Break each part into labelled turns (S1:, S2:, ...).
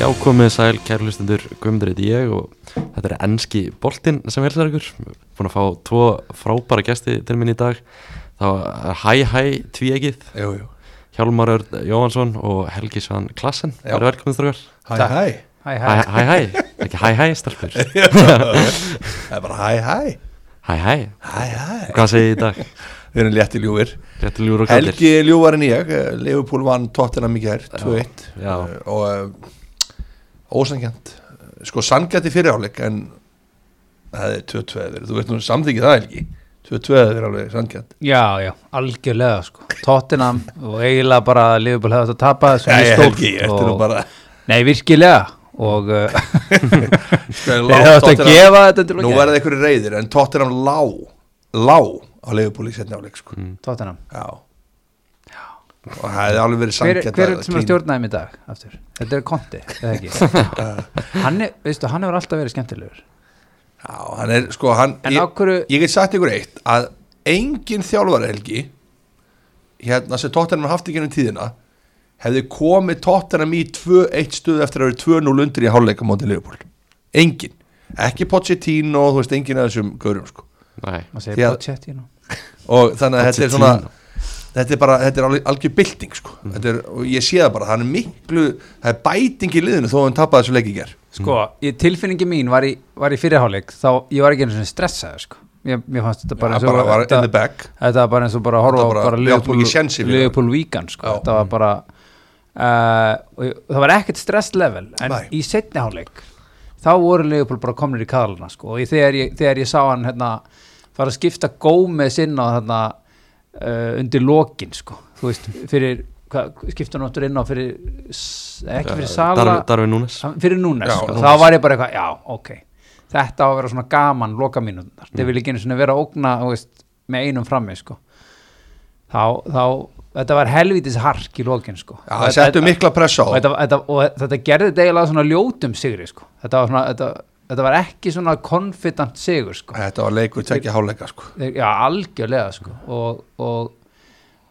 S1: Já, komið sæl, kæru hlustendur, Guðmundur heiti ég og þetta er ennski boltinn sem helsar ykkur. Búin að fá tvo frábæra gesti til minn í dag. Það var Hæ Hæ Tvíegið,
S2: Jú, jú.
S1: Hjálmar Örn Jóhansson og Helgi Svann Klassen.
S2: Já.
S1: Það eru velkominn þrjókar.
S2: Hæ,
S3: Takk.
S2: hæ.
S3: Hæ, hæ,
S1: Hæ Hæ, hæ. ekki Hæ Hæ, starfur.
S2: Það er bara hæ, hæ.
S1: Hæ Hæ,
S2: Hæ, hæ.
S1: hvað segið þið í dag?
S2: Við erum létti ljúfir.
S1: Réttu ljúr og kallir.
S2: Helgi er ljúfar en ég. Leifupúl vann tóttina mikið hér, 2-1.
S1: já.
S2: Eh, Og ósangjant. Sko, sangjant í fyriráleik, en það er 2-2 eða verið. Þú veit nú samþyggið það, Helgi. 2-2 eða verið alveg sangjant.
S3: já, já, algjörlega sko Tottenham og eiginlega bara Liverpool hefði átt að tapa þessu
S2: Nei,
S3: mjög stórt
S2: Helgi, þetta er nú
S3: og,
S2: bara...
S3: Nei, virkilega og uh,
S2: Sko, er
S3: þeir
S2: lág
S3: hefði átt að
S2: Tottenham-
S3: gefa þetta til
S2: Nú
S3: að
S2: verða einhverju reyðir, en tóttina lá, lá á leifupúl í setna áleik,
S3: Mm.
S2: sko.
S3: Tottenham
S2: Já. Og það hefði alveg verið
S3: Hver,
S2: sangjant
S3: hver er þetta sem er stjórnaðum í dag? Aftur? Þetta er Konti, eða ekki? hann, er, veistu, hann hefur alltaf verið skemmtilegur
S2: Já, hann er, sko, hann
S3: En
S2: ég,
S3: á hverju-
S2: ég get sagt ykkur eitt að engin þjálfari helgi hérna sem Tottenham haft ekki ennum tíðina hefði komið Tottenham í 2-1 stuð eftir að vera 2-0 undir í hálfleika mótið Liverpool engin, ekki Pochettino þú veist, engin af þessum gaurum sko.
S1: Nei,
S3: Maður
S2: Því
S3: segir
S2: að-
S3: Pochettino
S2: og þannig að þetta er svona
S1: Pochettino.
S2: þetta er bara, þetta er alveg algjör bylting sko. Þetta er, og ég sé það bara, hann er miklu það er bæting í liðinu þó að hann tappaði þessu leik í ger
S3: Sko, í tilfinningi mín var í, var í fyrirháleik þá ég var ekki einu svona stressaður sko Ég, mér fannst þetta bara,
S2: bara,
S3: eins og-
S2: bara var
S3: þetta-
S2: in the back
S3: Þetta var bara eins og bara að horfa
S2: Þetta
S3: á
S2: bara-
S3: bara
S2: við áttum ekki séns
S3: Liverpool-
S2: yfir
S3: Liverpool víkan sko.
S2: Já.
S3: þetta var bara uh, og ég- það var ekkert stress level en
S2: Nei.
S3: í setni hálfleik þá voru Liverpool bara komnir í kaðalina sko. og ég, þegar, ég, þegar ég sá hann hérna, fara að skipta Gómez inn á hérna, uh, undir lokin sko. þú veist, fyrir hva, skipta hann áttur inn á fyrir s- ekki
S2: Eh,
S3: fyrir Sala
S1: Darfi Núnes.
S3: Hann- fyrir Núnes,
S2: Já,
S3: sko.
S2: Núnes.
S3: þá var ég bara eitthvað, já, ok þetta á að vera svona gaman loka mínúndar
S2: Mm.
S3: þetta vil ekki einu svona vera að ógna þú veist, með einum frammi sko. þá, þá, þetta var helvitis hark í lokin sko.
S2: Já,
S3: Og
S2: það
S3: þetta-
S2: settu mikla pressa á
S3: og þetta, þetta, og þetta gerði þetta eiginlega svona ljótum sigri sko. þetta, var svona, þetta, þetta var ekki svona confident sigur sko.
S2: Þetta var leikur tekja hálfleika sko.
S3: Þeir- já, algjörlega sko. og, og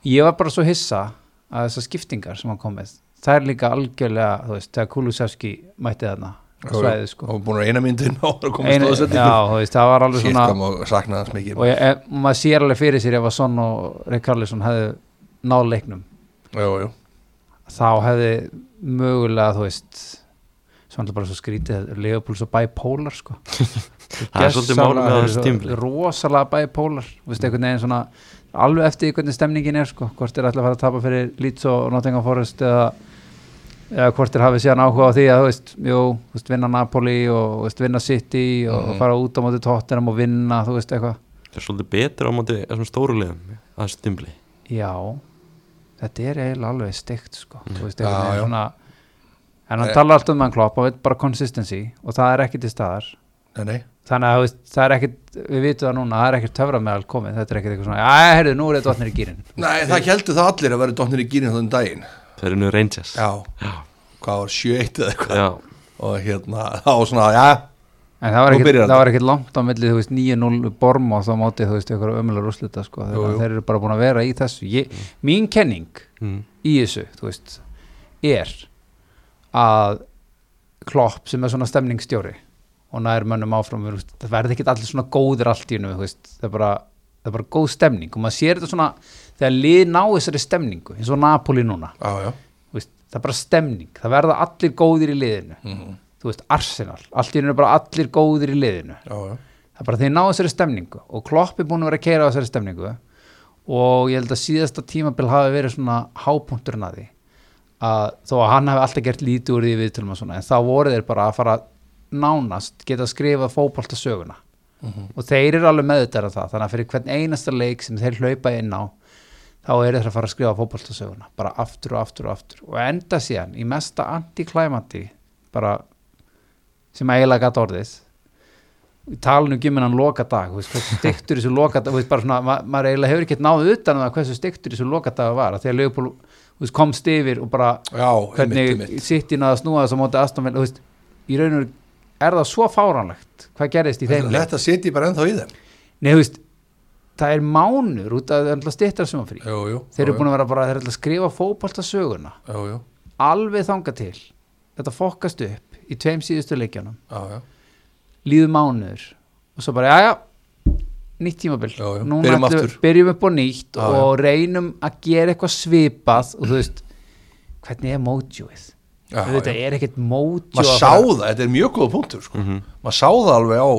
S3: ég var bara svo hissa að þessar skiptingar sem hann kom með það er líka algjörlega, þú veist, þegar Kulusevski mætti þarna á svæðið sko
S2: og búin að vera eina myndin á að koma
S3: Einu- já,
S2: stóðsendingur
S3: þú veist, það var alveg svona
S2: síðan og sakna þess mikið
S3: og ég, e, maður sér alveg fyrir sér ef að Son og Rick Carlison hefðu náð leiknum
S2: jú, jú.
S3: þá hefði mögulega, þú veist svona bara svo skrítið Leopold svo bipolar sko
S1: Það er svolítið málum með þessu tímli.
S3: rosalega bipolar þú veist, einhvern veginn svona alveg eftir því hvernig stemningin er sko, hvort er alltaf að fara að tapa fyrir Leeds og Nottingham Forest eða, eða hvort er hafið síðan áhuga á því að þú veist, jú, þú veist, vinna Napoli og þú veist, vinna City og
S2: Mhm.
S3: fara út á móti Tottenham og vinna, þú veist, eitthvað
S1: Það er svolítið betur á móti þessum stóru liðum að þessu stimbli.
S3: já, þetta er eiginlega alveg steikt sko, þú veist,
S2: Mhm. Já,
S3: einhvern
S2: já.
S3: veginn svona en hann
S2: Eh.
S3: talar alltaf um hann klopp og veit bara consistency og það er ekki til staðar
S2: Nei, nei.
S3: þannig að þú veist, það er ekkert við vitum það núna, það er ekkert töfra meðal komið þetta er ekkert eitthvað svona, að herru, nú er þetta vatnir í gýrin
S2: nei, það heldur það allir að vera dóttir í gýrin þannig daginn
S1: Þeir eru nú Rangers.
S2: já,
S1: Já.
S2: hvað var 7-1 eða eitthvað
S1: Já.
S2: og hérna, þá svona, já
S3: en það var
S2: Nú
S3: ekkert,
S2: byrjar
S3: það var ekkert langt á milli þú veist, 9-0 borm og þá mótið þú veist, eitthvað ömulegur úrslita, sko,
S2: Jú,
S3: þegar
S2: jú.
S3: þeir eru bara búin að vera í þessu ég, mín kenning
S1: Mm.
S3: í þessu, þú veist er að klopp sem er svona stemningsstjóri og nær mönnum áfram þú veist, það verði ekkert allir svona góðir allt í hennu það er bara, það er bara góð stemning og maður sér þetta svona, þegar lið ná þessari stemningu, eins og Napoli núna
S2: já, já,
S3: þú veist, það er bara stemning það verða allir góðir í liðinu
S2: Mhm.
S3: þú veist, Arsenal, allt í einu eru bara allir góðir í liðinu,
S2: já, já.
S3: það er bara þeir ná þessari stemningu og Klopp er búin að vera að keira á þessari stemningu og ég held að síðasta tímabil hafi verið svona hápunkturinn að því að þó að hann hafi alltaf gert lítið úr því við tilum að svona, en þá voru þeir bara að fara nánast, geta að skrifa fótbolta söguna og þeir eru alveg meðutæra það, þannig að fyrir hvern einasta leik sem þeir hlaupa inn á þá eru þeir að fara að skrifa fótboltasöguna bara aftur og aftur og aftur og enda síðan í mesta antiklæmati bara sem eiginlega gæti orðið við tala nú ekki um hennan loka dag veist, hversu styktur þessu loka dag veist, bara svona, ma maður eiginlega hefur ekkert náð utan um það hversu styktur þessu loka dag var að þegar Leopold veist, komst yfir og bara
S2: já, einmitt,
S3: hvernig
S2: einmitt.
S3: City náði að snúa þess að móti Aston Villa þú veist, í raun og veru er það svo fáránlegt hvað gerðist í þeim leik?
S2: þetta seti bara ennþá í þeim
S3: Nei, þú veist, það er mánur út af það stýttar sem að frí
S2: jú, jú,
S3: þeir eru búin að vera bara þeir eru að skrifa fótbolta söguna
S2: jú, jú.
S3: alveg þanga til þetta fokast upp í tveim síðustu leikjunum
S2: já, já,
S3: líður mánuður og svo bara, já, já nýtt tímabil
S2: Já, já,
S3: Núna
S2: byrjum
S3: ætlum við-
S2: aftur.
S3: byrjum upp á nýtt
S2: Já,
S3: og reynum að gera eitthvað svipað og þú veist, hvernig er mótjóið
S2: já,
S3: þetta
S2: já.
S3: er ekkert mótjó
S2: maður sá það, þetta er mjög góða punktur sko. maður sá það alveg á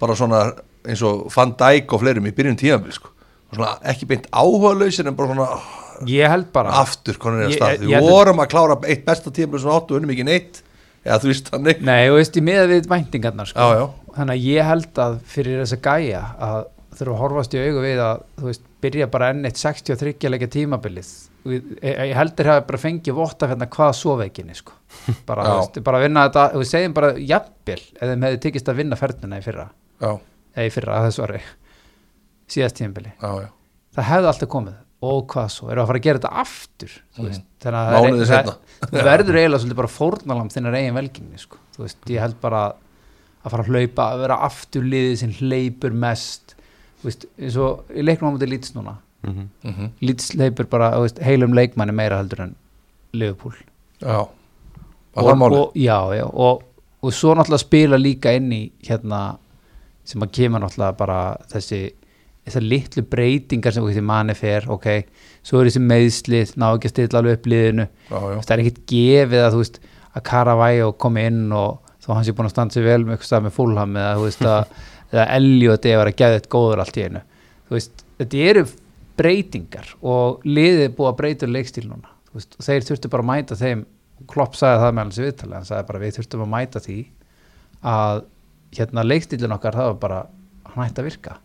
S2: bara svona eins og Van Dijk og fleirum í byrjun tíðanbíl sko. svona, ekki beint áhugalausir en bara svona ah,
S3: ég held bara
S2: aftur konar er að
S3: Ég-
S2: stað
S3: ég-
S2: við
S3: ég-
S2: vorum að klára eitt besta tíðanbíl sem áttu og unnum ekki neitt eða þú veist þannig
S3: Nei, og veist, ég miða við væntingarnar sko.
S2: Já, já.
S3: þannig að ég held að fyrir þessa gæja að þurfa að horfast í augu við að þú veist, byrja bara enn eitt 63 leikja tímabilið Og ég, ég ég held þeir hafa bara fengið votta hérna hvað svo veikinni sko. bara, þú
S2: Já.
S3: veist, bara vinna þetta og við segjum bara jafnvel eða þeim hefði tekist að vinna ferðina í fyrra
S2: já,
S3: eða í fyrra, þessu ári síðast tímabili,
S2: já, já
S3: það hefði alltaf komið og hvað svo, erum við að fara að gera þetta aftur þú veist, þannig að
S2: Mhm. Mánuði
S3: það er-
S2: seinna.
S3: það- þú verður eiginlega svolítið bara fórnalam þinnar eigin velgengni sko. þú veist, ég held bara að- að fara að hlaupa, að vera aftur liðið sem hleypur mest þú veist, eins og í leiknum á mútið lýts núna
S1: mhm.
S2: mm
S3: lýts hleypur bara, þú veist, heilum leikmanni meira heldur en Liverpool
S2: já, og það máli
S3: og, já, já, og, og svo náttúrulega spila líka inn í hérna sem að kemur náttúrulega bara þessi þessar litlu breytingar sem þessi manni fer, ok, svo er þessi meðslið ná ekki að stilla alveg upp liðinu
S2: já, já,
S3: það er ekkert gefið að þú veist að Caravaggio komi inn og þó hann sé búin að standa sér vel með eitthvað stað með Fulham eða þú veist að eða Elliot eða var að geða þetta góður allt í einu þú veist, þetta eru breytingar og liðið er búið að breyta leikstíl núna, þú veist, og þeir þurftu bara að mæta þeim og Klopp sagði það með alveg sér viðtali hann sagði bara við þurftum að mæta því að hérna leikstílun okkar það var bara, hann hætti að virka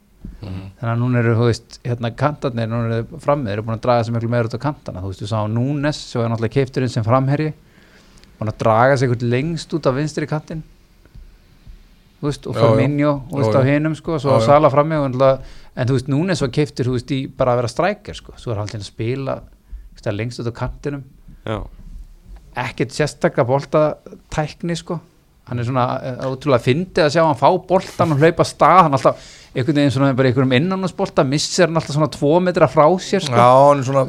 S2: Mm.
S3: þannig að núna eru, þú veist, hérna kantarnir núna eru frammið, eru búin að draga sig miklu meira út á kantana, þú veist, þú sá Núnes sem er náttúrulega keifturinn sem framherji búin að draga sig eitthvað lengst út af vinstri kantin þú veist, og
S2: Já, já.
S3: Firmino, þú veist,
S2: Já,
S3: á
S2: já.
S3: hinum sko,
S2: Já,
S3: svo á
S2: já.
S3: Sala framherji og náttúrulega, en þú veist, Núnes var keiftur, þú veist, í bara að vera strækjar, sko, svo er hann til að spila þú veist, lengst út á kantinum
S1: já,
S3: ekkert sérstaklega boltatækni sko hann er svona eh, ótrúlega fyndið að sjá hann fá boltan og hlaupa af stað hann alltaf einhvern veginn svona bara í einhverjum innanúsbolta missir hann alltaf svona tvo metra frá sér sko.
S2: já, hann er svona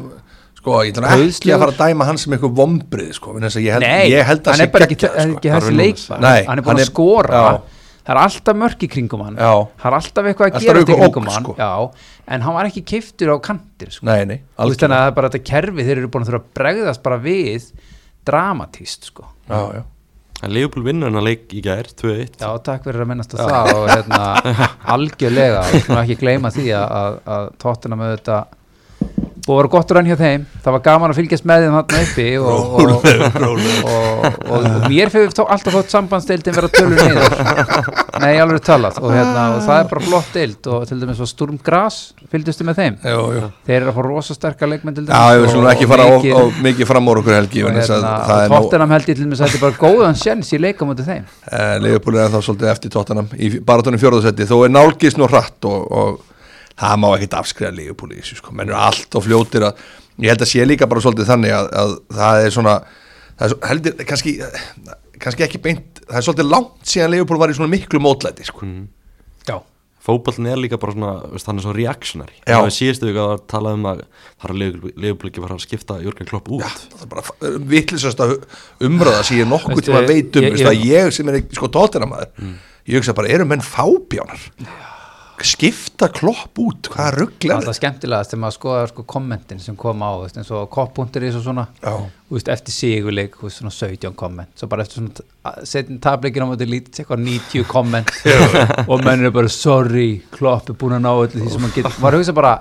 S2: sko, ég ætla nú ekki
S3: Kauðslegur.
S2: að fara að dæma hann sem eitthvað vombrið sko, vegna þess að ég held,
S3: Nei,
S2: ég held að
S3: hann
S2: sé
S3: er bara ekki,
S2: geggjað, sko.
S3: ekki
S1: Darwin
S3: þessi
S1: Núñez.
S3: leikmaður
S2: Nei,
S3: hann er búin
S2: hann
S3: að
S2: er-
S3: skora
S2: já.
S3: það er alltaf mörk í kringum hann
S2: Já.
S3: það er alltaf eitthvað að
S2: Alltaf
S3: gera
S2: eitthvað
S3: í kringum
S2: ógn,
S3: hann
S2: sko.
S3: já, en hann var ekki keiftur á kantir sko.
S2: nei, nei,
S3: Þú veist, þannig að það er bara þetta kerfi þeir eru búin að þurfa að bregðast bara við dramatíst sko.
S2: já, já,
S1: en Leopold vinnur hennar leik í gær 2-1
S3: Já, takk fyrir að minnast að það og hérna, algjörlega, við skulum ekki gleyma því að, að, að tóttina með þetta búið að vera gott rann hjá þeim það var gaman að fylgjast með þeim þarna uppi og, og, og, og, og, og mér fyrir tó, alltaf þótt sambandsdeildin vera tölur niður nei, alveg talað og, hérna, og það er bara flott deild og til dæmis var Sturm Gras fylgdustu með þeim
S2: já, já
S3: þeir eru að fá rosa sterka leikmenn til
S2: Já, við skulum ekki fara of, of, mikið fram úr okkur helgi
S3: og
S2: vegna þess að
S3: hérna,
S2: það
S3: og
S2: er nóg,
S3: tóttinam held ég til dæmis að þetta er bara góðan sjens í leikamöndu þeim
S2: uh, Leifupúli er þá svolítið eftir tóttanam í baratónum fjórðarsetti, þó er nálgis nú hratt og, og það má ekkit afskriða Leifupúli, sko, menn eru allt og fljótir að, ég held að sé líka bara svolítið þannig að, að það er svona það er svo, heldur, kannski eh, kannski ekki beint, það er svolítið langt síðan Leifupúli var í svona miklu mótlæti, sko
S3: Já
S1: fótballin er líka bara svona, veist, hann er svo reactionary
S2: Já.
S1: það er síðustu við að tala um að það er Leopold ekki bara að skipta Jörgen Klopp út
S2: það er bara vitlisast að umröða sem ég nokkuð
S3: Veistu,
S2: tíma veit um ég,
S3: ég- ég- Mm.
S2: ég, ég sem er ekki- sko tóttina maður ég hugsa bara, eru menn fábjánar skipta klopp út hvaða rugglar
S3: Það er skemmtilegast þegar maður skoðar sko kommentin sem kom á, þú veist, eins og kopp.is og svona,
S2: Já.
S3: þú veist, eftir sigurleik, þú veist, svona 17 komment, svo bara eftir svona setin tableikina á móti lítið, eitthvað 90 komment og menn er bara sorry, klopp er búin að ná öllu því sem hann getur, maður hugsa bara,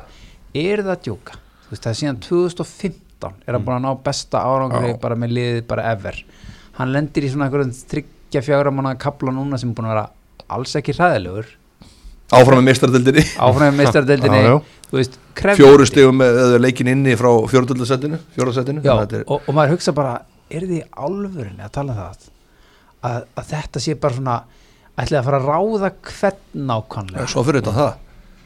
S3: er það að djóka, þú veist, það er síðan 2015 er hann búin að ná besta árangri
S2: Já.
S3: bara með liðið bara ever, hann lendir í svona einhverjum þryggja fjagra manna kapla núna sem er búin að vera alls ekki hræðilegur
S2: áfram með mistardildinni
S3: áfram með meistardeldinni
S2: Já, já.
S3: þú veist, krefjandi.
S2: fjóru stegum með eða leikin inni frá fjóruðaldasettinu fjóruðaldasettinu
S3: já, og, og maður hugsa bara er þið alvörinni að tala um það að, að þetta sé bara svona ætlið að fara að ráða hvern nákvæmlega
S2: svo fyrir þetta það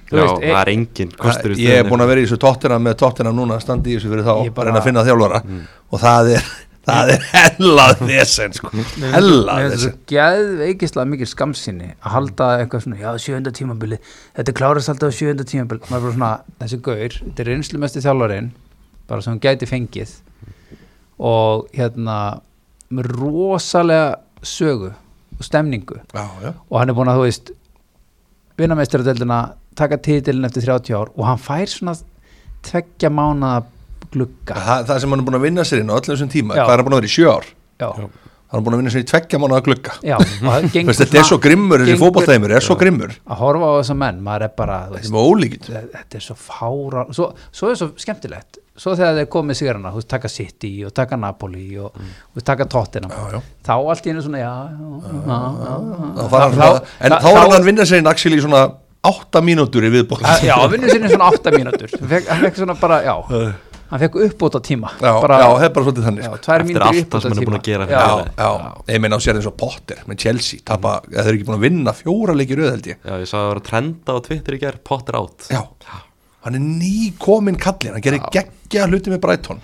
S3: Þú
S1: já,
S3: veist,
S1: það
S3: e-
S1: er engin kostur í
S2: ég er
S1: stöðunni.
S2: búin að vera í þessu tóttina með tóttina núna standi í þessu fyrir þá
S3: Ég
S2: að
S3: bara- Mm.
S2: reyna að finna þjálfara og það er það er hellað vesen sko hellað
S3: Mér finnst
S2: vesen
S3: svo geðveikislega mikil skamsinni að halda eitthvað svona, já, sjönda tímabili þetta klárast alltaf á sjönda tímabili maður er bara svona, þessi gaur, þetta er reynslumesti þjálfarinn bara sem hún gæti fengið og hérna með rosalega sögu og stemningu
S2: já, já,
S3: og hann er búin að þú veist vinna meistaradeldina, taka titilin eftir 30 ár og hann fær svona tveggja mánaða glugga
S2: það, það sem hann er búin að vinna sér inn á öllum þessum tíma
S3: Já.
S2: hvað er hann búin að vera í sjö ár?
S3: já,
S2: hann er búin að vinna sér í tveggja mánu að glugga
S3: já og það
S2: Þú
S3: gengur
S2: veist, þetta er
S3: svona-
S2: svo grimmur, þessi
S3: gengur-
S2: fótballtæmur er svo grimmur
S3: að horfa á þessa menn, maður er bara þú
S2: þetta
S3: veist,
S2: er með ólíkind
S3: þetta er svo fára svo, svo er svo skemmtilegt svo þegar þeir komið sigrana, þú veist, taka City og taka Napoli og mm. veist, taka Tottenham
S2: Já, já.
S3: þá allt í hennu svona já, já, já, já, já.
S2: Þá fara hann svona- en þá er hann að vinna sér inn Axel í svona 8 mínútur í viðbótt
S3: að- já, vinnu sinni svona 8 mínútur hann fekk, hann fekk svona bara, já hann fekk uppbóta tíma
S2: já,
S3: bara,
S2: já, það er bara svolítið þannig
S3: já,
S2: sko.
S3: tvær
S1: Eftir
S3: mínútur
S1: allt
S3: í
S1: það sem hann er búinn að
S3: uppbótartíma.
S1: gera fyrir
S2: já,
S1: Já.
S2: já, ég meina á sér eins og Potter með Chelsea, tapa, eða þeir eru ekki búin að vinna fjóra leikir auð held ég
S1: Já, ég sá að það var að trenda á Twitter í gerð Potter átt
S2: já, hann er nýkominn kallin hann gerir geggja hluti með Brighton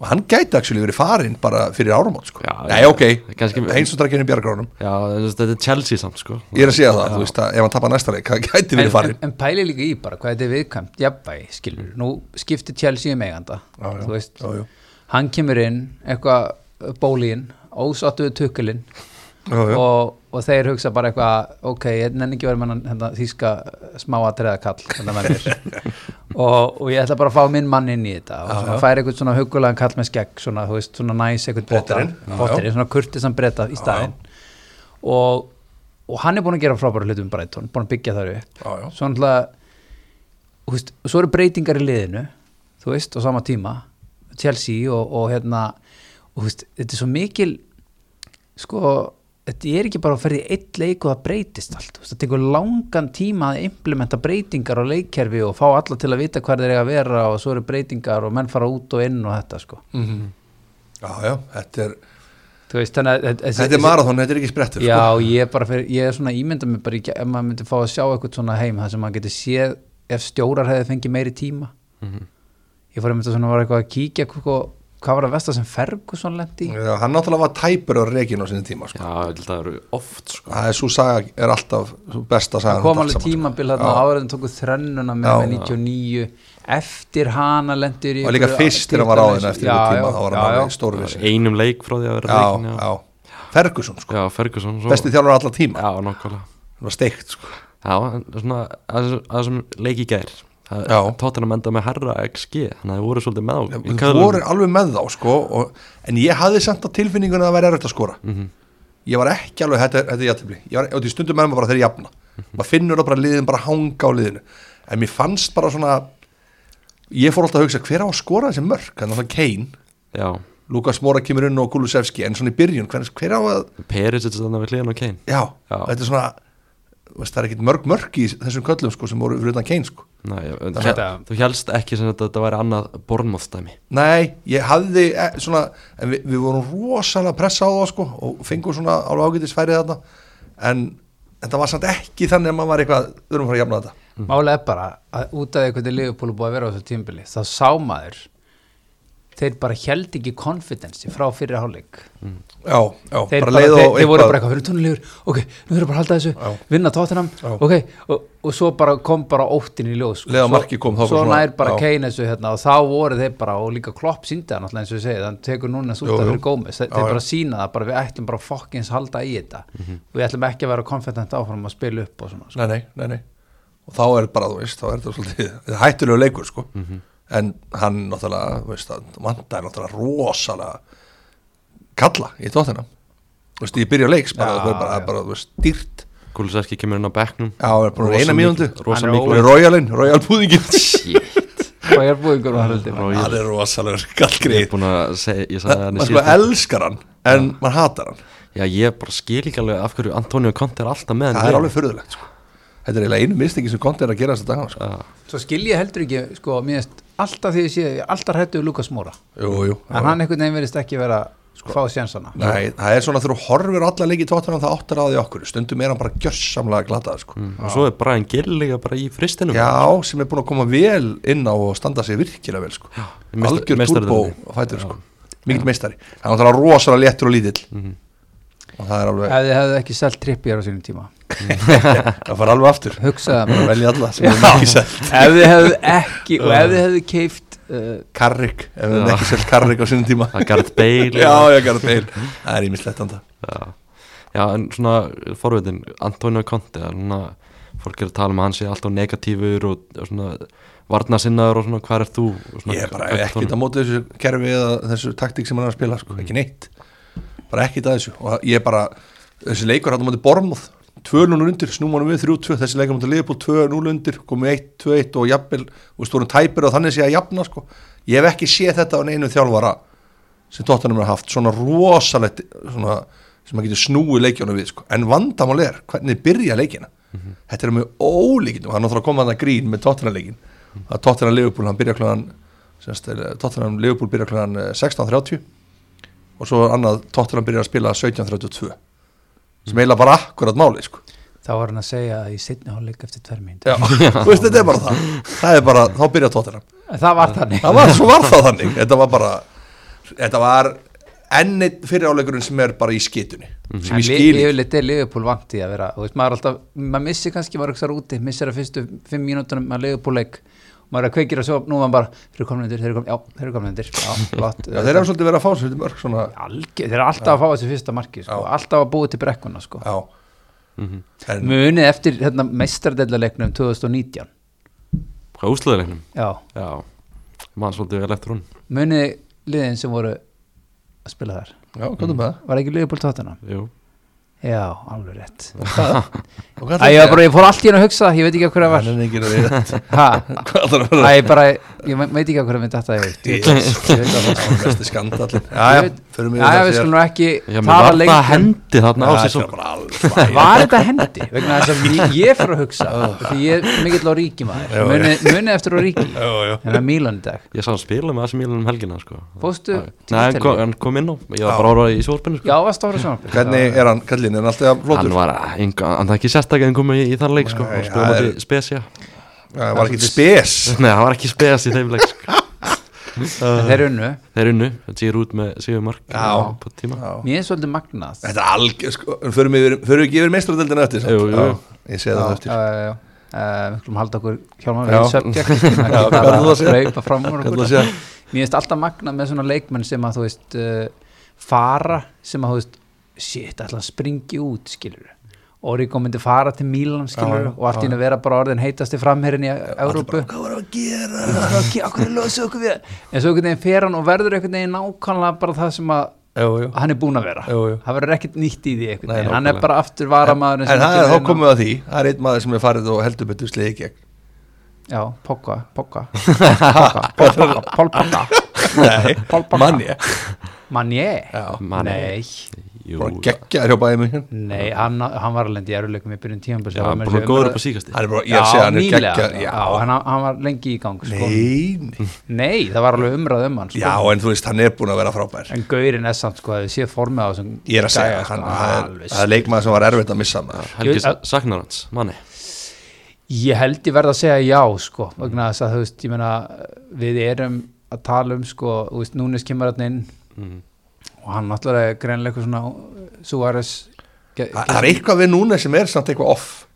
S2: og hann gæti actually verið farinn bara fyrir árumót sko.
S1: Já,
S2: nei,
S1: já,
S2: ok,
S1: kannski-
S2: eins og drakkinn í bjargránum
S1: Já, þú veist, þetta er Chelsea samt sko
S2: ég er að segja það, þú veist að ef hann tapar næsta leik, hann gæti verið
S3: en, en,
S2: farinn
S3: en pæli líka í bara hvað þetta er viðkvæmt jafnvægi, skilur, nú skiptir Chelsea um eiganda,
S2: Já, já,
S3: þú veist
S2: já, já.
S3: hann kemur inn, eitthvað uh, bólíinn, ósáttuðu tukkulinn
S2: Já, já.
S3: og, og þeir hugsa bara eitthvað, ok, ég nenni ekki verið með þennan- hérna, þýska smáatriða kall hérna með mér og, og ég ætla bara að fá minn mann inn í þetta og svona, færi eitthvað svona hugulegan kall með skegg svona, þú veist, svona næs eitthvað breyta
S2: Potterinn, já, já.
S3: potterinn, svona kurtisan breyta í staðinn og, og hann er búin að gera frábæra hlutum með Brighton, búin að byggja þar upp
S2: Já, já.
S3: svo náttúrulega þú veist, svo eru breytingar í liðinu þú veist, á sama tíma Chelsea og, og hérna og þú veist, þetta er svo mikil sko, þetta er ekki bara að ferði eitt leik og það breytist allt þú veist, það tekur langan tíma að implementa breytingar á leikkerfi og fá alla til að vita hvað þeir eiga að vera og svo eru breytingar og menn fara út og inn og þetta sko
S2: já, já, þetta er
S3: þú veist, þannig að þessi-
S2: þetta er marathon, þetta er ekki sprettur sko.
S3: Já, ég er bara fyrir, ég er svona ímynda mig bara í gæ- ef maður myndi fá að sjá eitthvað svona heim þar sem maður geti séð ef stjórar hefði fengið meiri tíma
S2: Mhm.
S3: ég fór einmitt að svona var eitthvað að kíkja hvað, hvað var að vesta sem Ferguson lendi í
S2: Já, hann náttúrulega var tæpur á reikinu á sinni tíma
S1: Já,
S2: sko.
S1: ég held að það eru oft sko
S2: það er svo saga, er alltaf sú besta saga um
S3: það kom alveg tímabil þarna áður en tóku þrennuna með,
S2: sko. Já.
S3: með 99 eftir hana lendur í
S2: og líka
S3: einhverju
S2: fyrst þegar hann var áðin
S3: titlalausu-
S2: eftir
S3: Já,
S2: einhvern
S3: já,
S2: tíma, þá var hann
S3: já, já.
S2: alveg stórvissin
S1: Einum leik frá því að vera
S2: já,
S1: leikin
S2: já, Ferguson sko,
S1: já Ferguson svo
S2: besti þjálfur allar tíma
S1: Já, nokkvæmlega
S2: það var steikt sko
S1: Já, en svona aðeins sem leik í gær
S2: Já.
S1: Tottenham enda með herra XG Þannig að þið voru svolítið með á í
S2: Þú
S1: köðlunum.
S2: voru alveg með þá sko og, en ég hafði samt á tilfinningunni að það væri erfitt að skora ég var ekki alveg þetta, þetta er jættibli, ég var og því stundum með maður bara þeir jafna, maður finnur það bara liðin bara hanga á liðinu, en mér fannst bara svona, ég fór alltaf að hugsa hver á að skora þessi mörk, þannig að Kane
S1: Já,
S2: Lukas Mora kemur inn og Kulusevski en svona í byrjun, hver, hver á að
S1: Perisic þannig við hliðan og Kane
S2: já,
S1: Já.
S2: þetta er svona þú veist, það er ekkit mörg mörg í þessum köllum sko, sem voru fyrir utan Kane sko
S1: Nei, ég-
S3: Þetta-
S1: Þú helst ekki sem þetta, þetta væri annað Bornmothstæmi
S2: Nei, ég hafði eh, svona, en við, við vorum rosalega pressa á það sko og fengum svona alveg ágætis færið þarna en þetta var samt ekki þannig að maður var eitthvað, við erum að fara að jafna þetta
S3: Mála er bara að út af því hvernig Liverpool er búið að vera á þessu tímbili þá sá maður þeir bara held ekki konfidensi frá fyrir hálfleik
S2: Já, já,
S3: þeir,
S2: bara
S3: bara,
S2: leið
S3: þeir,
S2: og
S3: þeir voru bara eitthvað fyrir tónulegur ok, nú þurfum bara að halda þessu,
S2: Já.
S3: vinna tóttunum
S2: Já.
S3: ok, og, og svo bara kom bara óttin í ljós sko.
S2: Leið og
S3: Svo-
S2: markið kom, þá var
S3: svo
S2: svona-
S3: nær bara
S2: já.
S3: Kane þessu hérna og þá voru þeir bara, og líka Klopp síndi það náttúrulega eins og ég segi, þannig tekur núna
S2: Jú,
S3: súta
S2: jú.
S3: fyrir Gómez, þeir,
S2: Já, já. Mhm.
S3: þeir bara sína það bara við ætlum bara fokkins halda í þetta við ætlum ekki að vera konfident áfram að spila upp og svona, sko.
S2: Nei, nei, nei, nei og þá er bara, þú veist, þá er þetta svolítið þetta er hættulegu leikur sko en hann náttúrulega, þú veist, það vandaði náttúrulega rosalega kalla í tóttina þú veist, ég byrja leiks bara,
S3: Já,
S2: það er bara,
S3: já.
S2: bara, þú veist, dýrt
S1: Kuliserski kemur inn á bekknum
S2: Já, það er bara
S1: Rosa
S2: eina
S1: mikil-
S2: mínúndu
S1: Rosa
S3: Hann er
S1: miklu
S2: Og Royalinn, Royal púðingin
S3: og ég er búingur og haldi
S2: Það er rosalega skallgrið
S1: Ég er búin að segja, ég sagði hann í
S2: maður sko
S1: síðast
S2: elskar hann en maður hatar hann
S1: Já, ég bara skil ekki alveg af hverju Antonio Conte er alltaf með hann
S2: það er alveg fyrðulegt sko. þetta er eiginlega einu mistingi sem konti er að gera þess að dagana sko.
S3: svo skil ég heldur ekki, sko, mér finnst alltaf því að ég sé, ég er alltaf hættu Lukas Móra
S2: jú, jú,
S3: en hann einhvern veginn verðist ekki vera sko, fá sjansana
S2: Nei, það er svona þegar þú horfir alla leiki tóttunum það áttar að því okkur stundum er hann bara gjörsamlega glatað sko.
S1: Og svo er Brian Gill líka bara í fristinum
S2: já, sem er búin að koma vel inn á og standa sig virkilega vel sko.
S1: meist-
S2: algjör
S1: meistari
S2: turbo fætur sko. mikill meistari hann var það rosalega léttur og lítill
S1: Mhm.
S2: og það er alveg
S3: ef þið hefðu ekki selt trippjör á sínum tíma
S2: það fara alveg aftur
S3: hugsaðu það
S2: velja alla sem er mikið sett
S3: ef þið hefðu ekki og ef þið hefðu keift uh,
S2: Karrik, ef við
S1: Já.
S2: hefum ekki selt Karrik á sínum tíma
S1: að Gareth Bale
S2: Já, já, Gareth Bale, það er ímislegt anda
S1: Já, já en svona forveitin, Antonio Conte það er svona, fólk er að tala um að hann sé alltaf negatífur og, og svona varnasinnaður og svona hvað er þú Og svona,
S2: Ég er bara
S1: hvað-
S2: ekkert
S1: svona-
S2: að móta þessu kerfi eða þessu taktík sem hann er að spila, sko, ekki neitt bara ekkert að þessu og ég er bara, þessi leikur hann á móti Bormóð 2-0 undir, snúm honum við 3-2 þessi leikur á móti Liverpool 2-0 undir komið 1-2-1 og jafnvel, og stórum tæpir og þannig sé að jafna, sko ég hef ekki séð þetta á neinu þjálfara sem Tottenham er haft, svona rosalegt svona, sem maður getur snúið leikjónu við, sko, en vandamál er hvernig byrja leikina, þetta er með ólíkindum, hann er náttúrulega að koma að það grín með Tottenham leikin, að Tottenham Liverpool hann byrja klugan, semst, eh, Tottenham Liverpool byrja klugan 16.30 og svo annað Tottenham byrjar að spila 17.32 sem eiginlega bara akkurat máli sko.
S3: þá var hann að segja að í sitni hálfleik eftir tver mynd
S2: Já, þú veist þetta er bara það það er bara, þá byrjar Tottenham
S3: það var þannig
S2: það var, svo var það þannig, þetta var bara þetta var enn einn fyriráleikurinn sem er bara í skitunni sem ég skil ekki.
S3: yfirleitt er Liverpool vant í að vera þú veist, maður er alltaf, maður missir kannski maður hugsaður úti, missir að fyrstu fimm mínútunum maður Liverpool leik, maður er að kveikir og svo nú er maður bara, þeir eru komlendir, þeir eru komlendir já, þeir eru komlendir, já, flott
S2: Já, þeir hafa svolítið verið að fá svolítið mörg svona,
S3: Algjör, þeir eru alltaf að fá þessu fyrsta marki sko,
S2: Já.
S3: alltaf að búið til brekkuna sko.
S2: já
S1: Mhm.
S2: en,
S3: munið eftir hérna, meistardellaleiknum 2019
S1: hvað úslaðilegnum
S3: já,
S1: já, mann svolítið vel eftir hún
S3: munið liðin sem voru að spila þar
S2: já, komdu með það
S3: var ekki Liverpool tóttuna?
S1: jú,
S3: já, alveg rétt
S2: Og hvað ætlar
S3: Æ, ég, var
S2: að
S3: bara, ég fór allt í hérna að hugsa, ég veit ekki af hverju
S2: gera?
S3: það var
S2: Hann er enginn að vera-
S3: ha,
S2: Hvað ætlar að
S3: Æ,
S2: vera?
S3: ég bara, ég ve- veit ekki af hverju það myndi þetta ég veit ég veit það bara.
S2: Það er mesti skandallin
S3: Ég
S2: Já, já,
S3: veit-
S2: förum við
S3: Já, já, við skulum nú ekki
S1: já, menn
S3: tala
S1: var
S3: lengur
S1: það hendi þarna á
S2: Já,
S1: sér
S2: þetta
S1: svo
S2: er bara alveg
S3: Var þetta hendi? Vegna þess að ég, ég fyrir að hugsa Því ég er mikill á ríki
S2: Já, já.
S3: maður Munið munið eftir á ríki
S2: Já, já.
S3: En að Mílan í dag
S1: ég sá hann spila með þessi mílunum helgina sko.
S3: Fórstu
S1: Já.
S3: til
S1: nei, hann
S3: Ítalíu?
S1: kom, hann kom inn á, ég var
S2: Já.
S1: bara ára í svorpinu sko.
S3: Já, að stóra samanbyrg
S2: Hvernig er hann, kallin, er hann alltaf
S1: hann
S2: flottur?
S1: var, engu- hann það ekki sérstaklega en komið í, í þann leik sko,
S2: Nei,
S1: og skoða
S2: það er-
S1: móti spesja
S2: Það var ekkert spes
S1: nei, hann var ekki spes í þeim leik sko.
S3: Þeir eru unnu
S1: Þeir unnu, það séur út með Sigur Mark
S2: Já.
S1: På tíma
S2: Já.
S3: Mér er svolítið magnað
S2: Þetta er algjör, sko, förum við, förum við ekki yfir meistradeldina eftir samt?
S1: Jú, jú.
S2: Já, Ég segi það eftir
S3: Já, já, já Uh, við skulum halda okkur hjálma
S2: Já.
S3: við subject við skulum
S2: Já, hvað
S3: ekki
S2: er
S3: bara
S2: það að segja?
S3: hlaupa fram úr
S2: Hvað er það að
S3: okkur mér
S2: segja?
S3: finnst alltaf magnað með svona leikmenn sem að þú veist uh, fara sem að þú veist shit, ætla að springi út skilur Origo myndi fara til Mílan skilur
S2: Já,
S3: og allt í henni vera bara orðin heitasti framherrin í Európu
S2: Hvað var að gera?
S3: okkur er losa okkur við en svo einhvern veginn fer hann og verður einhvern veginn nákvæmlega bara það sem að
S2: Jú, jú
S3: hann er búinn að vera
S2: Jú, jú.
S3: það verður ekkert nýtt í því einhvern
S2: Nei,
S3: veginn hann er
S1: nákvæmlega.
S3: bara aftur varamaður
S2: En það er þá komum við að því Það er einn maður sem er farið og heldur betur slegið í gegn
S3: já, Pogba, Pogba Pogba, Pol Pogba, Pol Pogba Pol
S2: Nei,
S3: Pogba.
S2: manni ég.
S3: Mané
S2: Já.
S1: Mané.
S3: nei,
S1: Jú,
S2: Bara geggjaður hjá bæði mig Hann
S3: nei hann, hann var alveg í eruleikum í byrjun tíma
S1: já, hann búin að góður upp á síkasti
S2: er bara, ég
S3: já,
S2: er að segja hann er
S3: nýlega
S2: geggjaður
S3: já,
S2: Já,
S3: hann, hann var lengi í gang sko.
S2: nei nei.
S3: nei, það var alveg umræð um hann sko.
S2: Já, en þú veist, hann er búin að vera frábær
S3: en Gaurin er samt sko, að við séð formið á þessum
S2: Ég er að segja,
S3: gæja,
S2: hann
S3: sko,
S2: það er-
S3: alveg
S2: það er leikmaður sem var erfitt að missa maður
S1: Helgi
S3: Ég- að-
S1: saknar hans, manni
S3: Ég held ég verð að segja já sko vegna þess að þú veist, ég meina við erum að tala um sko þú veist, Núnes kemur hann inn
S1: Mm.
S3: og hann náttúrulega er greinlega eitthvað svona Suárez ge-
S2: Það það er eitthvað við núna sem er samt eitthvað off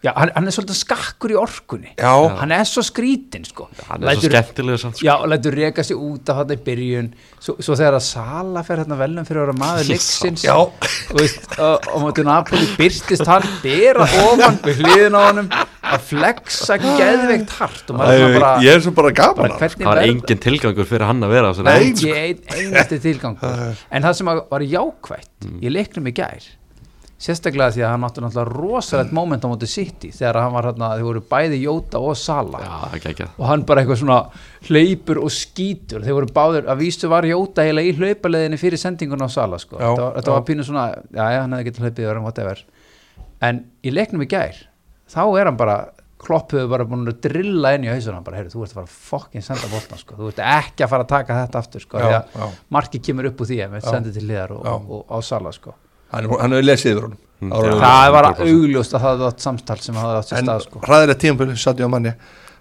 S3: Já, hann, hann er svolítið skakkur í orkunni
S2: Já,
S3: hann er svo skrítin sko
S1: Hann er svo skemmtilega samt sko.
S3: Já, lætur reka sig út af þetta í byrjun svo, svo þegar að Sala fer hérna velum fyrir að vera maður leiksins
S2: já
S3: og veist, og, og móti Napoli byrstist hann bera ofan við hliðin á honum að flexa geðveikt hart og maður er svona bara,
S2: Ég er svo bara gaman
S3: bara
S2: af.
S3: hvernig
S1: Það var
S3: verð-
S1: engin tilgangur fyrir hann að vera á þessari
S2: Nei.
S1: leik.
S3: ekki ein, einasti tilgang en það sem að var jákvætt ég leiknum í gær sérstaklega því að hann átti náttúrulega rosalegt moment á móti City þegar hann var hérna, þau voru bæði Jóta og Sala
S1: Já, það er geggjað
S3: og hann bara eitthvað svona hleypur og skýtur þeir voru báður, að vístu var Jóta eiginlega í hlaupaleðinni fyrir sendingun á Sala sko.
S2: Já,
S3: þetta var, þetta var
S2: já.
S3: pínu svona, já já, hann hefði getið hlaupið yfir hann, whatever en í leiknum í gær þá er hann bara kloppuðu bara búin að drilla inn í hausunum bara, heyrðu, þú ert að fara að fucking senda boltan sko. þú ert ekki að fara að taka þetta aftur
S2: Já,
S3: sko. því að
S2: já.
S3: markið kemur upp úr því ef við sendið til liðar og,
S2: Já.
S3: og, og, á Sala sko.
S2: Hann er- hann hefur lesið yfir honum
S1: Mm, já.
S2: Það var alveg-
S3: það var
S1: 100%.
S3: augljóst að það var samtal sem hafði átt sér
S2: en
S3: stað sko.
S2: hræðilegt tímpil Sadio Manni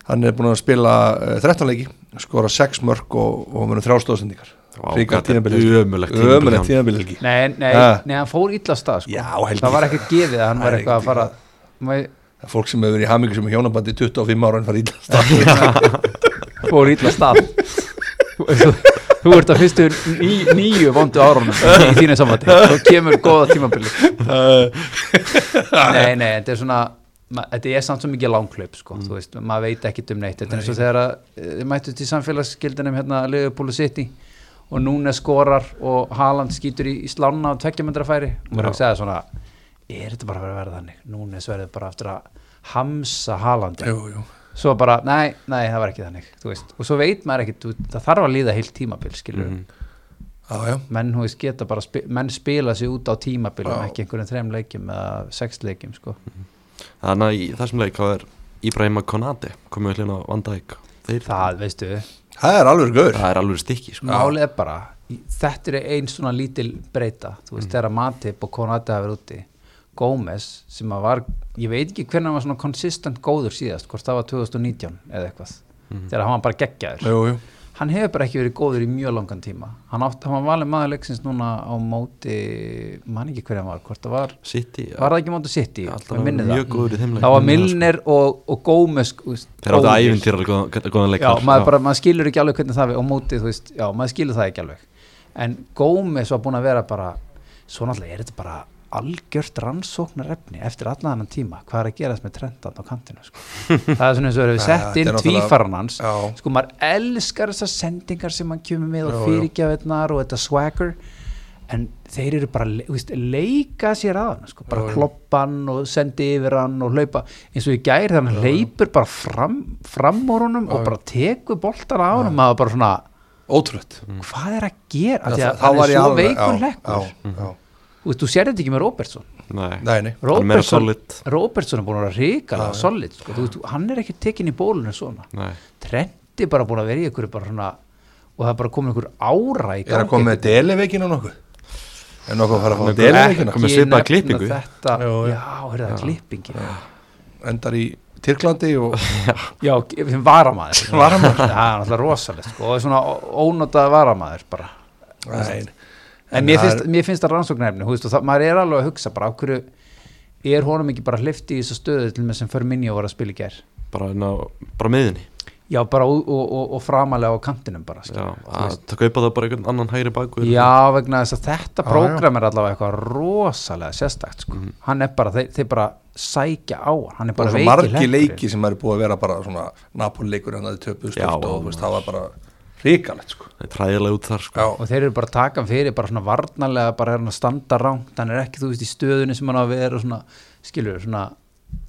S2: hann er búin að spila uh, 13 leiki skora 6 mörg og, og verður þrjástóðsendingar
S1: Vá,
S2: ríkar
S1: hvað þetta er
S2: tímpil
S1: ömurlegt tímabil hjá honum.
S2: tímpil helgi
S3: Nei, nei,
S2: Ha.
S3: nei, hann fór illa af stað sko.
S2: Já, held
S3: Það
S2: ég.
S3: var ekki gefið að hann var
S2: Nei,
S3: eitthvað
S2: held
S3: að
S2: ég.
S3: fara Mæ,
S2: fólk sem hefur verið í hamingu sem er hjónabandi í 25 ára en farið ítla
S3: fór ítla stað þú, þú ert að fyrstu ný, nýju vondu árunum í þínu samvætti og kemur góða tímabili nei, nei, þetta er svona ma- þetta er samt svo mikið langklaup sko, þú veist, maður veit ekkit um neitt þetta er eins og þegar að eh, þið mættust í samfélagsgildinum hérna að Liverpool City og núna skorar og Haaland skýtur í, í slána á tveggjamöndra færi og maður hugsaði svona, er þetta bara að vera að verða þannig núna sverðið bara aftur að hamsa Haaland
S2: jú, jú.
S3: svo bara, nei, nei, það var ekki þannig þú veist, og svo veit maður ekkit, þú- það þarf að líða heilt tímabil, skilur mm.
S2: Já, já.
S3: menn, þú veist, geta bara, spi, menn spila sig út á tímabilum,
S2: Já.
S3: ekki einhverjum þrem leikjum eða sex leikjum, sko
S1: Þannig að í þessum leik þá er Ibrahima Konate komið hljóna á Vandæk Þeir,
S3: það, veistu,
S2: það er alveg gaur
S1: það er alveg stikki sko.
S3: málið er bara í- þetta er einn svona lítil breyta þú veist, þegar Matip og Konati hafa verið úti Gómez, sem að var ég veit ekki hvernig hann var svona konsistent góður síðast, hvort það var 2019 eða eitthvað þegar hann var bara geggjaður
S2: jú, jú.
S3: hann hefur bara ekki verið góður í mjög langan tíma hann átt, hann var valið maður leiksins núna á móti, man ekki hverja var hvort það var,
S1: City
S3: var það ekki móti City
S1: Alltaf
S3: Mér minnir
S1: mjög góður í þeim leik.
S3: það var Milner og, og Gómez þú veist,
S1: Þeir áttu
S3: góðir.
S1: ævintýrar góðan, góðan leik
S3: já, maður, bara, maður skilur ekki alveg hvernig það við á móti, þú veist, já, maður skilur það ekki alveg en Gómez var búin að vera bara svo náttúrulega er þetta bara algjört rannsóknarefni eftir allan þennan tíma, hvað er að gerast með trendan á kantinu sko. það er svona eins og við
S2: Ja,
S3: sett
S2: þetta er
S3: inn
S2: náttúrulega-
S3: tvífaran hans
S2: Já.
S3: sko maður elskar þessar sendingar sem hann kemur með
S2: Jú,
S3: og
S2: jú.
S3: fyrirgjafinnar og þetta swagger en þeir eru bara, þú veist, leika sér að hann sko, bara
S2: Jú, jú.
S3: kloppa hann og sendi yfir hann og hlaupa, eins og í gær þannig hann hleypur bara fram, fram úr honum og bara tekur boltan á honum maður bara svona,
S2: ótrúlegt
S3: hvað er að gera
S2: Mm. Já,
S3: því
S2: þá
S3: að hann
S2: var
S3: er
S2: ég
S3: svo
S2: alveg-
S3: veikur
S2: já,
S3: lekkur
S2: já, já.
S3: þú veist, þú sér þetta ekki með Robertson
S1: Nei,
S2: Nei, nei.
S1: Hann er meira
S3: Robertson,
S1: solid.
S3: Robertson er búin að vera ríkala solid, sko, þú veist, hann er ekki tekinn í bólunum svona
S1: nei
S3: Trent er bara búin að vera í ykkur bara svona og það er bara komin ykkur ára í
S2: er að koma með deliveikina nokkuð er nokkuð að fara að fá
S1: Hann er
S2: deliveikina
S1: Komið svipaða
S3: Ekki nefna
S1: klippingu.
S3: þetta,
S2: Jú, jú.
S3: já, er það klippingi
S2: endar í Tyrklandi og
S3: já, sem varamaður
S2: Sem varamaður.
S3: það er náttúrulega rosalegt sko, og svona ó- ónotað varamaður bara
S2: Nei, nei.
S3: en mér finnst, mér finnst það rannsóknarefni þú veist, og það, maður er alveg að hugsa bara á hverju er honum ekki bara hlifti í þessu stöðu til með sem fyrir minni að voru að spila í gær
S1: bara, ná, bara miðinni
S3: já, bara og, og, og, og framalega á kantinum bara, skilur.
S1: já, að kaupa það bara einhvern annan hægri bakur
S3: Já, vegna þess að þetta
S2: Já,
S3: prógram er allavega eitthvað rosalega sérstakt sko. hann er bara, þeir, þeir bara sækja á hann, hann er
S2: bara
S3: bara
S2: svo
S3: veiki
S2: margi
S3: hlekkurinn.
S2: leiki sem eru búið að vera bara svona hérna Napoli-leikur en það er töpuð
S1: Já,
S2: stöft og þú veist, það var bara ríkalegt sko.
S1: það er træðilega út þar sko.
S2: Já,
S3: og þeir eru bara að taka hann fyrir bara svona varnarlega, bara er hann að standa rangt hann er ekki, þú veist, í stöðunni sem hann á að vera og svona, skilur, svona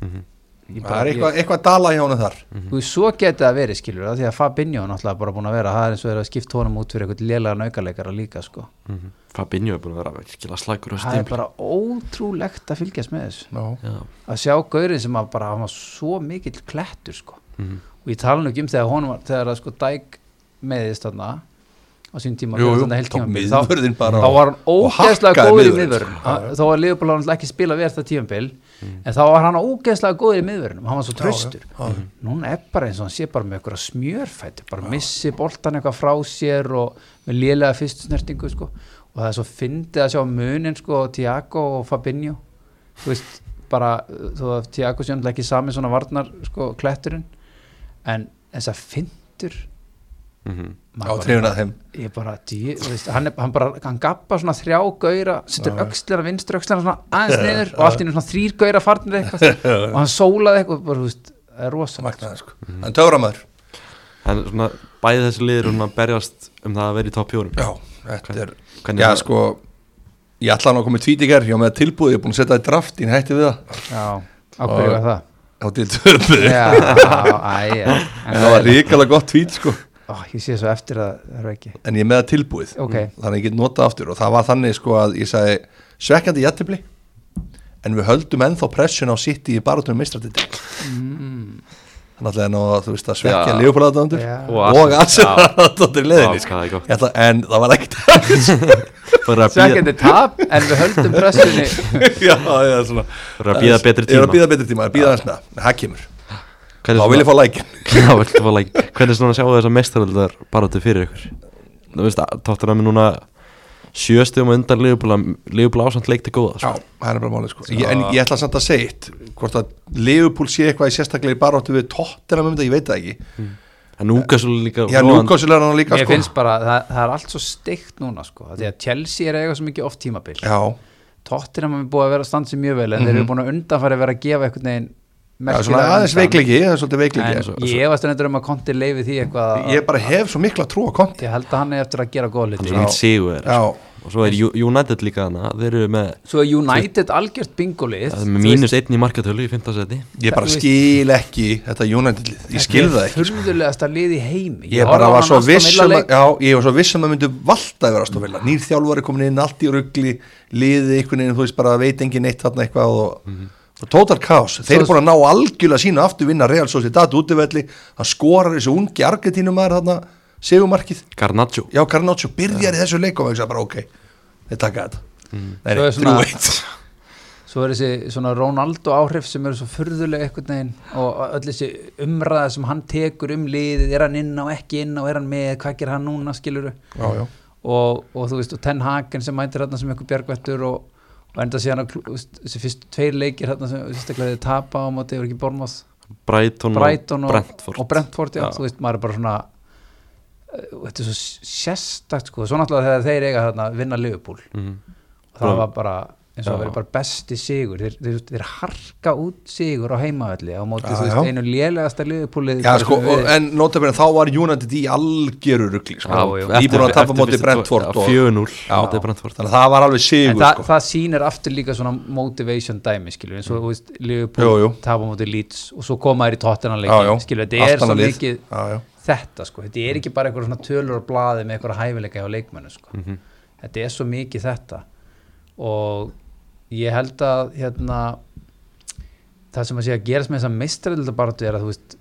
S3: mm
S2: Mhm. það er Mhm. eitthvað, eitthvað dala hjá honum þar
S3: Þú veist, svo geti það verið, skilur það, því að Fabinho er náttúrulega bara búin að vera það er eins og þeir eru að skipta honum út fyrir eitthvað lélega naukaleikara líka, sko.
S1: mm -hmm. Fabinho er búin að vera virkilega slagur á
S3: Það er
S1: stimli
S3: bara ótrúlegt að fylgjast með þessu.
S2: Já,
S1: já,
S3: að sjá gaurið sem að bara hann var svo mikill klettur sko
S1: Mhm.
S3: og ég tala nú ekki um þegar honum var þegar að sko dæk meðist þarna á sín tíma
S2: Jú,
S3: fyrir
S2: jú,
S3: þarna heilt
S2: tók
S3: tímabil,
S2: miðvörðinn bara
S3: þá
S2: og-
S3: var hann
S2: og
S3: ógeðslega
S2: hakkaði
S3: góður í
S2: miðvörðinn,
S3: miðvörðin þó að Leopold hann ekki spila verð það tímabil en þá var hann ógeðslega góður í miðvörðinum hann var svo tröstur núna er bara eins og hann sé bara með eitthvað smjörfætt bara missi boltan eitthvað frá sér og með lélega fyrstu snertingu sko. og það er svo fyndið að sjá munin sko, Tiago og Fabinho þú veist, bara uh, þó að Tiago sé náttúrulega ekki sami svona varnar sko, kletturinn en þess að fyndur
S1: Mhm.
S2: já trefin að þeim
S3: ég bara, djú, þú veist, hann, er- hann bara hann gappa svona þrjá gauðra setur öxlina, vinstur öxlina svona aðeins niður og allt í einu svona þrýr gauðra farnir eitthvað og hann sólaði eitthvað, bara, þú veist það er rosalegt,
S2: magnaði sko. en töframæður
S1: en svona bæði þessi liður um að berjast um það að vera í topp fjórum
S2: já, þetta er
S1: Hvernig
S2: já
S1: það-
S2: sko ég ætla hann að koma með tvítikar, ég var með tilbúið ég er búin að setja það í draft, ég hætti við það
S3: já, á hverju var það
S2: þá til töpuð
S3: já, æ, já
S2: en það var ríkala gott tvít sko
S3: ó, ég sé svo eftir að það er ekki
S2: en ég er með það tilbúið
S3: Ok.
S2: þannig að ég get notað aftur og það var þannig sko að ég sagði svekkandi jættibli en við höldum ennþá pressun á sitt í barátunum mistratiti þannig að nú, þú veist að svekkja
S1: Mm. Já.
S2: lífbúlaðandur
S3: Já.
S1: Og
S2: og aðsynaraðandur leðinni
S1: Já,
S2: sko.
S1: hvað er gott.
S2: Ég ætla- en það var ekkert
S1: bara að
S3: Svekkjandi
S1: býða-
S3: tap, en við höldum pressunni
S2: já, já, svona
S1: bara að býða betri
S2: ég er að
S1: tíma
S2: býða betri tíma, ég er að býða aðeins með það það kemur,
S1: Hvernig
S2: þá
S1: svona-
S2: vil ég fá lækin
S1: Já, viltu fá like Hvernig svona sjáu þessar mestaröldar baráttu fyrir ykkur? Þú veist, tóttunum er núna sjöstum og undan liðbúla liðbúla ásamt leik til góða
S2: já,
S1: sko.
S2: það er bara málið sko ég, en ég ætla samt að um segja eitt hvort að Leopold sé eitthvað í sérstaklega í baráttu við tóttina með þetta, ég veit það ekki
S1: en Núkas er líka
S2: Já,
S1: róandi.
S2: Newcastle er hann líka
S3: Mér
S2: sko.
S3: finnst bara, það, það er allt svo steikt núna sko, af því að Chelsea er að eiga svo mikið oft tímabil
S2: Já, Mhm.
S3: Tottenham er búið að vera að standa sér mjög vel en þeir eru búin að undanfæri vera að gefa einhvern veginn
S2: já svona
S3: merkilega
S2: aðeins
S3: undan.
S2: veiklegi Það er svolítið veiklegi
S3: en
S2: svo,
S3: ég efast er um að Konti leifi því eitthvað að-
S2: Ég bara hef svo mikla trú á konti
S3: ég held að hann er eftir að gera góð
S1: hann
S3: hluti sko.
S1: er mikill sigur
S2: Já,
S1: og svo er U- United líka hana þeir eru með,
S3: svo er United algjört bingolið
S1: það er með mínus einn í markatölu í 15 seti
S2: ég bara
S3: Þú veist-
S2: skil ekki Þetta United lið, ég skil það ekki sko.
S3: þurrðulegasta lið í heimi
S2: Ég
S3: horfði
S2: bara
S3: á
S2: var
S3: hann
S2: svo
S3: Aston
S2: viss
S3: Villa
S2: um
S3: leik. Ah.
S2: að Já, ég var svo viss um að myndu valda yfir Aston Villa Nýr þjálfari komin inn, allt í rugli Liði einhvern veginn, þú veist bara veit engin neitt þarna eitthvað og, og total chaos Þeir
S3: Mhm. Svo-
S2: eru búin að ná algjörlega sína aftur vinna Real Sociedad útivelli Hann skorar þessi ungi Argentínumæður þarna Segumarkið
S1: Garnaccio
S2: Já, Carnaccio byrjar í þessu leikum og ég sagði bara ok, þeir taka þetta mm. Nei,
S3: Mhm. Svo er
S2: þrjú
S3: svona-
S2: eitt
S3: svo er þessi svona Ronaldo áhrif sem eru svo furðuleg einhvern veginn og öll þessi umræða sem hann tekur um liðið, er hann inn á ekki inn á er hann með, hvað ger hann núna skiluru
S2: Já, já,
S3: og, og þú veist, og Ten Hagen sem mætir hérna sem eitthvað bjargvættur og, og enda síðan að klú- þú veist, þessi fyrstu tveir leikir hérna sem sérstaklega þið tapa á móti yfir ekki Bormoth,
S1: Brighton,
S3: Brighton
S1: og
S3: og
S1: Brentford
S3: og Brentford já,
S1: Já.
S3: þú veist, maður er bara svona eh, þetta er svo sérstakt sko, svo náttúrulega þegar þeir eiga hérna vinna Liverpool,
S1: Mhm.
S3: það var bara eins
S1: Já.
S3: og það verið bara besti sigur þeir, þeir, þeir harka út sigur á heimavelli á móti,
S2: Já,
S3: þú
S2: já.
S3: veist, einu lélegasta Liverpoolið
S2: já sko, og, en notabene þá var United í algjöru rugli sko.
S3: Já, já.
S2: Nýbúin að tapa móti Brentford og,
S1: 4-0
S2: Já.
S1: móti Brentford
S2: Þannig að það var alveg
S3: En
S2: sigur
S3: það,
S2: sko. Mm.
S3: það sýnir aftur líka svona motivation dæmi, skilur, eins og þú veist, Liverpool
S2: Jú, jú.
S3: tapa á móti Leeds og svo koma þær í Tottenham
S2: Já, já.
S3: leikin, skilur, þetta
S2: Allt
S3: er svo
S2: annað lið.
S3: mikið
S2: Já, já.
S3: þetta, sko, þetta er ekki bara eitthvað svona tölur og blaði með eitthvað hæfileika hjá leikmennu,
S2: Mm.
S3: sko
S1: Mhm.
S3: þetta er svo mikið þetta og ég held að hérna það sem að sé að gerast með þess að mistræðildabaratu er að þú veist,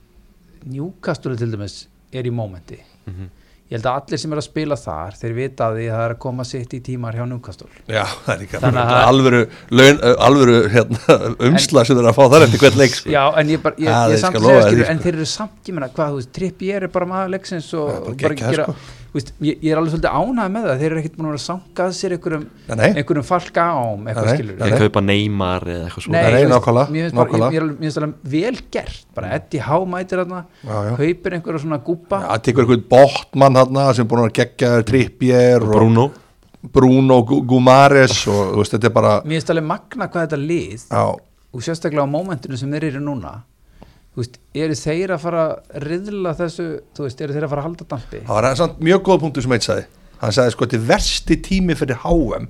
S3: njúkastur til dæmis er í mómenti ég held að allir sem eru að spila þar þeir vita að því að það er að koma sitt í tímar hjá njúkastur
S2: Já, það er líka
S3: Þannig að-
S2: alvöru, laun, ö, alvöru hérna, umsla sem þeir eru að fá þar eftir hvern leik sko.
S3: Já, en ég bara, ég,
S2: Það
S3: ég
S2: er
S3: samt
S2: skal
S3: að
S2: lofa því,
S3: segja skilur,
S2: sko.
S3: en þeir eru samt, ég meina, hvað, þú veist, tripp ég er bara maður leiksins og
S2: Já, bara
S3: bara
S2: geggjað,
S3: gera,
S2: sko.
S3: þú veist, ég, ég er alveg svolítið ánægð með það, þeir eru ekkert búin að vera að sankað sér einhverjum,
S2: Nei, nei.
S3: einhverjum falka ám, eitthvað
S2: Nei,
S3: skilur.
S2: nei,
S1: þeir kaupa Neymar eða eitthvað svona
S2: Nei,
S3: ég veist,
S2: nákvæmlega,
S3: mér finnst bara,
S2: nákvæmlega. Mm.
S3: ég- mér er alveg- mér finnst alveg vel gert, bara Eddie Howe mætir þarna,
S2: Já, já.
S3: kaupir einhverja svona gúpa,
S2: Það tekur einhvern bóttmann hérna sem er búin að gegja Trippier og Bruno,
S1: Bruno
S2: Bruno Gu- Gumares og þú veist, þetta er bara
S3: mér finnst alveg magna hvað þetta lið
S2: já,
S3: og sérstaklega á mómentinu sem þeir eru núna, þú veist, eru þeir að fara að riðla þessu, þú veist, eru þeir að fara að halda dampi?
S2: Það var samt mjög góða punktu sem einn sagði Hann sagði sko þetta er versti tími fyrir HM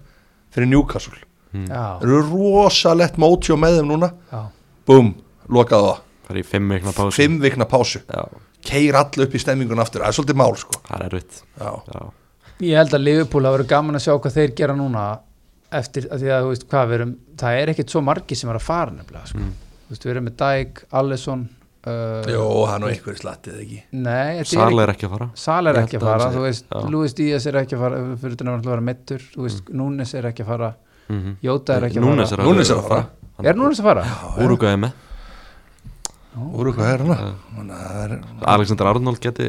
S2: fyrir Newcastle
S3: Já,
S2: Það eru rosalegt móti og með þeim núna
S3: já.
S2: Búm, lokaðu það
S1: það er í 5 veikna pásu
S2: Fimm vikna pásu
S1: Já,
S2: Keir allu upp í stemmingun aftur Það er svolítið mál sko
S1: það er erfitt
S2: Já,
S1: Já.
S3: Ég held að Liverpool hafa verið gaman að sjá hvað þeir gera núna eftir að því að þú veist hvað við erum það er ekkert svo margi sem er að fara nefnilega sko. þú veist við erum með Dijk, Allison uh,
S2: Mm. Jó, hann og einhverju slattið ekki
S3: Nei,
S1: Sala er ekki að fara
S3: Sal er
S1: Ég
S3: ekki
S1: held
S3: að
S1: að
S3: fara
S1: hann sé-
S3: þú veist,
S1: já. Mm.
S3: Luis Díaz er ekki að fara fyrir þetta náttúrulega að vera mittur þú veist, Núnes er ekki að fara
S1: Mhm.
S3: Jóta er ekki að
S1: Núnes er
S3: fara
S1: að-
S2: Núnes er að fara.
S1: Hann-
S3: Er Núnes að fara?
S1: Úrugvæði með
S2: Úr eitthvað er hana Þannig að það er-
S1: Alexander Arnold geti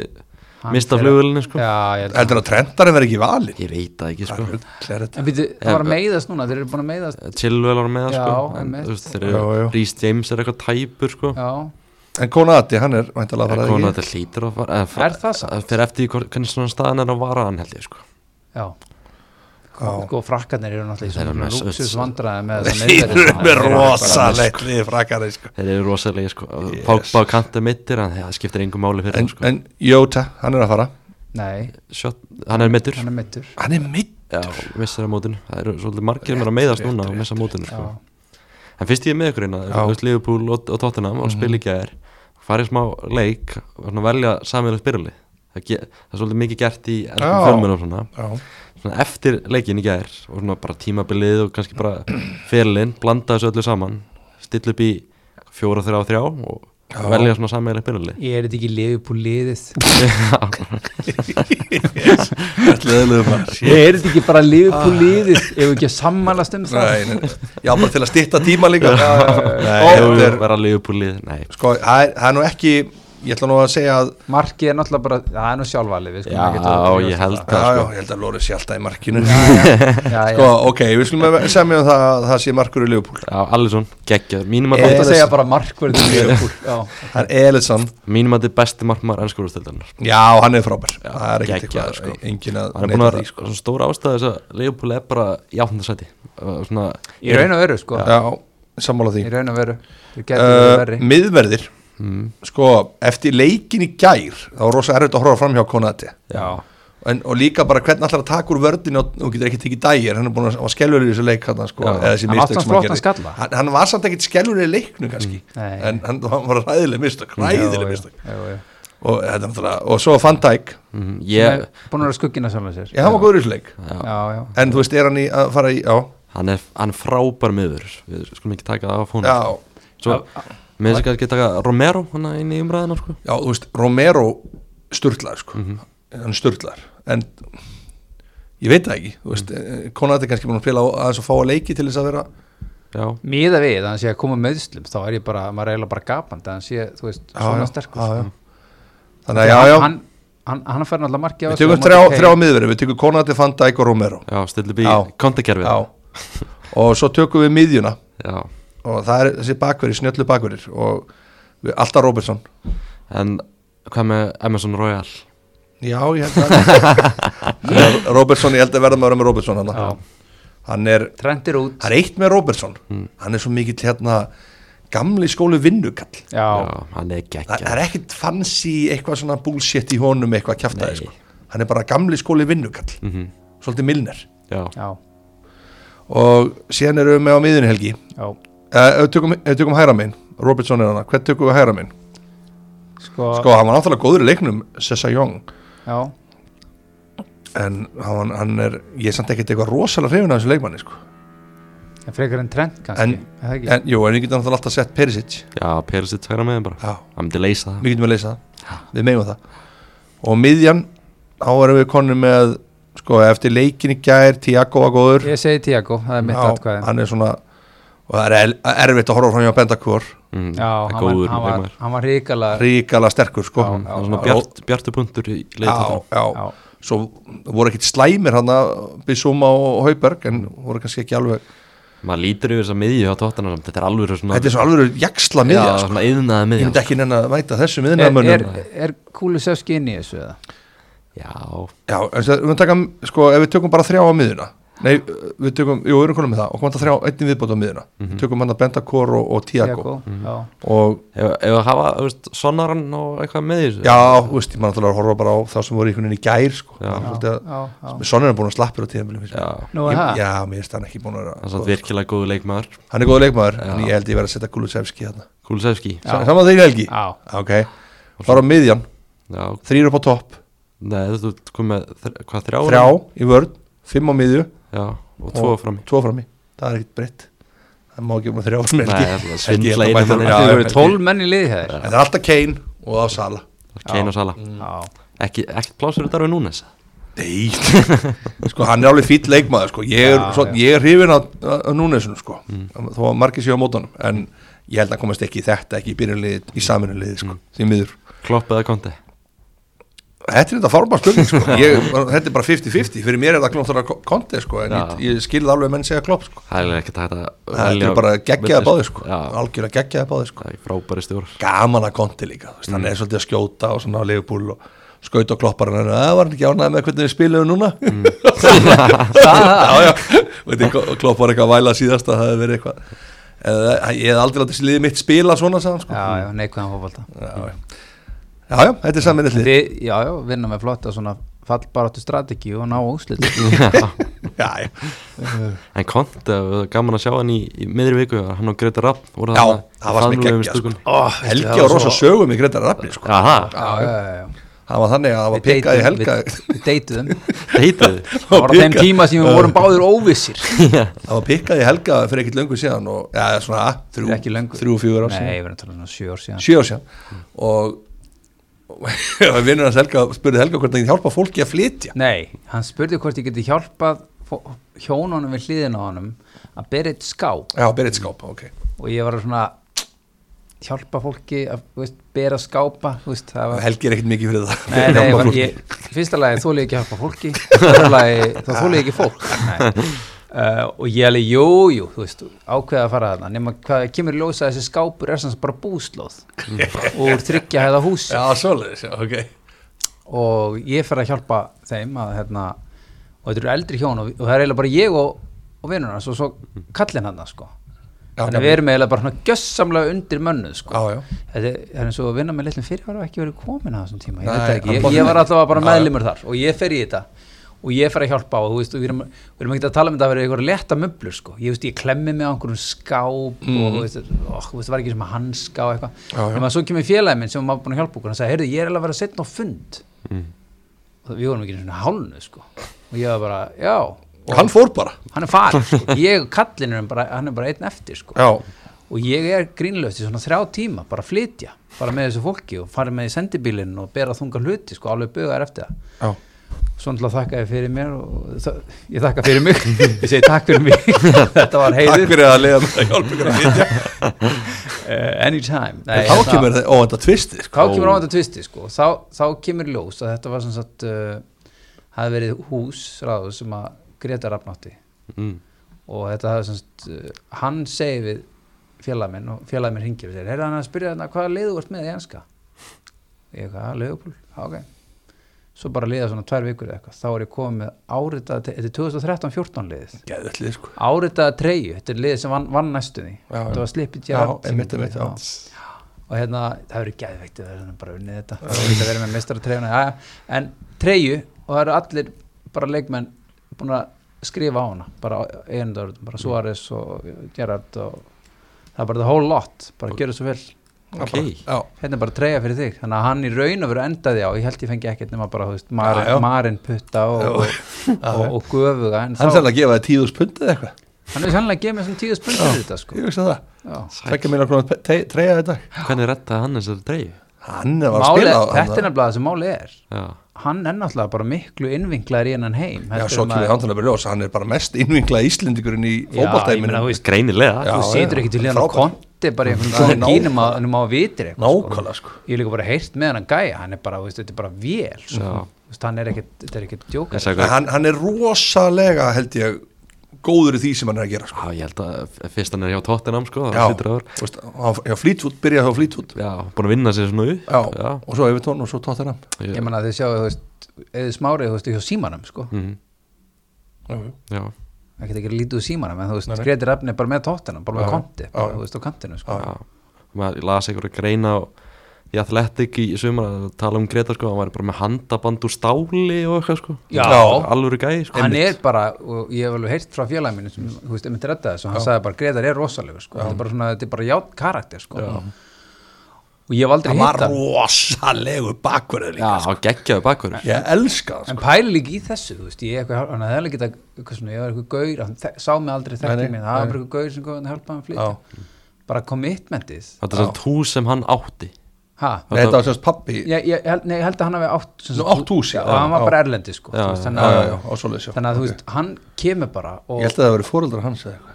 S3: Hann
S1: mista
S3: fer-
S1: flugulinu sko.
S3: Já, ég held að
S2: Heldur að trendarinn verði ekki valin
S1: ég veit það ekki
S2: Það er
S1: sko.
S2: rugl, er þetta
S3: En býttu, það var að meiðast núna, þeir eru búin að meiðast
S1: Chilwell var með það,
S3: Já,
S1: sko. En,
S3: einmitt.
S1: þú veist, þeir
S2: Já, já.
S1: eru- Rhys James er eitthvað tæpur sko.
S3: Já,
S2: En Konati, hann er væntalega að fara
S1: Kona,
S2: ekki
S1: þetta hlýtur að fara eða,
S3: Er það samt?
S1: eða Fyrir eftir því hvort- hvernig svona staðan er að vara hann held ég sko.
S3: já
S2: Já.
S3: Sko, frakkarnir eru náttúrulega
S1: Þeir eru
S3: í
S1: með-
S3: svona lúksus vandræði með þessa
S2: Þeir eru
S3: meiðverði.
S2: með rosalegt Við frakari sko
S1: Þeir eru rosalegi sko. yes. Pogba og Kante mittir en það skiptir engum máli fyrir
S2: En,
S1: hann sko.
S2: en Jóta, hann er að fara
S3: Nei,
S1: Shot, Hann er mittur
S3: hann er mittur
S2: Hann er mitt
S1: Já, missar að mótinu Það eru svolítið margir mér að meiðast núna og missa mótinu sko.
S3: Já.
S1: En fyrst ég er með ykkur hérna
S2: Já.
S1: Þú veist Liverpool og, og Tottenham og spil í gær Farið smá leik og svona velja samverðast byrjali það, ge- það er svolítið mikið gert í
S2: Já.
S1: fjölmjörnum svona.
S2: Já,
S1: svona Eftir leikin í gær og svona bara tímabilið og kannski bara fyrirlin blanda þessu öllu saman stilla upp í fjóra, þrjá, þrjá og velja svona samverðast byrjali
S3: Ég er þetta ekki liðið på liðið
S2: leðilegu maður
S3: Ég er þetta ekki bara liðið på liðið
S1: Ah.
S3: Ef við ekki að sammælast um það
S2: Nei, nei, Já, bara til að stytta tíma líka
S1: Nei,
S2: Nei,
S1: hefur
S2: þetta
S1: við
S2: er-
S1: verið að Liverpoolið Nei,
S2: Sko, það er það er nú ekki ég ætla nú að segja að
S3: markið er náttúrulega bara, það er nú sjálfvalið við skulum
S1: Já,
S3: ekkert að-
S1: ég held
S2: Já,
S1: það.
S2: já,
S1: sko.
S2: ég held að Lóri sé alltaf í markinu já, Sko, ok, við skulum að semja um það að það sé markur í Liverpool
S1: Já, Alisson, geggjað, mínum
S3: Ég ætla
S1: að
S2: Eh.
S3: að segja bara markverðin
S2: Liverpool. Það er Elisson
S1: mínum að þetta er besti markmaður ennskúrústildarinnar
S2: Já, hann er frábær Það er ekkert
S1: geggjaður,
S2: eitthvað,
S1: sko.
S2: engin að
S1: hann er búin
S2: neita
S1: að
S2: því sko.
S1: vera svona stóra ástæða þess að Leopold er bara í áttundasæti svona,
S3: í raun og veru sko
S2: Já, sammála því
S3: í raun og veru Þeir gætu verið
S2: uh,
S3: verri.
S2: Miðverðir,
S1: mm,
S2: sko, eftir leikin í gær þá var rosa erfitt að horfa fram hjá Konati
S3: Já.
S2: en, og líka bara hvernig allar að taka úr vördin og hún getur ekki tekið dægir hann er búin að var skelfur í þessu leik hann, sko,
S1: Já.
S2: eða þessi
S3: Hann
S2: mistök
S3: átti hann
S2: sem hann
S3: flottan
S2: gerði.
S3: skalla.
S2: hann, hann var samt ekkert skelfur í leiknum kannski
S3: Nei.
S2: en hann hann var ræðileg mistök ræðileg mistök
S3: Já, já, já, já.
S2: og, þetta er náttúrulega- og svo Van Dijk
S1: mm,
S3: Sem
S1: ég,
S3: er búin að vera skuggina saman sér
S2: ég, hann var góður í þessu leik
S1: já,
S3: já, já.
S2: en þú veist, er hann í að fara í já,
S1: hann, er, hann er frábær miður við skulum ekki taka það af hún
S2: já,
S1: svo, mér finnst ekki að taka Romero hann inn í umræðina sko.
S2: já, þú veist Romero sturlar sko. hann sturlar en ég veit það ekki þú veist, mm. Konat er kannski búin að spila á- aðeins og fá að leiki til þess að vera
S1: já,
S3: Míða við, þannig sé að koma meðslum þá er ég bara, maður er eiginlega bara gapand þannig sé, þú veist, svona sterkur
S2: já, já. þannig að já, já,
S3: Hann, hann, hann fær náttúrulega markið á
S2: við tökum þrjá, þrjá miðverði við tökum Konat, Van Dijk og Romero
S1: já stilli bí
S2: Já.
S1: kontakerfið
S2: já. og svo tökum við miðjuna
S1: Já.
S2: og það er þessi bakverðir, snjöllu bakverðir og við, alltaf Robertson
S1: en hvað með Emerson Royal
S2: Já, ég held að Ro- Robertson, ég held að verða maður með Robertson hann, hann er,
S3: Trendir út
S2: hann er eitt með Robertson
S1: Hmm.
S2: hann er svo mikill hérna gamli skólu vinnukall
S3: Já,
S1: já, hann er
S2: það það
S1: geggjað
S2: er ekkit fancy eitthvað svona bullshit í honum eitthvað kjaftaði
S1: Nei.
S2: sko. hann er bara gamli skólu vinnukall
S1: mm -hmm.
S2: svolítið milner
S1: já,
S3: já,
S2: og síðan erum við með á miðinu helgi
S3: já
S2: Eh, ef við tökum, ef við tökum hæra minn, Robertson er hann hvern tökum við hæra minn?
S3: Sko,
S2: Sko, hann var náttúrulega góður í leiknum Sessa Young
S3: já
S2: en hann, hann er, ég er samt ekkert eitthvað rosalega hrifin af þessu leikmanni sko.
S3: En frekar en trend kannski
S2: En-
S3: er það ekki?
S2: en, jú, en við getum náttúrulega alltaf sett Perisic
S1: já Perisic hægra með bara
S2: Já,
S1: hann myndi leysa það
S2: við getum að leysa það Við meðum það Og miðjan, þá erum við konum með Sko, eftir leikin í gær, Tiago var góður
S3: Ég segi Tiago, það er mitt
S2: Já,
S3: atkvæði
S2: Hann er svona Og það er el- erfitt að horfa fram hjá Bendakor
S1: mm, það
S3: Já,
S1: er
S3: hann var,
S1: góður
S3: hann var,
S1: leikmaður.
S3: hann var ríkala
S2: Ríkala sterkur, sko
S3: Já,
S1: Það er svona
S2: já.
S1: bjart, bjartu punktur í
S2: Já,
S1: leiðtöndum
S2: já,
S3: Já,
S2: svo voru ekkit slæmir hann að Bissúma og Hauberg en voru kannski ekki alveg
S1: maður lítur yfir þess að miðju á tóttana samt, þetta er alveg svona
S2: Þetta er svo alveg jaksla miðja,
S1: já,
S2: sko
S1: svona yðnaði
S2: Ég
S1: miðja
S2: myndi ekki nenni að mæta þessu
S3: er,
S2: miðnamönnum
S3: er, er Kulusevski inn í þessu eða?
S1: já,
S2: Já, en það- við taka, sko, ef við tökum bara þrjá á miðuna Nei, við tökum, jú, við erum konum með það og komum þetta þrjá, einnig viðbót á miðuna
S1: Mhm.
S2: Við tökum hann að Benda Kor og, og Tiago
S3: já,
S2: Og,
S1: ef, ef að hafa þú veist, sonaran og eitthvað með í þessu
S2: já, þú veist, ég maður náttúrulega að horfa bara á það sem voru í einhvern veginn í gær, sko
S1: Já.
S2: Það er
S3: já,
S2: svolítið að-
S3: já, já.
S2: Sonja er búin að slappur á tíðanbili
S1: já,
S3: Nú er það
S2: Já, mér finnst hann ekki búin að
S1: það er samt
S2: vera sko.
S1: virkilega góðu leikmaður
S2: Hann er góð leikmaður,
S1: Já.
S2: en ég held ég verið að setja Kulusevski hérna
S1: Kulusevski,
S3: Já.
S2: Sam- Saman þegar Helgi
S3: Já,
S2: Ok, þá er á miðjan,
S1: já,
S2: þrýr upp á topp
S1: neða, þú ert komið með þr- hvað, þrjá? hérna?
S2: Þrjá í vörn, fimm á miðju
S1: já, og tvo
S2: Og-
S1: fram í
S2: Tvo frammi, það er ekkit breytt Það má ekki um að þrjá frammi,
S1: Nei,
S2: Helgi.
S1: það er
S2: Helgi, ég
S1: svindla
S2: ætla
S1: einum
S2: að bæta
S1: manni.
S2: við.
S1: Já,
S3: það
S2: já,
S3: eru
S2: já.
S3: 12 menn í liði hér
S2: En það er alltaf Kane og á Sala
S1: Kane og Sala
S3: Já,
S1: ekki, ekki plásur út Darwin Núnes
S2: Nei, sko hann er alveg fýll leikmaður sko. ég, er,
S3: Já,
S2: svo,
S3: já.
S2: ég er hrifin á, á Núnesunum sko. þó að margir séu á mótanum en ég held að komast ekki í þetta ekki í byrjunliði, í saminliði sko. því miður
S1: Klopp eða Konti
S2: Þetta er þetta fárbár spurning sko. ég, þetta er bara 50-50, fyrir mér er það klóntar konti sko, en ég,
S1: Já.
S2: ég skilði alveg að menn segja klopp sko.
S1: það er ekki hægt að
S2: þetta er bara geggjaða báði sko.
S1: já,
S2: algjörlega geggjaða báði sko.
S1: það er frábæri stjór
S2: gaman að konti líka, þú veist, hann er svolítið að skjóta og svona á leifupúl og skaut og kloppar hann er að var hann ekki ánæði með hvernig við spilaðum núna já, já, veit ég, Klopp var eitthvað að væla síðast að það hefði verið eitthvað eða, ég hef aldrei látið þessi liðið mitt spila svona sagði hann, sko.
S3: já, já, neikvæðan fótbolta
S2: já, já. já, já, þetta er saminlið lið
S3: Þið, já, já, vinna með flotta svona fallbaráttu strategi og ná úslit
S2: já, já,
S1: en Konti, gaman að sjá hann í, í miðri viku hann og Greta Rapp voru
S2: já,
S1: þarna í
S2: það var sem
S1: faðmlögum
S2: ekki ekki
S1: stúkunni.
S2: sko. Helgi á rosa sögum í Gretar Rappi sko.
S1: Aha,
S2: það var þannig að það var pikað í
S3: við,
S2: Helga
S3: við, við deituðum
S1: það heitið þið
S3: Það var á þeim
S2: pikað-
S3: tíma sem við vorum báðir óvissir
S2: það var pikað í Helga fyrir ekkit löngu síðan og, já, svona, þrjú,
S3: Ekki löngu.
S2: þrjú, fjögur ár síðan
S3: Nei, við erum talað um sjö ár síðan
S2: sjö ár síðan og og vinnur hans Helga spurði Helga hvernig það hjálpa fólki að flytja
S3: Nei, hann spurði hvort ég geti hjálpað fó- hjónunum við hliðina á honum að bera eitt skáp
S2: já, berið skáp, ok
S3: og ég var svona hjálpa fólki að þú veist, bera skápa þú veist, það var
S2: Helgi er ekkert mikið fyrir það
S3: Nei, nei,
S2: Hjálpa
S3: var,
S2: fólki.
S3: ég, fyrsta lagi þólið ekki að hjálpa fólki í öðru lagi, þá þólið ekki fólk Nei. uh, og ég alveg, jú, jú þú veist, ákveða að fara þarna nema hvað kemur í ljós að þessi skápur er sanns bara búslóð úr tryggja hæða hús
S2: Já, svoleiðis, já, ok
S3: og ég fer að hjálpa þeim að hérna, og þetta eru eldri hjón og, og það er eiginlega bara ég og, og vinnur hans og svo kallinn hann sko.
S2: Mhm. Já,
S3: þannig að við erum eiginlega bara svona gjössamlega undir mönnuð sko.
S2: Já, já
S3: þetta er- það er eins og að vinna með litlum fyrir var ekki verið komin að þessum tíma ég,
S2: Nei,
S3: veit það ekki,
S2: hann bara-
S3: ég, ég var allavega bara
S2: Já, já.
S3: meðlimur þar og ég fer í þetta og ég fer að hjálpa og þú veist, og við erum, við erum ekki að tala um þetta að vera eitthvað letta möblur sko. ég, veist, ég klemmi mig á einhverjum skáp og þú veist, ó, þú veist, það var ekki sem að hanska og
S2: Mhm. Já, já.
S3: eitthvað, en svo kemur félagin minn sem var búin að hjálpa okkur, hann sagði, heyrðu, ég er alveg að vera setna á fund
S2: Mhm.
S3: og við vorum ekki svona hálnu sko. og ég var bara, já,
S2: Og hann fór bara
S3: hann er farin sko. ég og kallinn er bara, hann er bara einn eftir sko
S2: Já,
S3: og ég er grínlaust í svona þrjá tíma bara að flytja, bara með þessu fólki og fara með í sendibílinn og bera þunga hluti sko, alveg bugaðar eftir það
S2: já
S3: svo náttúrulega þakka ég fyrir mér og það, ég þakka fyrir mig, ég segi takk fyrir mig þetta var
S2: Takk
S3: heiður
S2: fyrir að leiða mig að hjálpa ykkur að flytja
S3: uh, anytime Nei, hérna,
S2: Þá kemur það, ó, þetta tvisti
S3: þá kemur á þetta tvisti sko. þá, þá kemur ljós að þetta var sem sagt uh, hafði verið hús ráðu sem að Greta rafnátti
S1: mm.
S3: og þetta hafði sem sagt uh, hann segi við félag minn og félag minn hringir og segir, heyrðu hann er að spyrja þarna hvaða liðu vart með í enska ég eitthvað, að liðupúl, ok svo bara liða svona tvær vikur eða eitthvað þá er ég komið með áritaða, te- þetta er 2013-14 liðið
S2: Geðvöldlið, sko
S3: áritaða treyju, þetta er liðið sem vann, vann næstu því
S2: Já, já.
S3: þetta var slipið
S2: Já, einmitt, einmitt, já
S3: og hérna, það verður gæðveikt það verður bara unnið þetta, það verður að vera með mistara treyjuna ja, en treyju og það eru allir bara leikmenn búin að skrifa á hana bara einundur, bara Suárez og Gerard og það er bara the whole lot bara gjöra svo vel,
S1: Ok.
S2: Já,
S3: hérna er bara treyja fyrir þig þannig að hann í raun og veru endaði á ég held ég fengi ekkert nema bara, þú veist,
S2: Já, já.
S3: Marin, Marin putta og, og, og, og gufuga en
S2: hann
S3: þá,
S2: sannlega að gefa þið tíðus pundið eitthvað
S3: hann er sannlega að gefa mér svona tíu spurningar þetta sko
S2: Ég veist að það
S3: Já.
S2: Tvekja minna konar treyja þetta
S1: Hvernig rettaði hann þessari dreyu?
S2: Hann var að
S3: Máli,
S2: spila á-
S3: þetta er nefnilega það sem máli er
S1: Já,
S3: hann er náttúrulega bara miklu innvinklaður í hennan heim
S2: Já, svo kemur hann til að byrja ljós Hann er bara mest innvinglað íslendingurinn í
S3: meina,
S2: fótballtæminu
S3: þú veist,
S1: greinilega
S2: Já,
S3: þú
S2: já,
S3: situr ekkert til hérna
S2: frábært.
S3: konti bara í
S2: Já,
S3: einhvern gínum að hann má vitri
S2: Nákvæmlega, sko
S3: ég hef líka bara heyrt með hann gæja hann er bara, þú veist, þetta er bara vel sko.
S1: Já.
S3: Þú veist, hann er ekkert, þetta er ekkert
S1: Ég
S3: djókar
S1: sagði
S2: En
S1: hvað-
S2: hann, hann er rosalega, held ég, góður í því sem hann er að gera sko.
S1: Já, ég held að f- fyrst hann er hjá Tottenham sko,
S2: Já,
S1: það sittur áður
S2: þú veist, hann- já flýtvút, byrjaði á flýtvút
S1: Já, búin að vinna sér svona upp
S2: já, og svo yfir tón og svo tótt hennan
S1: ég,
S3: ég menna að þið sjáu, þú veist, eða smárið þú veist, hjá símanum, sko
S1: mm,
S2: já,
S1: Já,
S3: ekkert ekki lítið úr símanum, en þú veist,
S2: Nei, nei.
S3: Gretir Rafn er bara með tóttina, bara
S2: Já,
S3: með konti,
S2: já.
S3: bara, þú veist, á kantinu, sko
S1: já Maður las einhverju greina á í Athletic í sumar að tala um Greta sko, hann var bara með handaband úr stáli og eitthvað sko
S3: Já.
S1: Alvöru gæi sko
S3: hann er bara, og ég hef alveg heyrt frá félagi mínu sem, þú veist, einmitt redda þessu, hann sagði bara Gretar er rosalegur, sko, þetta er bara svona, þetta er bara ját karakter, sko og ég hef aldrei
S2: það
S3: hitt
S2: var
S3: hann,
S2: rosalegu bakverður líka
S1: Já, hann geggjaði bakverður
S2: ég elska það
S3: en
S2: sko.
S3: pæli líka í þessu þú veist, ég eitthvað, hann hefði alveg geta eitthvað svona, ég var eitthvað gaur, hann þek- sá mig aldrei
S2: Nei,
S3: þekkið
S2: nei,
S3: mér, það var
S2: nei.
S3: bara eitthvað gaur sem kom hérna að hjálpa hann að
S2: Já.
S3: flytja bara commitmentið,
S1: Þetta er svona hús sem hann átti
S3: ha
S2: Nei, þetta var semst pappi
S3: ég, ég, held- nei, ég held að hann hafi átt sem
S2: Nú,
S3: sagt,
S2: átt hús, já,
S3: já, og hann
S2: já.
S3: var bara erlendi, sko
S1: Já,
S3: þú
S1: já,
S3: veist,
S2: já,
S3: þannig
S2: já,
S3: að-
S2: já, og svoleiðis já.
S3: þannig að þú
S2: Ok.
S3: veist, hann kemur bara og,
S2: ég held að það verið fóreldrar hans eða eitthvað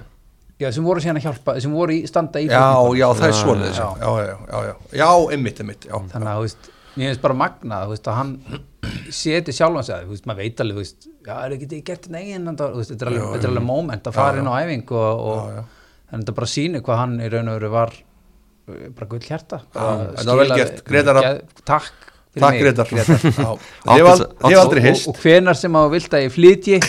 S3: já, sem voru síðan að hjálpa, sem voru í standa í
S2: já, já, það er svoleiðis já,
S3: já.
S2: já, já, já, já, já, einmitt, einmitt já,
S3: þannig að, þú veist, mér finnst bara magnað, þú veist, að hann seti sjálfan sig að, þú veist, maður veit alveg, þú veist, já, er ekki þetta gert en eigin, þú veist, þetta er alveg, þetta er alveg moment að fara inn á æfingu og, og
S2: Já, já.
S3: þannig að þetta bara sýnir hvað hann í raun og veru var eh, bara gull hjarta.
S2: þetta var vel gert. Grétar Rafn.
S3: Takk. fyrir
S2: takk
S3: mig,
S2: Gretar ég
S3: Grétar.
S2: hef al-
S1: Átti-
S2: ég hef
S1: átti-
S2: aldrei
S3: Og,
S2: hist
S3: og hvenar sem að þú vilt að ég flytji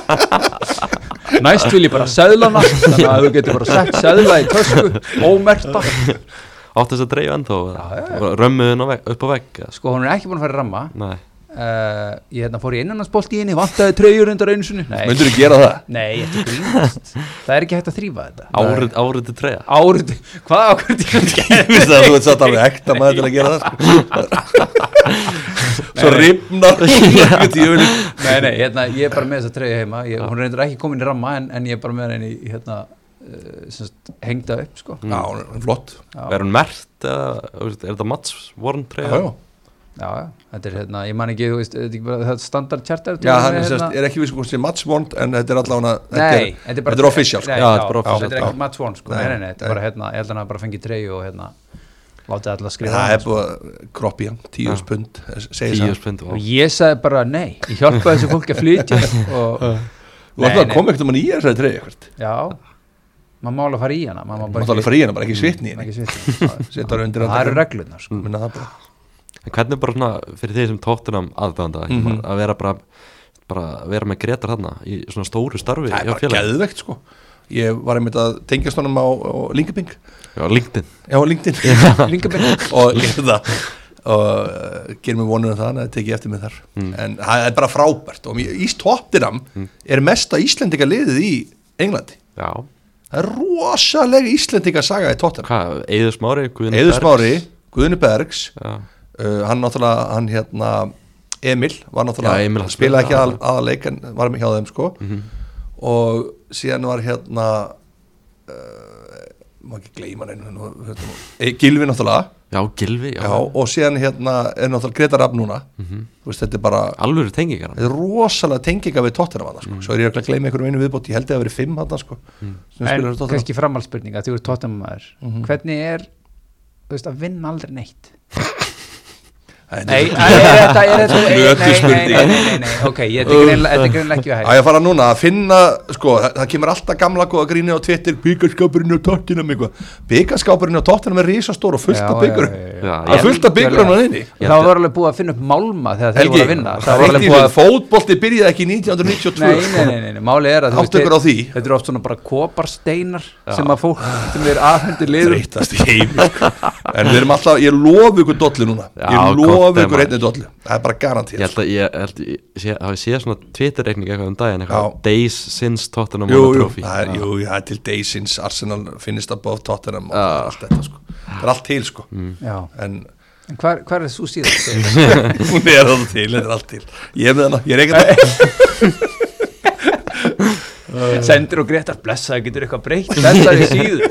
S3: næst vil ég bara söðlana þannig að þú getur bara sett söðla í tösku ómerta
S1: Átti þess að dreifu ennþá eða? Römmuðu hann á vegg- upp á vegg eða?
S3: sko hún er ekki búin að fara í ramma
S1: Nei,
S3: uh, ég hérna fór í innanhansbolt í henni vantaði treyjur undar einu sinni nei,
S2: myndur þú gera það?
S3: nei ég ætti grínast það er ekki hægt að þrýfa þetta
S1: árið, árið til treyja
S3: árið, hvað okkur
S2: Ég vissi að þú ert satt alveg ekta maður til að gera það sko. Svo ripnar Þetta
S3: nei, nei, hérna, ég er bara með þessa treyju heima ég, hún er reyndar ekki komin í ramma en, en ég er bara með henni í, hérna, uh, semst, hengda upp sko.
S2: er flott
S1: Er hún mert eða, þú veist, er þetta Mats Warren treyja?
S2: Já, já.
S3: já, já, þetta er hérna, ég man ekki, þú veist, þetta er ekki bara þetta standard charter
S2: Já, hann er,
S3: hérna-
S2: sérst, er ekki viss hvort sem matsvond en þetta er allavega þetta
S3: Nei,
S2: er, þetta er official
S3: Nei,
S2: sko.
S1: Já,
S3: já,
S1: þetta er official,
S3: Þetta er
S2: já.
S3: ekki Matt Swan sko,
S2: Nei,
S3: nei, nei, nei, þetta
S2: nei.
S3: er bara hérna, ég held að hann hafi bara fengið treyju og hérna, látið alla skrifa
S2: það
S3: hana,
S2: er búið að kroppi hann, tíu
S1: Já.
S2: spund segir
S1: Tíu
S2: það,
S1: spund
S3: sko. Og ég sagði bara nei, ég hjálpaði þessu fólki að flytja og
S2: þú ætlaði að koma ekkert um hann í þessari treyju eitthvað,
S3: já, maður má alveg fara í hana, maður má
S2: maður
S3: bara Mm.
S2: alveg fara í hennar bara ekki svitni í henni,
S3: ekki svita.
S2: setja hann undir
S3: Það eru reglurnar sko.
S2: minna það bara
S1: En hvernig bara svona fyrir þeir sem tóttunum aðdæðanda mm
S2: Mhm.
S1: að vera bara, bara að vera með Gretar þarna í svona stóru starfi
S2: það er
S1: hjá
S2: bara
S1: félagi
S2: geðvegt sko ég var einmitt að tengjast honum á, á Lingabing
S1: Já, LinkedIn
S2: já, á LinkedIn
S3: Lingabing,
S2: og gerði það og uh, gerir mér vonur um það en það tekið eftir mig þar en það er bara frábært og Íst Tottenham er mesta Íslendinga liðið í Englandi
S1: Já,
S2: það er rosalega Íslendinga saga í Tottenham
S1: hvað, Eiður Smári Guðni
S2: Eður Smári, Guðinu Bergs
S1: Já,
S2: uh, hann náttúrulega, hann hérna Emil var náttúrulega,
S1: Já, Emil hann
S2: spilaði ekki
S1: spilaði
S2: aðal, aðaleik en var með hjá þeim sko og síðan var hérna uh, má ekki gleyma neinu nú, hérna, eh, Gylfi náttúrulega
S1: já Gilvi
S2: já, og síðan hérna er náttúrulega Greta Rapp núna þú veist þetta er bara
S1: Alvöru tengingar hann
S2: þetta er rosalega tenginga við Tottenham hann, sko. svo er ég örugglega að gleyma einhverjum einu viðbót ég held ég að það verið fimm hann sko, sem spilar fyrir
S3: en
S2: Tottenham Mhm.
S3: kannski framhaldsspurning að þú eru tóttamæður, hvernig er, þú veist, að vinna aldrei neitt?
S2: Æ,
S3: Nei,
S2: þetta er-
S3: æ, er þetta, er þetta, nei,
S2: Flötu
S3: nei, nei,
S2: spurning.
S3: nei, nei, nei, ok, ég- þetta er greinlega- þetta er greinlega ekki að
S2: Á
S3: hægt.
S2: ég að fara núna að finna, sko, það, það kemur alltaf gamla góða gríni á Twitter, byggarskapurinn á Tottenham eitthvað. Byggarskapurinn á Tottenham er risastór og fullt af byggur.
S1: Já,
S2: Það er
S1: ég,
S2: fullt af byggur hann inni.
S1: Ég
S3: Það var alveg búið að finna upp málma þegar þeir
S2: Helgi,
S3: voru að vinna
S2: það var alveg búið að fótbolti byrjaði ekki í
S3: Nei,
S2: 1992.
S3: nei, nei, nei, nei, máli er að þú
S2: Áttu
S3: veist,
S2: ykkur á því?
S3: þeir- Þetta eru oft svona bara koparsteinar sem að fólk sem er aðhendir liður
S2: Þreytast í heimi. sko. En við erum alltaf, ég lofu ykkur dollu núna.
S1: Já,
S2: Ég
S1: gott,
S2: lofu ykkur
S1: maður.
S2: einni dollu. Það er bara
S1: ég
S2: garantíð.
S1: held að ég, held að ég sé, hafi séð svona Twitter-reikning eitthvað um daginn
S2: Já.
S1: eitthvað, Days since Tottenham
S2: Jú,
S1: won a
S2: jú,
S1: trophy
S2: það er, jú, það er til Daysins, Arsenal finnist above Tottenham og allt þetta, sko. Það er allt til, sko.
S3: Já,
S2: En
S3: en hvar, hvar er þú síðan?
S2: hún er alveg til, þetta er allt til ég er með hana, ég er ekkert
S3: Sendir og Gretar, blessaði, getur eitthvað breytt Blessaði síðu,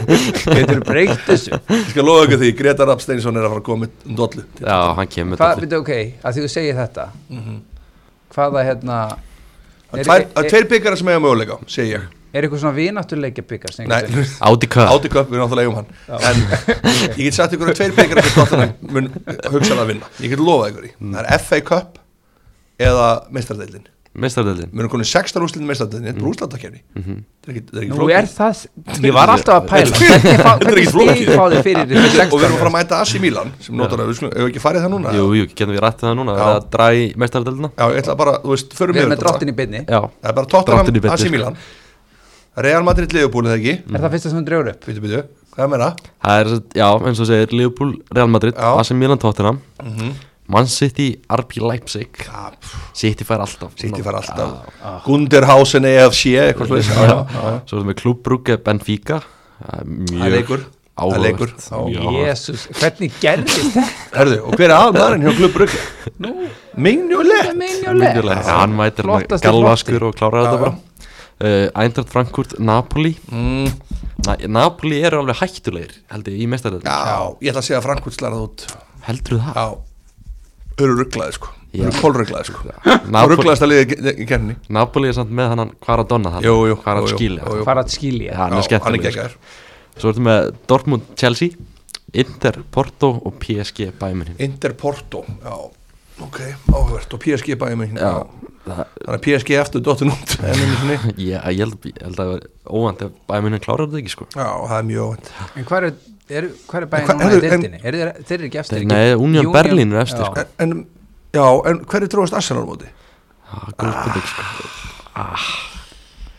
S3: getur breytt þessu
S2: ég skal lofa ykkur því, Greta Rapp Steinsson er að fara að koma með um dollu
S1: Já, hann kemur
S3: Hvað,
S1: dálítið.
S3: veitu, ok, að því þú segir þetta Hvaða, hérna
S2: það
S3: Er,
S2: er Mhm. tvær-
S3: er,
S2: það er
S3: er,
S2: tveir byggar sem eiga möguleika, segi ég
S3: er eitthvað svona vináttuleikja byggar
S2: nei,
S1: Audi Cup
S2: átti köp, við náttúrulega eigum hann en ég get sagt ykkur að tveir byggar sem Tottenham mun hugsaðan að vinna ég get lofa ykkur því, það er FA Cup eða meistardeildin
S1: Meistardeldin
S2: við erum konið 16 úrslitin meistardeildin, þetta er úrslatakefni þetta er ekki- þetta Mm. Mhm. er ekki
S3: Nú er
S2: flókið.
S3: það, ég var alltaf að pæla Hvernig fá-
S2: Þetta er
S3: hvernig
S2: ekki
S3: stig
S2: flókið.
S3: fá þið fyrir þessu
S2: og við erum að
S3: 16?
S2: fara að mæta Asi Milan sem notar að við skulum, hefur ekki farið það núna
S1: Jú, jú, getum við rættið það núna
S2: Já.
S1: að dræ meistardeldina
S2: já, ég ætla bara, þú veist, förum
S3: Við erum
S2: yfir
S3: með
S2: þetta bara.
S3: dráttin í beinni
S1: Já,
S2: Það er
S1: Dráttin í Mm.
S2: bara Tottenham,
S1: beinni,
S2: AC
S1: sko.
S2: Milan Real Madrid Liverpool er það ekki
S3: Er það fyrsta sem hún drefur upp?
S2: Býtu, býtu, hvað meina?
S1: það er, sem- já, eins og segir Liverpool, Real Madrid,
S2: Já. Mhm.
S1: AC Milan, Tottenham Man City, RB Leipzig City fær alltaf
S2: City fara alltaf Gunderhausen EFC eitthvað slúið Það
S1: Svo erum við klubbrúke Benfica Það er mjög
S2: er leikur Það er
S1: áhugavert.
S2: leikur Já.
S1: Mjög áhugavert.
S3: Jésús, hvernig gerðist þetta?
S2: Herðu, og hver er aðmaðurinn hjá Klubb Brugge? Mignolet
S3: Minjulegt
S1: Mjög leikur. Já, Hann mætir hann
S3: Flottasti
S1: galvaskur og klárar þetta
S2: Já,
S1: bara Uh, Eintracht Frankfurt, Napoli
S2: Mm,
S1: Na, Napoli eru alveg hættulegir held ég í mestaröld
S2: Já, ég ætla að segja að Frankúrt slarað út
S1: heldur það?
S2: Já Þau eru rugglaði sko Þau
S1: Já.
S2: eru kólrugglaði sko
S1: Napoli,
S2: Rugglaðast að liða í kenni
S1: Napoli er samt með hann Kvaradonna þarna.
S2: Jú, jú, jú, jú,
S1: Kvaratskíli,
S2: jú,
S1: hann
S2: jú.
S3: Hvað er að
S1: hann
S3: skilja?
S1: er
S2: Hann er
S1: skemmtilegur
S2: geggar
S1: Svo ertu með Dortmund, Chelsea Inter, Porto og PSG bæmurinn
S2: Inter Porto Já Ok, áhvert og PSG bæði mig
S1: Já,
S2: Þannig að PSG eftir dottin út enn einu sinni.
S1: ég, ég, held, ég held að það var óvænt ef bæmurinn klárar þetta ekki sko
S2: Já, það er mjög óvænt
S3: En hvað er, er, hvað er
S2: En
S3: bæðin
S2: hvað-
S3: núna í
S2: heyrðu, en-
S3: deildinni? Er, þeir- þeir eru ekki eftir
S1: Þeir-
S3: ekki?
S1: nei, Union Berlin eru eftir,
S3: já.
S1: sko.
S2: en, Já, en hverju tróðast Arsenal á móti?
S1: ah, góð spurning sko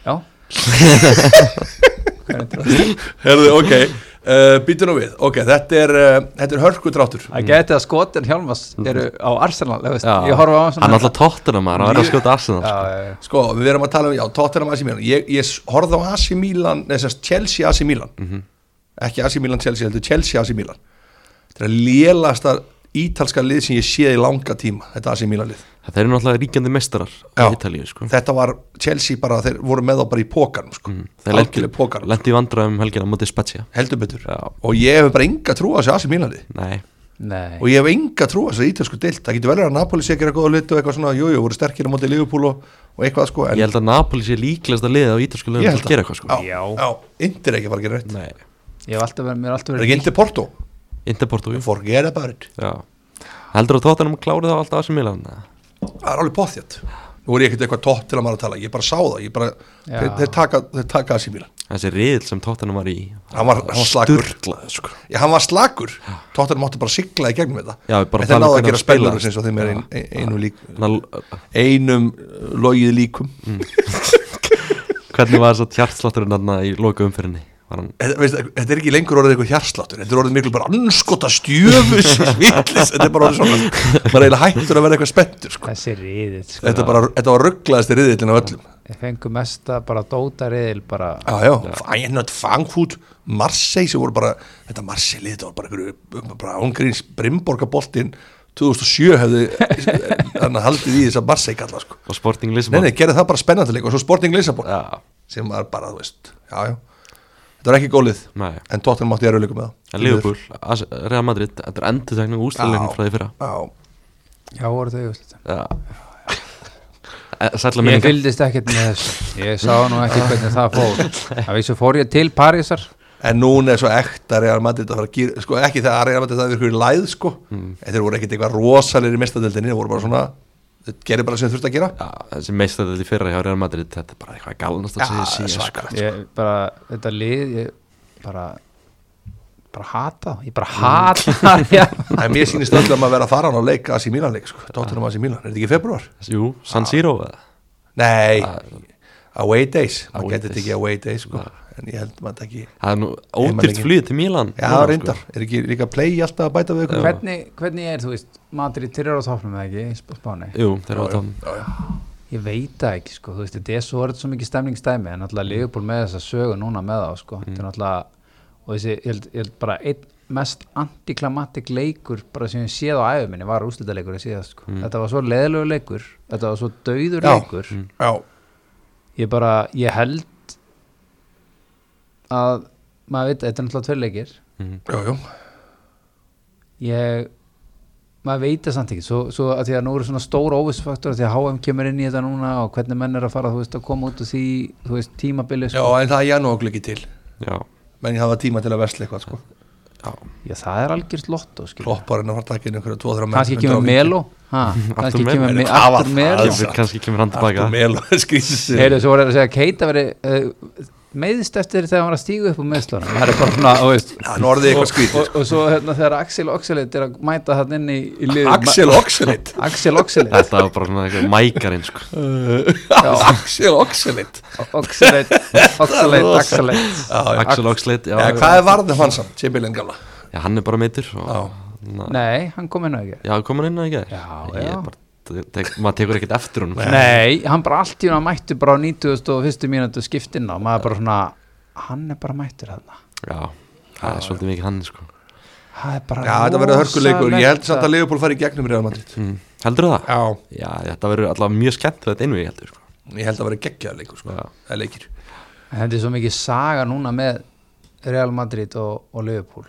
S3: Já,
S2: Herðu, ok, uh, býtu nú við Ok, þetta er, uh, þetta er hörkudráttur
S3: það geti að skotin Hjálmas eru á Arsenal þú veist.
S1: Já,
S3: Ég horfa á hann
S1: Hann er alltaf tóttina maður, hann er að skjóta Arsenal
S3: Já,
S1: sko.
S3: já, já.
S2: Sko, við erum að tala um, já, Tottenham AC Milan Ég, ég s- horfði á AC Milan, neða sérst Chelsea AC Milan Ekki AC Milan Chelsea, heldur Chelsea AC Milan Þetta er lélasta ítalska lið sem ég séð í langa tíma Þetta AC Milan lið
S1: Þeir eru náttúrulega ríkjandi meistarar
S2: Já.
S1: í Ítalíu sko
S2: Þetta var Chelsea bara, þeir voru með þá bara í pókanum sko. mm,
S1: Þeir lendi,
S2: Algjörlega pókanum
S1: lendi í vandræðum um helgina á móti Spezia
S2: Heldur betur
S1: Já.
S2: Og ég hef bara enga trú á þessu AC Milan lið
S1: Nei,
S3: Nei,
S2: og ég hef enga trú á þessari ítalsku deilt það getur vel verið að Napoli sé að gera góða lit og eitthvað svona, jújú, jú, voru sterkir á móti Liverpool og, og eitthvað sko en
S1: Ég held að Napoli sé líklegast að liða á ítalsku
S2: Ég
S1: liðum
S2: held
S1: til að gera eitthvað sko
S2: Já,
S3: Já.
S2: já, Indir er ekki að fara að gera rétt
S1: Nei,
S3: ég hef alltaf verið, mér er alltaf
S2: Er
S3: verið
S2: ekki Indir Porto?
S1: Interporto jú.
S2: Forget about it
S1: Já Heldur að tóttanum klárið á alltaf á sem Milan eða?
S2: Það er alveg bóþjátt Nú er ég ekkert eitthvað tótt til að maður að tala Ég bara sá það, ég bara,
S3: Já.
S2: þeir, þeir taka, þeir taka að sér mílan
S1: Þessi riðil sem tóttanum var í
S2: Hann var- hann var slakur.
S1: Sturlaður, sko
S2: Já, hann var slakur, tóttan mátti bara sigla í gegnum þetta
S1: Já, við bara
S2: En þeir
S1: tala um
S2: náðu að
S1: hvernig
S2: gera
S1: hann spilaði.
S2: spilur eins og þeim er ein, ein, einu lík
S1: Þannig að
S2: Einum uh, logið líkum
S1: hvernig var þess að hjartslátturinn þarna í loku umfyrinni? Var hann
S2: þetta, veist, þetta er ekki lengur orðið eitthvað hjarsláttur þetta er orðið miklu bara anskota stjöfus vitlis, þetta er bara orðið svona maður er eiginlega hættur að vera eitthvað spenntur sko.
S3: Þessi riðið, sko
S2: þetta, er bara, þetta var rugglaðasti riðillin af öllum
S3: Ég fengu mesta bara dóta riðil bara
S2: já, já, fænat fangfút Marseille sem voru bara, þetta Marseille lið, þetta var bara einhverju, bara ángríns Brimborgaboltinn 2007 hefði hann haldið í þess að Marseille kalla sko.
S1: á Sporting
S2: nei,
S1: Lisbon?
S2: nei, gerði það bara spennandi leik og svo Sporting Lisabon
S1: Já,
S2: sem var bara, þú veist, já, já þetta var ekki gólið,
S1: nei
S2: en Tottenham mátti ég rauðleikum með það
S1: En Liverpool, As- Real Madrid, þetta er endurtegning úrstæðleikum
S2: Já.
S1: frá því fyrra
S2: Já,
S3: Já, voru þau úrslit
S1: Já Eh, Sætla
S3: Ég
S1: minningar
S3: fylgdist ekkert með þessu Ég sá nú ekki hvernig það fór Það vissu fór ég til Parísar
S2: En núna er svo ekta Real Madrid að fara að gýra, sko ekki það að Real Madrid það er ykkur læð sko, mm. þeir voru ekkit eitthvað rosalegir í mestadeldinni, þeir voru bara svona, þeir gerir bara sem þeir þurft að gera.
S1: Já, þessi meistadöldi fyrra hjá Real Madrid Þetta er bara eitthvað galnast
S2: Já,
S1: að segja
S2: það er
S1: síðan
S2: svakalegt.
S3: Ég sko. bara, þetta lið Ég bara bara hata, það. ég bara hata það.
S2: En mér sýnist öll að maður vera að fara hann á leik, Asi Milan leik sko, Tottenham Asi Milan, er þetta ekki í februar?
S1: Jú, San Siro eða?
S2: Nei, away days, maður
S1: Away
S2: getur þetta
S1: days.
S2: ekki away days sko, en ég held maður þetta ekki,
S1: Það er nú
S2: Heimaleiki.
S1: ódýrt flýð til Milan
S2: já
S1: núna, sko.
S2: reyndar, er ekki líka play alltaf að bæta við ykkur?
S3: hvernig, hvernig er, þú veist Madrid, þeir eru á topnum eða ekki, í Sp- Spáni
S1: sko. Jú, þeir eru á
S2: Já,
S1: tónum
S2: já, já.
S3: Ég veit það ekki sko, þú veist, þetta er svo orðið svo mikið stemningstæmi en náttúrulega Liverpool með þessa sögu núna með þá sko, þetta er náttúrulega og þessi, ég held, ég held bara einn mest antiklamatik leikur bara sem ég séð á æfum minni var úrslitaleikur að síðast sko, þetta var svo leðilegu leikur þetta var svo dauður
S2: Já.
S3: leikur
S2: Já,
S3: ég bara, ég held að maður veit, þetta er náttúrulega tveir leikir
S1: Mm,
S2: já, já,
S3: ég maður veit það samt ekki svo, svo að því að nú eru svona stór óvissfaktor því að HM kemur inn í þetta núna og hvernig menn er að fara þú veist að koma út úr því þú veist tímabili
S2: já,
S3: sko.
S2: en það er janúarglöggi til,
S1: Já,
S2: menn ég hafa tíma til að vesla eitthvað sko,
S3: já það er algjörst lotto skilur.
S2: klopparinn að fara að taka inn einhverja 2-3 menn.
S3: kannski kemur
S2: 150.
S3: Melo ha, kannski
S1: Arthur Melo.
S3: kemur
S2: Nei,
S3: Me-
S2: hvað var það?
S3: Arthur Melo
S2: Arthur-
S1: Kemur- kannski kemur hann tilbaka
S2: Artur Melo skrýsir
S3: heyrðu svo voru þeir að segja að Keita veri uh, meiðist eftir þegar hann var að stígu upp úr meðslunum það er bara svona þú veist,
S2: Hann orðið eitthvað sko. skrýtir
S3: og, og svo hérna, þegar Axel Oxelid er að mæta hann inn í, í liðið
S2: Axel Oxelit
S3: Axel Oxelid
S1: Þetta var bara svona eitthvað mækarinn sko.
S2: Axel Oxelit
S3: Oxelid Oxelid Axelid
S1: Axel Oxlade já,
S2: ja, Hvað er varðið hans hann? Chamberlain gamla
S1: já, hann er bara meitur
S2: Já.
S1: og, na,
S3: nei, hann kom inn á ekki
S1: Já, kom hann inn að ekki?
S3: Já,
S1: ég
S3: já.
S1: er bara, te- tek, Maður tekur ekkert eftir sko. hún
S3: Nei, hann bara allt í hún að mættu bara á 91. mínútu skiptinn og maður bara svona, hann er bara mættur þarna
S1: Já, það er svolítið mikið hann sko.
S3: það er sko. bara
S2: Já, þetta verður hörkuleikur Ég held samt að Leopold fari í gegnum Real Madrid
S1: mm. Heldur það?
S2: Já,
S1: Já, þetta verður allavega mjög skemmt þetta innvið heldur sko.
S2: ég held að verið geggjaða leikur sko.
S1: Já.
S2: Það er leikir
S3: Þetta er svo mikið saga núna með Real Madrid og, og Liverpool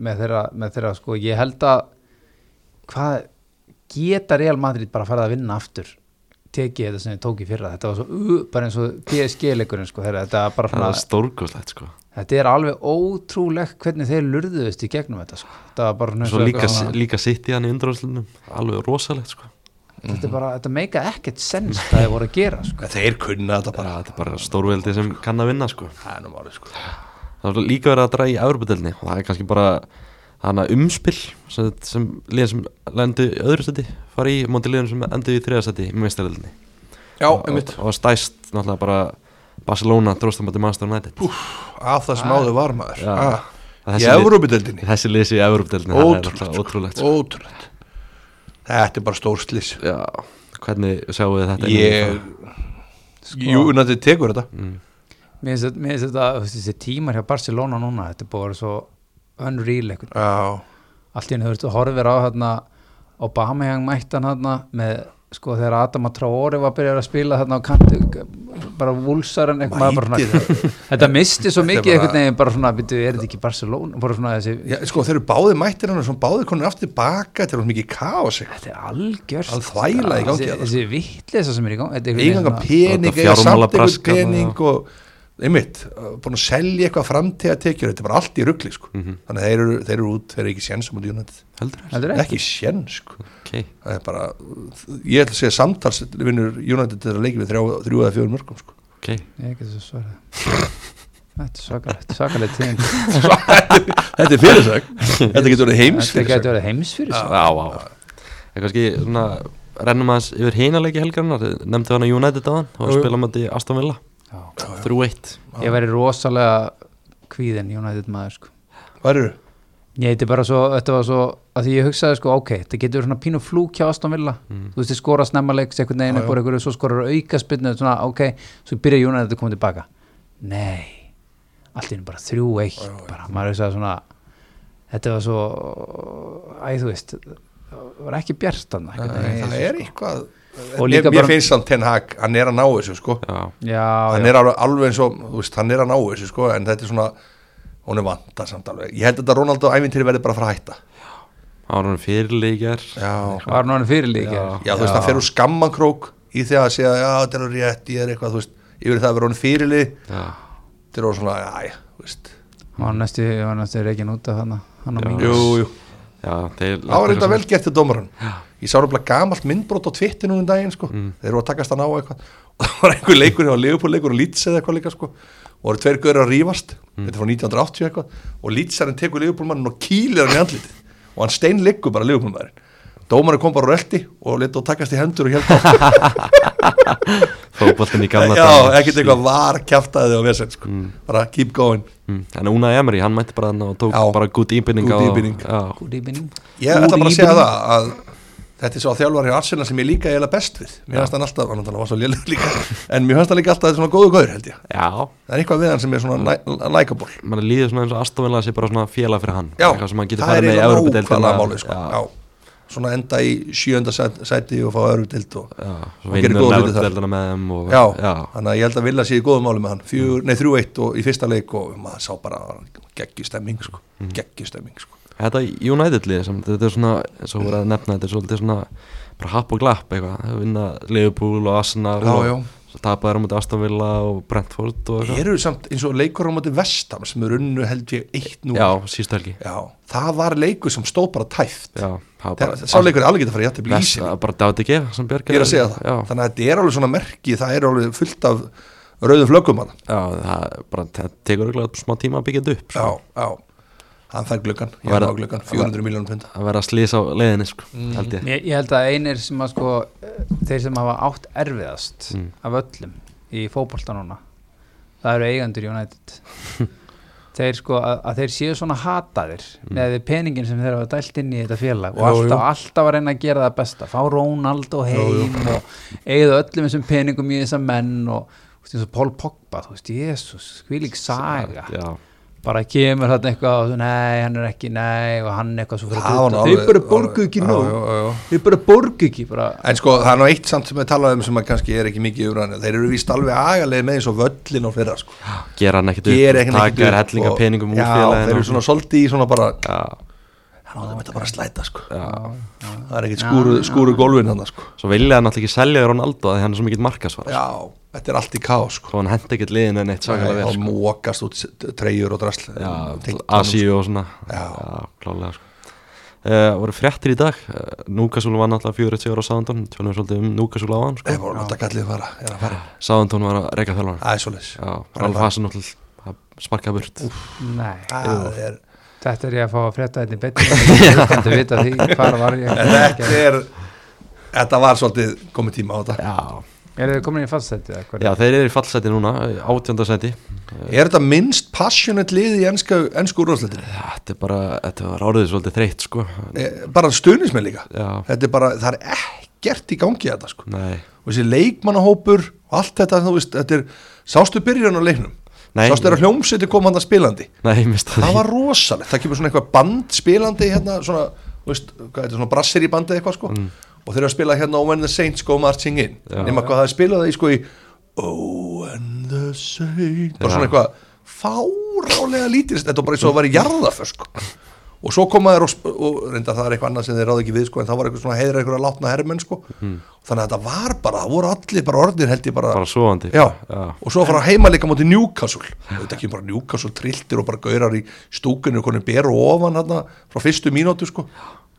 S3: með, þeirra, með þeirra sko, ég held að hvað geta Real Madrid bara farið að vinna aftur tekið þetta sem þið tók í fyrra þetta var svo, uh, bara eins og PSG-leikurinn sko, þeirra, þetta, var bara
S1: Það
S3: svona,
S1: er stórkoslegt sko.
S3: þetta er alveg ótrúlegt hvernig þeir lurðuðust í gegnum þetta sko. þetta var bara svona eins
S1: Svo
S3: og
S1: líka,
S3: eitthvað svona-
S1: líka sitt í hann í undrarúslunum Alveg rosalegt sko.
S3: þetta er bara, þetta meika ekkert sens hvað þið voru að gera sko.
S2: En Þeir kunna þetta bara
S1: Já, Þetta er bara stórveldi sem kann að vinna sko.
S2: Það er nú málið sko
S1: Það er líka verið að draga í Evropadelni og það er kannski bara hana umspil sem, sem liðan sem lendu í öðru stæti fari í móti liðan sem endu í þriða stæti í meðstæðilegni
S2: Já,
S1: og,
S2: einmitt
S1: og stæst náttúrulega bara Barcelona drósta móti Master United Úf,
S2: Af það sem áður var maður
S1: Já.
S2: Ah, Í
S1: þessi, lið,
S2: Evrópideldinni
S1: þessi lið sé í Evropadelni
S2: Ótrúlegt,
S1: ótrúlegt sko.
S2: Ótrúlegt Þetta er bara stórslis
S1: Já, hvernig sjáu þið þetta
S2: Ég Sko- Mm. Jú, unnandi tekur þetta
S3: mér finnst þetta- mér finnst þetta, þú veist, þessi tímar hjá Barcelona núna, þetta er búið að vera svo unreal eitthvað,
S2: Já
S3: allt í henni þú veist, þú horfir á hérna Obama mættan hérna með sko þegar Adam Traore var að byrja að spila þarna á kantu bara vúlsar en eitthvað maður bara svona,
S2: Mætir það.
S3: þetta misti svo
S2: Þetta er
S3: mikið
S2: bara-
S3: einhvern veginn bara svona, byrju, er þetta ekki Barcelona bara svona þessi,
S2: Já, sko, þeir eru báðir mættir hann og svona báðir konur aftur baka þetta er alveg mikið kaos ekki?
S3: þetta er algjörst
S2: Það er þvæla í gangi
S3: þessi,
S2: þarna.
S3: þessi vitleisa sem er í gangi þetta er einhvern
S2: eiganga
S3: veginn svona-
S1: Og
S2: pening,
S1: þetta
S2: eiga samt einhvern
S1: fjármálabrask þarna,
S2: pening og einmitt, uh, búin að selja eitthvað framtíða tekjur, þetta er bara allt í rugli sko. þannig að þeir eru, þeir eru út, þeir eru ekki séns á múti United,
S1: heldur það?
S3: Heldur ekki?
S2: ekki séns sko.
S1: Ok,
S2: það er bara, ég ætla að segja samtals vinnur United þetta leikið við þrjá, þrjú eða fjórum mörgum sko.
S1: ok
S3: Ég get þessu svarað Þetta er svakalegt, svakalegt tíðin
S2: þetta er fyrirsög, þetta getur verið heims
S3: Þetta
S2: fyrirsög
S3: getur verið heims fyrir sig
S1: Á, á Sko. En kannski svona rennum aðeins yfir hinalegi helgarnar Nefndu hana United á hann og
S2: Jú, jú.
S1: spila mæti Aston Villa
S3: Já.
S1: 3-1
S3: Ég væri rosalega kvíðin United maður sko
S2: hvað eru?
S3: Ég heiti bara svo, þetta var svo að því ég hugsaði sko, ok, þetta getur verið svona pínu flúk hjá Aston Villa, þú veist, þið skora snemma leik segja einhvern veginn
S2: Mm. Já, já.
S3: upp úr einhverju, svo skorar auka spilnu, svona, ok, svo byrja United að koma tilbaka Nei allt er bara 3-1 bara, maður hugsaði svona þetta var svo, æ, þú veist það var ekki bjart hann
S2: það er eitthvað
S3: Og
S2: mér,
S3: líka
S2: mér
S3: bara-
S2: finnst samt Ten Hag, hann er að ná þessu sko.
S1: Já,
S3: Já,
S2: hann
S3: já,
S2: er alveg, alveg eins og þú veist, hann er að ná þessu sko, en þetta er svona hún er vantar samt alveg ég held að þetta Ronaldo ævintýri verði bara að fara að hætta
S1: hann var hann fyrirleikjar
S2: já,
S3: var hann orðinn fyrirlík
S1: Já.
S2: já þú veist, hann fer úr skammankrók í því að segja, já, þetta er alveg rétt ég er eitthvað, þú veist, yfir það að vera hún fyrirli
S1: Já,
S2: þetta er alveg svona, já, já, þú veist
S3: hann var næstu, hann var næstu reikin út af hann hann á
S1: Já.
S3: mínu
S2: jú, jú,
S1: já þeir
S2: það var eitthvað vel gert til dómaran ég sá alveg gamalt myndbrot á Twitter núna um daginn, sko, þeir eru að takast að ná eitthvað og það var einhver leikur, það var Liverpool leikur og Leeds eða eitthvað líka, sko, og voru tveir göður að rífast þetta er frá 1980 eitthvað og Leedsarinn tekur Liverpoolmannin og kýlir hann í andlitið og hann stein bara Liverpoolmannin dómarinn kom bara og rölti og leta og takast í hendur og held á
S1: Fóboltin í gamla
S2: Já, ekkert eitthvað var kjaftaði og vesend sko. bara keep going
S1: Mm, En Una Emery, hann mætti bara hann og tók
S2: Já.
S1: bara gút íbynning
S2: Good evening.
S1: Já,
S3: Kúdýbinning
S2: Ég ætla bara að segja það að þetta er svo þjálfari á Arsenal sem ég líka eiginlega best við mér finnst hann alltaf, hann náttúrulega var svo lélega líka en mér finnst hann líka alltaf svona góðu gaur held ég
S1: já
S2: það er eitthvað við hann sem er svona li- likeable
S1: mann líður svona eins og Aston Villa sé bara svona félag fyrir hann
S2: Já,
S1: eitthvað sem hann getur
S2: það
S1: farið með
S2: er
S1: í
S2: eiginlega
S1: Evrópudeildina.
S2: nákvæmlega máli sko.
S1: Já,
S2: já. svona enda í sjönda sæt- sæti og fá öðrupdelt og
S1: já, svo
S2: Hann gerir
S1: vinnum
S2: góða hluti þar.
S1: Evrópudeildina með þeim og,
S2: já,
S1: já,
S2: þannig að ég held að vilja sé í góðum máli með hann Fjör, nei, þrjú eitt og í fyrsta leik og maður sá bara geggjustemming sko.
S1: Mhm.
S2: geggjustemming sko.
S1: Þetta United lið sem þetta er svona, eins og voru að nefna þetta er svolítið svona bara happ og glapp eitthvað, þau vinna Liverpool og Arsenal
S2: Já,
S1: og
S2: já.
S1: svo tapaði þeir á mútið Aston Villa og Brentford og eitthvað
S2: eru samt eins og leikur á móti vestam sem eru unnu held ég 1-0
S1: Já, síðustu helgi
S2: Já, það var leikur sem stóð bara tæft
S1: Já, það var
S2: það, sá leikur er alveg geta að fara í jættið
S1: best,
S2: blísin
S1: að bara dáti ekki sem Björk
S2: ég er að segja það,
S1: Já,
S2: þannig að þetta er alveg svona merki það er alveg fullt af rauðum flöggum hann
S1: já það er bara, það tekur auðvitað smá tíma að byggja þetta upp
S2: já,
S1: sko.
S2: já, hann fær gluggan ég
S1: Verða-
S2: var gluggan, 400 miljónum pund
S1: að vera að slýsa á leiðinni sko,
S2: Mm.
S1: held ég
S3: Ég, ég held að einir sem að sko eh, þeir sem hafa átt erfiðast
S2: Mm.
S3: af öllum í fótbolta núna það eru eigendur United þeir sko að, að þeir séu svona hataðir með peningin sem þeir hafa dælt inn í þetta félag og
S2: Mm. Jú, jú.
S3: alltaf, alltaf að reyna að gera það besta fá Ronald og heim og eigðu öllum þessum peningum í þessum menn og þú veist, eins og Paul Pogba þú veist, Jesus, hvílík saga
S1: Já,
S3: bara kemur hann eitthvað og svo, nei, hann er ekki, nei og hann eitthvað svo fyrir
S2: Það var nú
S3: að
S2: alveg-
S3: þau bara borgu ekki
S2: Já,
S3: nóg
S2: já, já.
S3: þau bara borgu ekki bara,
S2: en sko, það er nú eitt samt sem við talaðum um sem að kannski er ekki mikið umræðinu þeir eru víst alveg agalegið með eins og völlin og fleira sko.
S1: gera hann ekkert
S2: Gera
S1: upp
S2: ekkert
S1: taka
S2: upp
S1: þér hellinga
S2: og-
S1: peningum úr
S2: já,
S1: félaginu
S2: þeir eru svona svolítið í svona bara
S1: Já,
S2: hann áður þetta bara að slæta sko
S1: já
S2: það er ekkert skúru, skúru gólfin hann sko
S1: Svo vilja hann náttúrulega ekki selja Ronaldo að hann er svo mikill markasvara
S2: já, þetta er allt í kaos sko
S1: Svo hann henda ekkert liðinu neitt sakalega vel
S2: og
S1: sko.
S2: mókast út s- treyjur og drasl
S1: Já,
S2: Tengt honum, sko.
S1: Asíu og svona
S2: Já.
S1: klálega sko Uh, voru fréttir í dag uh, Núkasúl var náttúrulega 40 ára á Sáðantón tölum við svolítið um Núkasúl á hann sko.
S2: Ég voru að láta kallið fara, er að
S1: Ah.
S2: fara.
S1: Sáðantón var að reyka þjálfara
S2: Það er svoleiðis.
S1: Já, Ralf Hasen náttúrulega að sparka burt
S3: nei
S2: Það er,
S3: þetta er ég að fá að frétta þetta í betni ég er að vita því hvar var ég
S2: en þetta er, þetta var svolítið komið tíma á þetta.
S1: Já,
S3: eru þið komin í fastsetið
S1: Já þeir eru í fallseti núna átjöndaseti
S2: Er þetta minnst passionate lið í ennsku, ennsku úrvarsleitinu?
S1: Þetta er bara, þetta var orðið svolítið þreytt sko
S2: Eh, Bara stuðnismenn líka.
S1: Já,
S2: Þetta er bara, það er ekkert í gangi þetta sko.
S1: nei
S2: Og þessi leikmannahópur og allt þetta, þú veist, þetta er, sástu byrjun á leiknum?
S1: Nei.
S2: Sástu þeirra hljómsveitir kom hann að spilandi?
S1: Nei, ég mista
S2: Það
S1: því
S2: var rosalegt, það kemur svona eitthvað band spilandi hérna, svona, þú veist, hvað er þetta, svona brassir í bandi eitthvað sko og þeir eru að spila hérna Oh and the Saints go marching in
S1: Mm. Já.
S2: nema hvað það er spilað það í sko í Oh and the Saints bara
S1: Já.
S2: svona eitthvað fárálega lítið þetta var bara eins og það var í jarðaför sko. og svo koma þeir og, sp- og reynda það er eitthvað annað sem þeir ráði ekki við sko, en það var eitthvað svona heiðra eitthvað að látna hermenn sko. þannig að þetta var bara, það voru allir bara orðnir held ég bara,
S1: Mm. bara svoandi
S2: já, og svo fara heima líka móti Newcastle þetta ekki bara Newcastle trilltir og bara gaurar í stúkunni og konum beru ofan hana, frá fyrstu mínútu sko.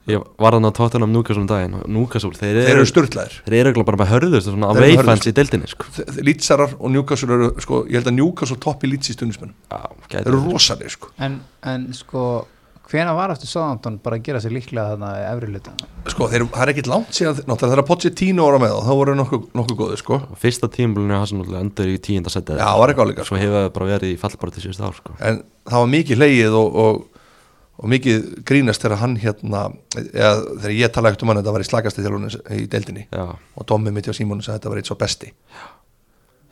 S1: Ég var þannig að Tottenham Núkasúl daginn og Núkasúl, þeir,
S2: þeir eru störtlaðir
S1: Þeir eru örugglega bara með hörðust svona
S2: Þeir eru
S1: away
S2: hörðustu.
S1: fans í deildinni sko.
S2: Lítsarar og Newcastle eru sko, ég held að Newcastle toppi Líts í stundismennum
S1: Já,
S2: þeir
S1: gæti
S2: eru
S1: verið.
S2: rosalir sko.
S3: en, en sko hvena var aftur Southampton bara að gera sér líklega þarna í efri hluta
S2: sko, þeir, það er ekkit langt síðan náttúrulega þegar Pochettino voru með og þá voru nokkuð nokku góði sko.
S1: Og Fyrsta tímulinu hans náttúrulega endur í tíunda setja
S2: já, það var ekki áleika sko.
S1: Svo hefur það bara verið í fallbara til síðust ár sko.
S2: en það var mikið hleyið og, og, og mikið grínast þegar hann hérna eða, þegar ég talaði ekkert um hann þetta var í slagasti þjálfunni í deildinni
S1: Já,
S2: og Tommi mitt og Simon sagði að þetta var eitt svo besti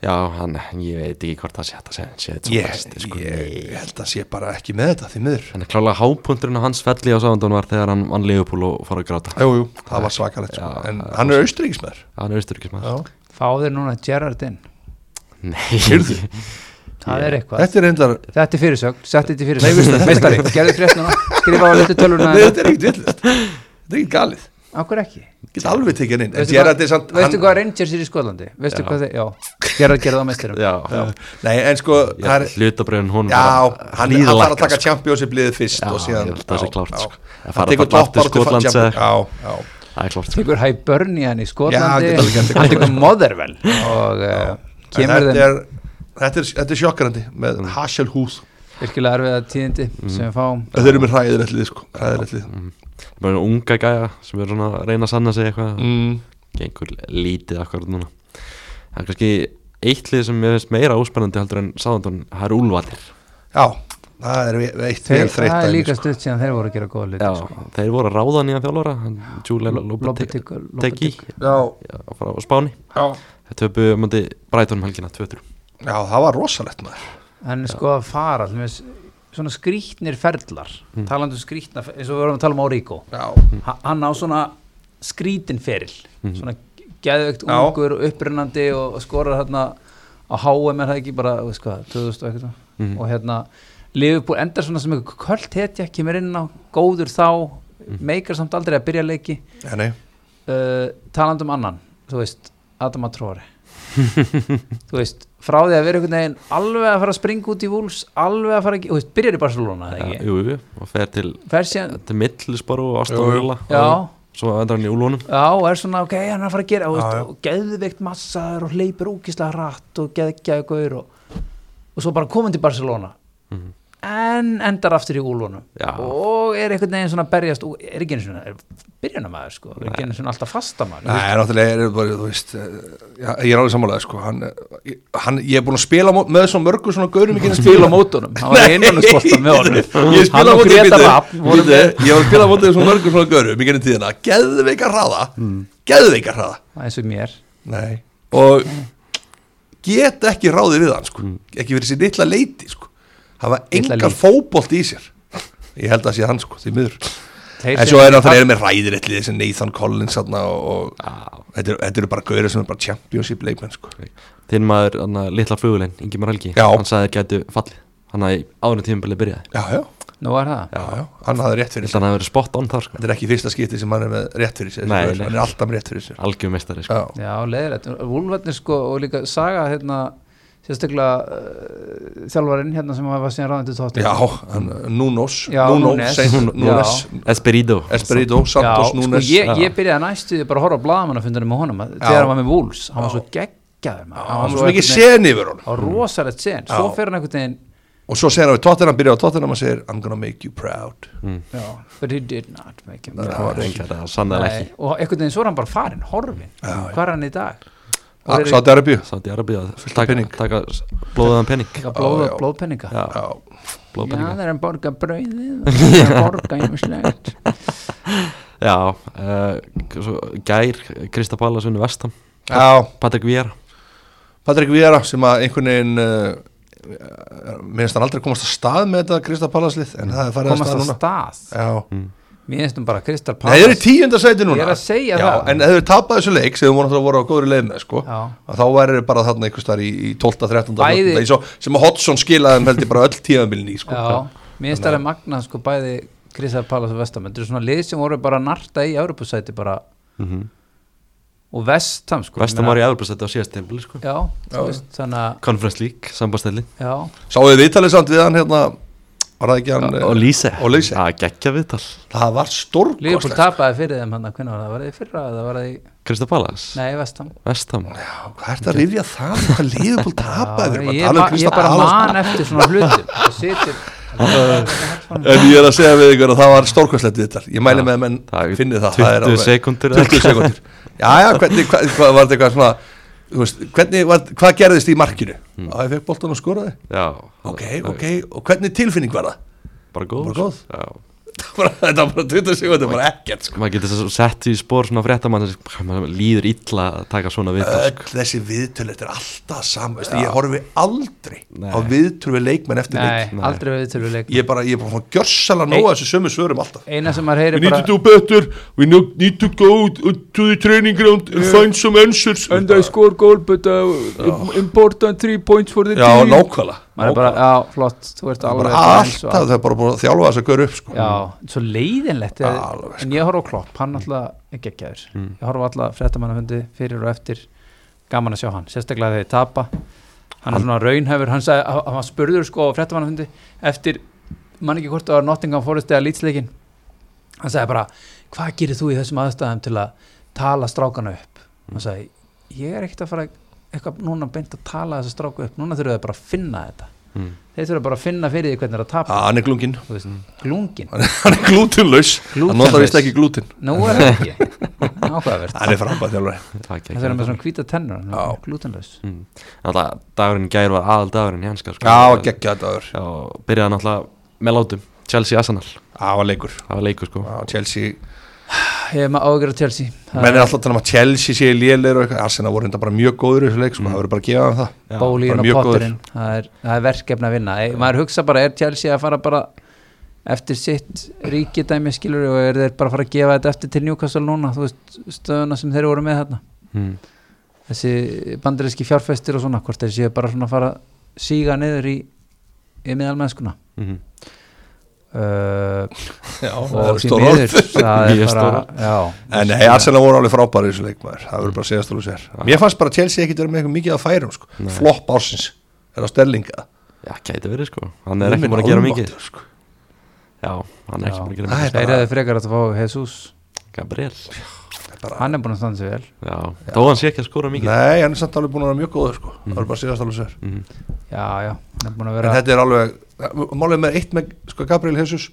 S1: já hann, ég veit ekki hvort það sé hægt að segja sé þetta
S2: ég,
S1: svo besti sko.
S2: ég held að sé bara ekki með þetta því miður
S1: En klálega hápunturinn á hans felli á sándun var þegar hann vann Leopold og fór að gráta
S2: jú, jú, það var svakalegt sko.
S1: Já,
S2: en
S1: það
S2: hann er austuríkismæður
S1: Hann er austur ekki
S3: fáður núna Gerrard inn
S1: Nei,
S3: það er eitthvað
S2: þetta er reyndar
S3: Þetta er fyrirsögn, setti þetta í
S2: Nei, veistu,
S3: fyrirsögn Meistari, gerðu frétt núna, skrifa á hlutu tölvuna
S2: Nei, þetta er ekkert villist þetta er ekkert galið
S3: Akkur ekki
S2: get alveg tekið hann inn en
S3: Veistu
S2: Gerard
S3: hvað,
S2: er samt
S3: veistu
S2: hann-
S3: hvað Rangers er í Skotlandi Veistu
S1: Já.
S3: hvað þeir, já, Gerrard gerði það meistarum
S1: já, já.
S2: nei, en sko það er-
S1: hlutabröðin hún
S2: já, hann hann þarf að taka Championship liðið fyrst
S1: sko. Já,
S2: og síðan
S1: ég held að það sé
S2: já,
S1: klárt,
S2: já.
S1: sko. Að
S2: Hann
S1: fara
S2: tekur
S1: bara aftur
S2: toppbaráttu
S1: Skotlands
S2: Champions-
S1: eða-
S2: já, já.
S1: það er sko. klart
S3: tekur Hibernian í
S2: Já,
S3: Skotlandi
S2: getur alveg gert
S3: hann tekur Motherwell og uh,
S2: En
S3: kemur
S2: þetta
S3: þeim
S2: er þetta er- þetta er sjokkrandi
S1: Mm.
S2: með Hasselhús
S3: virkilega erfiða tíðindi
S2: Mm.
S3: sem við fáum
S2: þeir eru með hræðilegt lið sko hræðilegt lið
S1: Mm. bara unga gæja sem er svona að reyna að sanna sig eitthvað
S2: Mm.
S1: gengur lítið akkurat núna það er kannski eitt lið sem mér finnst meira óspennandi heldur en sáðandun það eru úlvalir
S2: já, það er ve- eitt
S3: þeir,
S2: vel þreytt
S3: það er
S2: dæmi,
S3: líka
S2: sko.
S3: stutt síðan þeir voru að gera góða hluti sko.
S1: þeir voru að ráða nýjan þjálfara Júlia
S3: Lopetegui-
S1: Lopetegi
S3: Lopetegui.
S2: já,
S1: frá Spáni
S2: já.
S1: þeir töpu múti Breitunum um helgina 2-3
S2: já, það var rosalegt maður
S3: en sko að fara til dæmis, svona skrítnir ferlar
S2: Mm.
S3: talandi um skrítna, fer- eins og við vorum að tala um Origo
S2: já,
S3: Ha- hann á svona skrítin feril
S1: Mhm.
S3: svona geðveikt
S2: Mm. Já.
S3: ungur og upprennandi og, og skorar hérna á HM er það ekki bara, þú veist hvað, 2000 og eitthvað
S1: Mm. Mhm.
S3: og hérna, Liverpool endar svona sem eitthvað kvöld hetja, kemur inn á góður þá,
S1: Mm.
S3: meikar samt aldrei að byrja leiki
S2: já, nei
S3: uh, talandi um annan, þú veist Adam Atróri þú veist, frá því að vera einhvern veginn alveg að fara að springa út í Wolves alveg að fara, að ge- þú veist, byrjar í Barcelona eða
S1: Já,
S3: ekki,
S1: jú, jú, og fer til,
S3: fer síðan
S1: til Middlesbrough og Aston
S2: Jú, jú.
S1: Villa
S3: Já.
S1: og svo endur hann í úlunum
S3: Já, og er svona, ok, hann er að fara að gera þú
S2: Já,
S3: veist,
S2: já.
S3: og geðveikt massaður og hleypir ókislega hratt og geðgjaði gaur og, og svo bara komin til Barcelona
S2: Mhm.
S3: en endar aftur í úlunum
S1: Já.
S3: og er einhvern veginn svona að berjast og er ekki einu svona, er byrjunamaður sko er ekki einu svona alltaf fastamæður
S2: Nei, náttúrulega er þetta bara, þú veist eh, já, Ég er alveg sammálaðið, sko hann, ég- hann, Ég er búin að spila mó- með svona mörgum svona gaurum ekki að spila
S3: spila mótunum, hann var innan að spotta með honum
S2: Ég spila
S3: hann og
S2: mótið,
S3: Greta
S2: býtu,
S3: Rapp voru
S2: býtu,
S3: með-
S2: Ég var að spila mótið svona mörgum svona gaurum ekki enn tíðina, geðveika hraða
S3: Mm.
S2: Geðveika hraða
S3: eins og mér
S2: Nei. Og get ekki ráðið við hann, sko Ekki verið sér litla leiti, sko Hafa
S3: Mm. Litla
S2: engan
S3: leiti.
S2: fótbolt í sér Ég held að sé hann, sko, því miður
S3: Þeir
S2: En
S3: sem-
S2: svo er náttúrulega er með ræðir eitthvað þessi Nathan Collins þarna og, og þetta, eru- þetta eru bara gauður sem er bara championship leikmenn sko.
S1: þinn maður, hann að litla flugulinn, Ingimar Helgi
S2: Já.
S1: hann sagði þeir gætu fallið hann að árið tímabilið byrjaði
S2: Já, já,
S3: nú er það
S2: já, já, hann hafði rétt fyrir
S1: Ég held að
S2: sér
S1: hann hafi verið spot on þar sko.
S2: Þetta er ekki fyrsta skipti sem hann er með rétt fyrir sér þessi
S1: Nei,
S2: gaur.
S1: nei.
S2: Hann er alltaf með rétt fyrir sér
S1: algjör meistari sko.
S2: Já,
S3: Já, leiðilegt. Vúlvarnir sko og líka saga hérna sérstaklega uh, þjálfarinn hérna sem var síðan ráðandi tóttir.
S2: já hann, Núnos
S3: Já, Núñez.
S2: Núnos, Saint-
S3: Já.
S2: Núnes
S1: Esperido
S2: Esperido, Santos
S3: sko
S2: Núnes
S3: ég,
S1: Já.
S3: ég byrjaði næstuði bara að horfa á blagamannafundunum með honum að-
S2: Já.
S3: þegar hann var með Vúls. Hann var svo geggjaður maður.
S2: Hann var svo mikið sen yfir honum
S3: Á rosalegt sen. Svo
S2: Já.
S3: fer hann einhvern veginn
S2: Og svo segir hann við Tottenham, byrjar á Tottenham og segir I'm gonna make you proud
S3: Já, but he did not make him.
S1: það var reyngar að sannlega
S3: Nei,
S1: ekki
S3: og einhvern veginn svo er hann bara farinn, horfinn. Hvað er hann í dag? Og þeir eru
S2: Sátti Arabíu
S1: Sátti Arabíu að
S2: Fullt af
S1: taka,
S2: pening.
S1: taka s- blóðaðan penning
S3: líka blóð,
S2: Já, já.
S3: blóðpenninga.
S1: Já,
S2: Já,
S3: Já,
S1: blóðpenninga
S3: þeir eru að borga brauðið og þeir eru að borga ymmislegt.
S1: Já, uh, svo Gær, Krista Pallas unni Vestam
S2: já
S1: Patrik Viera
S2: Sko, Patrik Viera sem að einhvern veginn eh, uh, minnst hann aldrei komast að stað með þetta Krista Pallaslið en það er farið að
S3: Komast
S2: stað
S3: á
S2: núna
S3: stað.
S2: Já,
S3: Mér finnst um bara Kristal
S2: Nei, þeir eru í tíunda sæti núna
S3: Ég er að segja
S2: já,
S3: það.
S2: En ef þeir tapaði þessu leik sem þeir voru náttúrulega voru á góðri leið með sko,
S3: Já.
S2: að þá væri þeir bara þarna einhvers þar í, í 12. 13.
S3: Bæði-
S2: 14. Svo, sem að Hodgson skilaði en veldi bara öll tíðanbílinni í sko.
S3: Já, mér finnst það að magna sko bæði Kristal Palace og Vestam Þetta eru svona lið sem voru bara að narta í Europasæti bara
S2: Mhm.
S3: og Vestam sko ég
S1: Vestam
S3: meina-
S1: var í Evropasæti á síðast tímpil sko.
S3: Já, þú veist, þannig að
S1: Conference League, sambastæli
S3: Já,
S2: Sáuðu viðtalið samt við hann hérna var það ekki hann
S1: Og Lise
S2: Og Lise.
S1: Það geggja viðtal
S2: Það var
S3: Liverpool
S2: stórkostlegt
S3: tapaði fyrir þeim hann hvernig var það, var það í fyrra eða var það í,
S1: Kristapalas
S3: nei, Vestam
S1: Vestam
S2: Já, Hvað ert að rifja það? Hvað Liverpool tapaði? Við erum að
S3: ég,
S2: tala um
S3: ma- ég
S2: Crystal
S3: bara
S2: Palace.
S3: man eftir svona hlutum það situr
S2: En ég er að segja við ykkur að það var stórkvæslegt viðtal Ég mæli með að menn
S1: það er
S2: finnið það
S1: 20
S2: það er alveg-
S1: sekúndur eða
S2: 20
S1: eitthvað.
S2: sekundur Já, já, hvernig, hvað, hvað var þetta eitthvað svona þú veist, hvernig, var, Hvað gerðist í markinu? Mm. Að ég fekk boltan og skoraði
S1: Já
S2: Ok, ok, og hvernig tilfinning var það?
S1: Bara góð
S2: Bara góð.
S1: Já
S2: Það var- Þetta var bara 20 sekundur, bara ekkert sko.
S1: maður getur svo sett í spór svona fréttamann sem hvað, maður líður illa að taka svona viðtal
S2: Öll
S1: sko.
S2: þessi viðtöl, þetta er alltaf saman veistu, Ég horfi aldrei
S1: Nei.
S2: á viðtöl við leikmenn eftir leik
S3: nei, aldrei verið til við leik
S2: Ég er bara, ég er bara fann gjörsala nóa þessu sömu svörum alltaf
S3: eina sem maður heyri
S2: We need to
S3: bara
S2: do better. We no- need to go to the training ground and find some answers.
S3: score goal but uh, important three points for the
S2: já, nákvæmlega.
S3: maður er bara, já, flott, þú ert
S2: Bara
S3: alveg eins og
S2: alltaf,
S3: alveg.
S2: það er bara búin að þjálfa þess að göra upp, sko.
S3: já, svo leiðinlegt
S2: Já,
S3: er,
S2: alveg, sko.
S3: en ég horf á klopp, hann alltaf ekki ekki aður, ég horf á alltaf fréttamannafundi fyrir og eftir, gaman að sjá hann sérstaklega þegar þið tapa hann er svona raunhefur, hann, sagði, hann- hann spurður sko á fréttamannafundi eftir mann ekki hvort það var Nottingham Forest eða lýtsleikin hann sagði bara, hvað gerir þú í þessum aðstæðum til að tala strákana upp hann sagði, ég er ekkert að fara eitthvað núna beint að tala þessa stráku upp núna þurfum við bara að finna þetta
S1: Mm.
S3: þeir þurfum bara að finna fyrir því hvernig það er að tapa
S2: Já, hann er glungin.
S3: þú veist, glungin
S2: Hann er glútinlaus. Hann notar vist ekki glútin.
S3: nú er það ekki ákveðavert
S2: Hann er frambar þjálfari.
S1: það
S3: það er
S1: geggja
S3: með svona hvíta tennur hann
S2: Já.
S3: er glutenlaus
S1: Mm. Náttúrulega dagurinn í gær var aðal dagurinn í hanska sko.
S2: Já, geggja þetta aður.
S1: Já, og byrjaði náttúrulega með látum Chelsea Arsenal,
S2: Já, var leikur.
S1: það var leikur sko
S2: Já, Chelsea.
S3: hefur maður ágjör að Chelsea Það
S2: Menn er alltaf þannig að Chelsea sé lélir og eitthvað. Arsenal voru þetta bara mjög góður í þessu
S3: Mm.
S2: leik, sko. Það voru bara að gefa hann það.
S3: er bólíun
S2: bara
S3: og
S2: mjög góður.
S3: potturinn það er, það er verkefni að vinna Ei, maður hugsa bara, er Chelsea að fara bara eftir sitt ríkidæmi skilur og er þeir bara að fara að gefa þetta eftir til Newcastle núna, þú veist, stöðuna sem þeir voru með þarna
S1: mm.
S3: þessi bandaríski fjárfæstir og svona hvort þeir séu bara svona að fara að síga niður í, í miðalmennskuna
S1: Mm.
S3: uh,
S2: Já, það
S3: og
S2: voru
S3: því
S2: stór
S3: miður
S2: orð.
S3: það er
S1: Mjög
S3: bara
S1: stór
S3: já,
S2: En nei, Arsenal voru alveg frábæri í þessu leikmaður Það verður bara að segja stólu sér Mér fannst bara Chelsea ekkit vera með eitthvað mikið að færum sko. Flopp ársins, er á stellinga
S1: Já, gæti verið sko Hann er ekki búin að gera mikið
S2: sko.
S1: Já, hann er
S3: Já.
S1: ekki búin að gera
S2: Það er
S1: mikið
S2: bara-
S3: þeir hefði frekar átt að fá Jesus
S1: Gabriel
S2: Það er bara,
S3: hann er búin að standa sig vel
S1: Já, þó hann sé ekki að skora mikið
S2: Nei, hann er samt alveg búin að vera mjög góður sko. Það verður bara að segja stólu sér
S1: mm.
S3: já, já, hann er búin að
S2: En
S3: vera
S2: þetta er alveg, málið með eitt með sko, Gabriel Jesus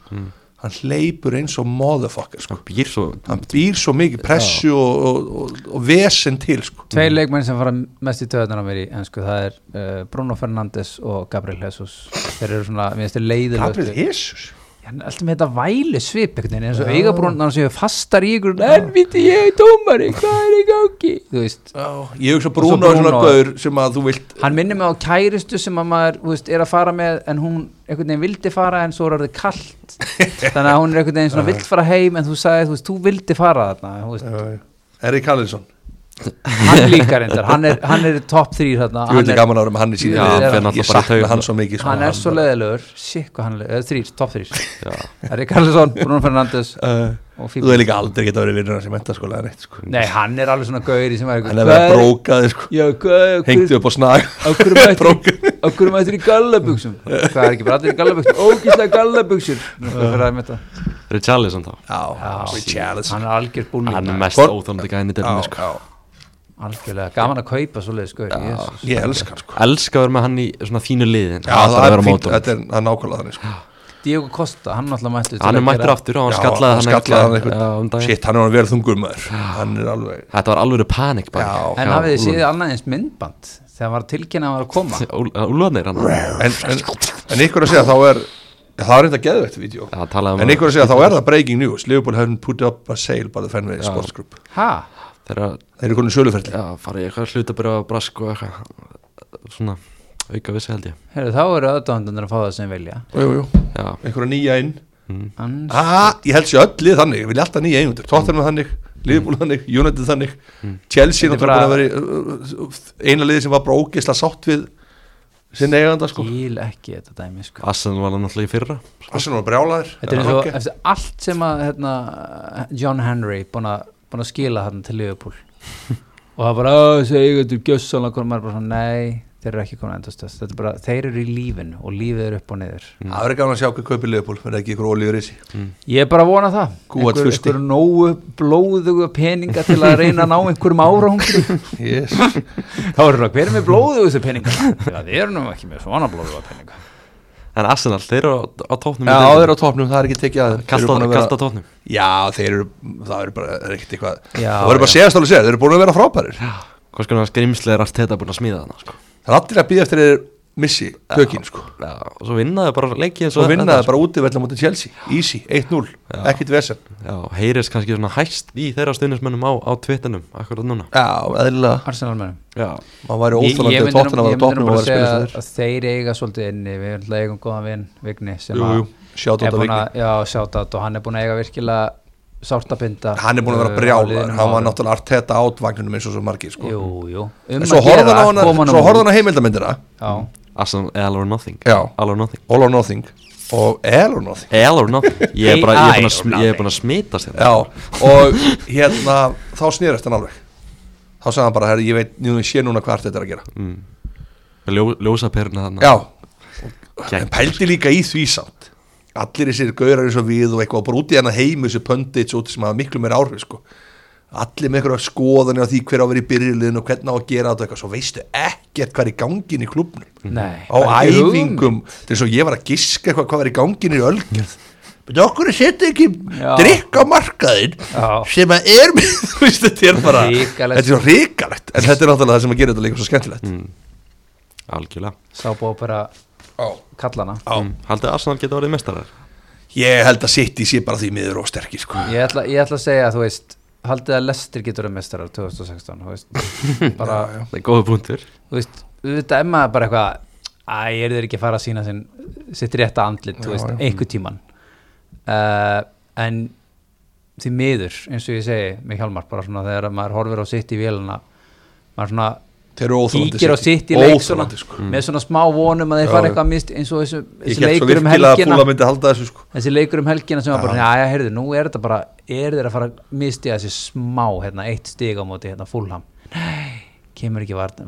S2: Hann hleypur eins og motherfucker sko.
S1: Hann býr svo
S2: Hann býr svo mikið pressu og, og, og, og vesen til sko.
S3: tveir leikmenn sem fara mest í töðunar á mér í ennsku, það er uh, Bruno Fernandes og Gabriel Jesus þeir eru svona, mér finnst þeir
S2: Gabriel
S3: leiðilegt
S2: Jesus
S3: hann er alltaf með þetta væli svip einhvern veginn, eins og augabrúnnar sem hefur fastar í ykkur en viti ég er tómari, hvað er í gangi þú veist
S2: Já, Ég hugsa
S3: svo
S2: Bruno er svona
S3: Bruno.
S2: gaur sem að þú vilt
S3: hann minnir mig á kæristu sem að maður þú veist, er að fara með en hún einhvern veginn vildi fara en svo er orðið kallt þannig að hún er einhvern veginn svona vilt fara heim en þú sagði þú veist, þú vildi fara þarna þú veist,
S2: Erik Hallinsson
S3: hann líka reyndar, hann er, hann er top 3 þarna,
S2: Þú veit
S3: hann
S2: ekki
S3: er,
S2: gaman að vera með hann í
S3: Já,
S2: síðan
S3: hann
S2: Ég-
S1: fer náttúrulega
S2: Ég
S1: bara í
S2: sakna
S1: taug.
S2: hann svo mikið sko.
S3: hann er svo leðilegur sík hvað hann er, leðilegur, þrýr, top 3
S1: Já,
S3: Erik Karlsson, Bruno Fernandes
S2: Uh,
S3: og
S2: Þú
S3: Fíbi
S2: er líka aldrei geta verið vinnur hans í mentaskóla eða neitt sko
S3: nei, hann er alveg svona gauri sem er
S2: Hann er verið að
S3: "Hvað
S2: bróka þig sko
S3: já, hvað, hvað-
S2: Hengti upp á snag
S3: á hverju mættir á hverju mættir í gallabuxum hvað er ekki bara allir í gallabuxum, ógíslega gallabuxur hvað er það með þetta
S1: Richarlison þá
S2: Já, Richarlison
S3: hann er algjör búlning
S1: Hann er mest
S2: Hvor-
S1: óþólandi gæðin í
S2: Já,
S1: delinu sko
S2: já.
S3: algjörlega, gaman að kaupa svoleiðis sko,
S2: Ég elska hann sko
S1: Elskar að vera með hann í svona þínu liðin
S2: Já, það er fínt, þetta er það er nákvæmlega þannig sko
S3: Diego Costa, hann náttúrulega mættu
S1: Hann er mættur aftur og hann
S2: Já,
S1: skallaði hann
S2: skallaði hann
S1: einhvern-
S2: einhvern-
S1: Já, um daginn.
S2: Shit, hann er hann verið þungur maður Hann er alveg
S1: Þetta var alveg panik bara
S2: Já.
S3: en hafið þið séð annað eins myndband þegar hann var tilkynna að var að koma
S1: Úlvanir hann
S2: En, en, en ykkur að segja þá er Já, Það er reynda geðveitt vídeo
S1: Það talaði um
S2: En ykkur að segja þá er það breaking news Liverpool haven't put up a sale by the Fenway Sports Group
S3: ha,
S1: Þeirra
S2: Þeir eru konum söluferli
S1: Já, farið í eitthvað hlutabyrja á brask og eitthvað Svona auka vissi held ég
S3: heyrðu, þá eru aðdóndandur að fá það sem vilja
S2: Jú, jú
S1: Já,
S2: einhverja nýja inn
S3: Ans,
S2: ah, ég held sér öll lið þannig, ég vilja alltaf nýja eigundur Tottenham er þannig, Liverpool er þannig, United er þannig Chelsea
S3: Hmm. Þetta er
S2: náttúrulega bara... veri, uh, uh, eina liði sem var bara ógeðslega sátt við sinna eiganda sko
S3: skil ekki þetta dæmi sko.
S1: Assan var hann alltaf í fyrra
S2: Arsenal var brjálaður
S3: Þetta er eins og
S2: Rangge.
S3: eftir allt sem að hérna, John Henry búin að, búin að skila hann til Liverpool og það er bara, "Ó, þessi eigendur gjössanlega komið maður er bara svona, nei, þeir eru ekki komin endastöð þetta er bara, þeir eru í lífinu og lífið er upp og niður
S2: Það verður gaman að sjá hvað kaupir Liverpool verður ekki ykkur olíur í sig
S3: ég er bara að vona það
S2: Gúa tvursti.
S3: einhver nógu blóðugu peninga til að reyna að ná einhverjum árangri
S2: yes.
S3: þá eru það, hver er með blóðugu þessu peninga það eru nú ekki með svona blóðugu peninga
S1: En Arsenal, þeir eru á, á tóknum
S2: Já, þeir eru á topnum, það er ekki tekið að þeim. Þeir eru
S1: Kasta,
S2: búin að vera-
S1: kasta tóknum
S2: Já, þeir eru, það eru bara það er ekkert eitthvað
S3: Já,
S2: Það verður bara
S3: já.
S2: séðast alveg séð, þeir eru búin að vera frábærir
S1: Hvers konar skrimsli er allt þetta búin að smíða þarna sko.
S2: Það er allir að býða eftir þeir missi tökin sko
S1: Já, og svo vinnaði bara leikið eins
S2: og
S1: þetta,
S2: vinnaði bara úti velja mútið Chelsea Easy, 1-0, ekkit vesen
S1: sko. Já, heyrist kannski svona hæst í þeirra stuðnismönnum á, á tvittinum Akkurat núna
S2: Já, eðlilega
S3: Arsenal mennum
S1: Já,
S2: maður væri
S3: Ég-
S2: óþálandi
S3: ég
S2: að
S3: myndi nú-
S2: tóttina var að
S3: ég myndi nú
S2: tóknum og var
S3: bara
S2: að spila
S3: segja
S2: þess
S3: að þeir eiga svolítið inni við erum alltaf eigum góðan vinn, Vigni sem
S2: Jú,
S3: að-
S2: jú, sjátt á
S3: er
S2: þetta
S3: búin
S2: vikni
S3: að, já, sjátt og hann er búin að eiga virkilega sártabinda
S2: Hann er búin að
S3: uh,
S2: vera brjálaður, hann var náttúrulega arteta átvagnunum eins og svo margir sko
S3: jú, um jú,
S2: En svo horfði hann á hana, svo horfði hann á heimildamindina
S3: hann
S1: Arsenal, all or nothing
S2: Já.
S1: All or nothing
S2: All or Nothing og All or Nothing
S1: All or nothing Ég er bara, ég er búin að,
S3: AI
S1: sm
S3: or
S1: ég er búin að smita sér
S2: Já, og hérna þá snýrist hann alveg þá sagði hann bara, herri, ég veit, nú ég sé núna hvað arteta er að gera
S1: Ljó, Ljósa perna
S3: Hérna.
S1: þarna
S2: Já,
S1: Gegn.
S2: en pældi líka í því samt Allir þessir gaurar eins og við og eitthvað, bara út í hann að heimu þessu pöndits út sem hafa miklu meira áhrif sko Allir með einhverja skoðanir á því hver á að vera í byrjulegin og hvernig á að gera þetta og eitthvað svo veistu ekkert hvað er í gangin í klubnum
S3: Nei,
S2: Mhm. á
S3: bara ekki
S2: æfingum til þess að ég var að giska eitthvað hvað var í gangin í ölgerð Betur okkur að setja ekki
S3: Já.
S2: drikk á markaðinn
S3: Já.
S2: sem að er með, þú veist, þetta er bara,
S3: Hrikalegt. Mm.
S2: þetta er svo ríkalegt, en þetta er náttúrulega það sem að gera þetta líka svo skemmtilegt.
S1: Algjörlega
S3: sá búið bara
S2: Já,
S3: kallana
S2: já.
S1: mm. Haldið að Arsenal geta orðið mestarar
S2: Ég held að City sé bara því miður og sterkir sko.
S3: ég ætla, ég ætla að segja, þú veist haldið að Lester getur að mestarar 2016 þú veist, bara,
S1: Það er góða punktur
S3: þú veist, þetta er maður bara eitthvað að ég er þeir ekki að fara að sína sinn, sitt rétta andlit, þú veist, einhver tíman uh, en því miður, eins og ég segi með Hjalmar, bara svona þegar maður horfir á sitt í vélina, maður svona
S2: Þeir eru óþólandi
S3: kíkir á sitt í leik svona,
S2: Óþolandi, sko.
S3: með svona smá vonum að
S2: Já,
S3: þeir fara
S2: já.
S3: eitthvað mist eins og þessu,
S2: Ég
S3: þessi
S2: held svo
S3: leikur um
S2: virkilega að
S3: helgina
S2: Fúla myndi halda þessu sko.
S3: þessi leikur um helgina sem var bara,
S2: Já.
S3: já, já, heyrðu, nú er þetta bara er þeir að fara að mistiða þessi smá hérna, eitt stig á móti, hérna, fullham nei, kemur ekki varð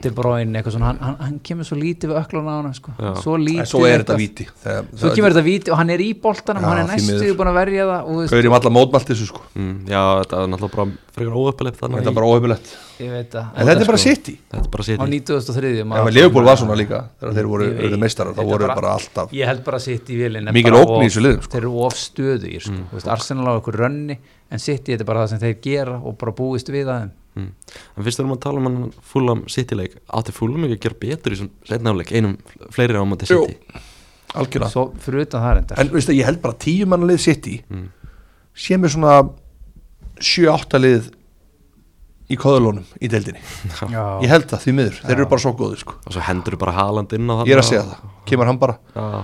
S3: til bróin, eitthvað svona, hann, hann, hann kemur svo lítið við ökluna á hann, sko,
S1: Já.
S3: svo lítið
S2: En svo er þetta
S3: eitthvað.
S2: víti Þegar-
S3: svo kemur þetta víti og hann er í boltanum
S2: Já,
S3: og hann er
S2: því miður.
S3: næstuð búin að verja það og þú veist,
S2: Gauður í alla mótmælt þessu sko.
S1: mm. Já, þetta er náttúrulega bara frekar óöpilegt þarna
S2: Þetta er
S1: í-
S2: bara óhefilegt
S3: ég veit
S2: En
S3: það
S2: þetta er bara City
S1: Þetta er bara
S3: á
S1: sér
S3: 93.
S2: Já,
S3: maður-
S2: menn Leopold var svona líka Þegar þeir voru,
S3: Ég veit.
S2: voru meistarar Þá
S3: Þetta
S2: voru
S3: bara-
S2: bara alltaf
S3: ég held bara að sitt í vilin
S2: Mikil ógn í þessu liðum, sko.
S3: þeir eru of stöðu í sko. mm. Arsenal á einhver rönni en sitt í þetta er bara það sem þeir gera og bara búist við aðeim
S1: mm. En fyrst erum við að tala um hann Fulham City leik Átti Fulham ekki að gera betur í þessum setna áleik Einum fl- fleiri á móti
S2: Jú.
S1: City
S2: Algjörlega
S3: svo fyrir utan það reyndar
S2: En veistu, ég held bara tíu mannalið City
S1: Mm.
S2: Sé með svona 7-8 lið Í köðlunum í deildinni
S3: Já.
S2: Ég held það því miður Þeir eru bara svo góði sko
S1: Og svo hendur bara Haaland inn á það
S2: Ég er að segja það Kemur hann bara
S1: Já,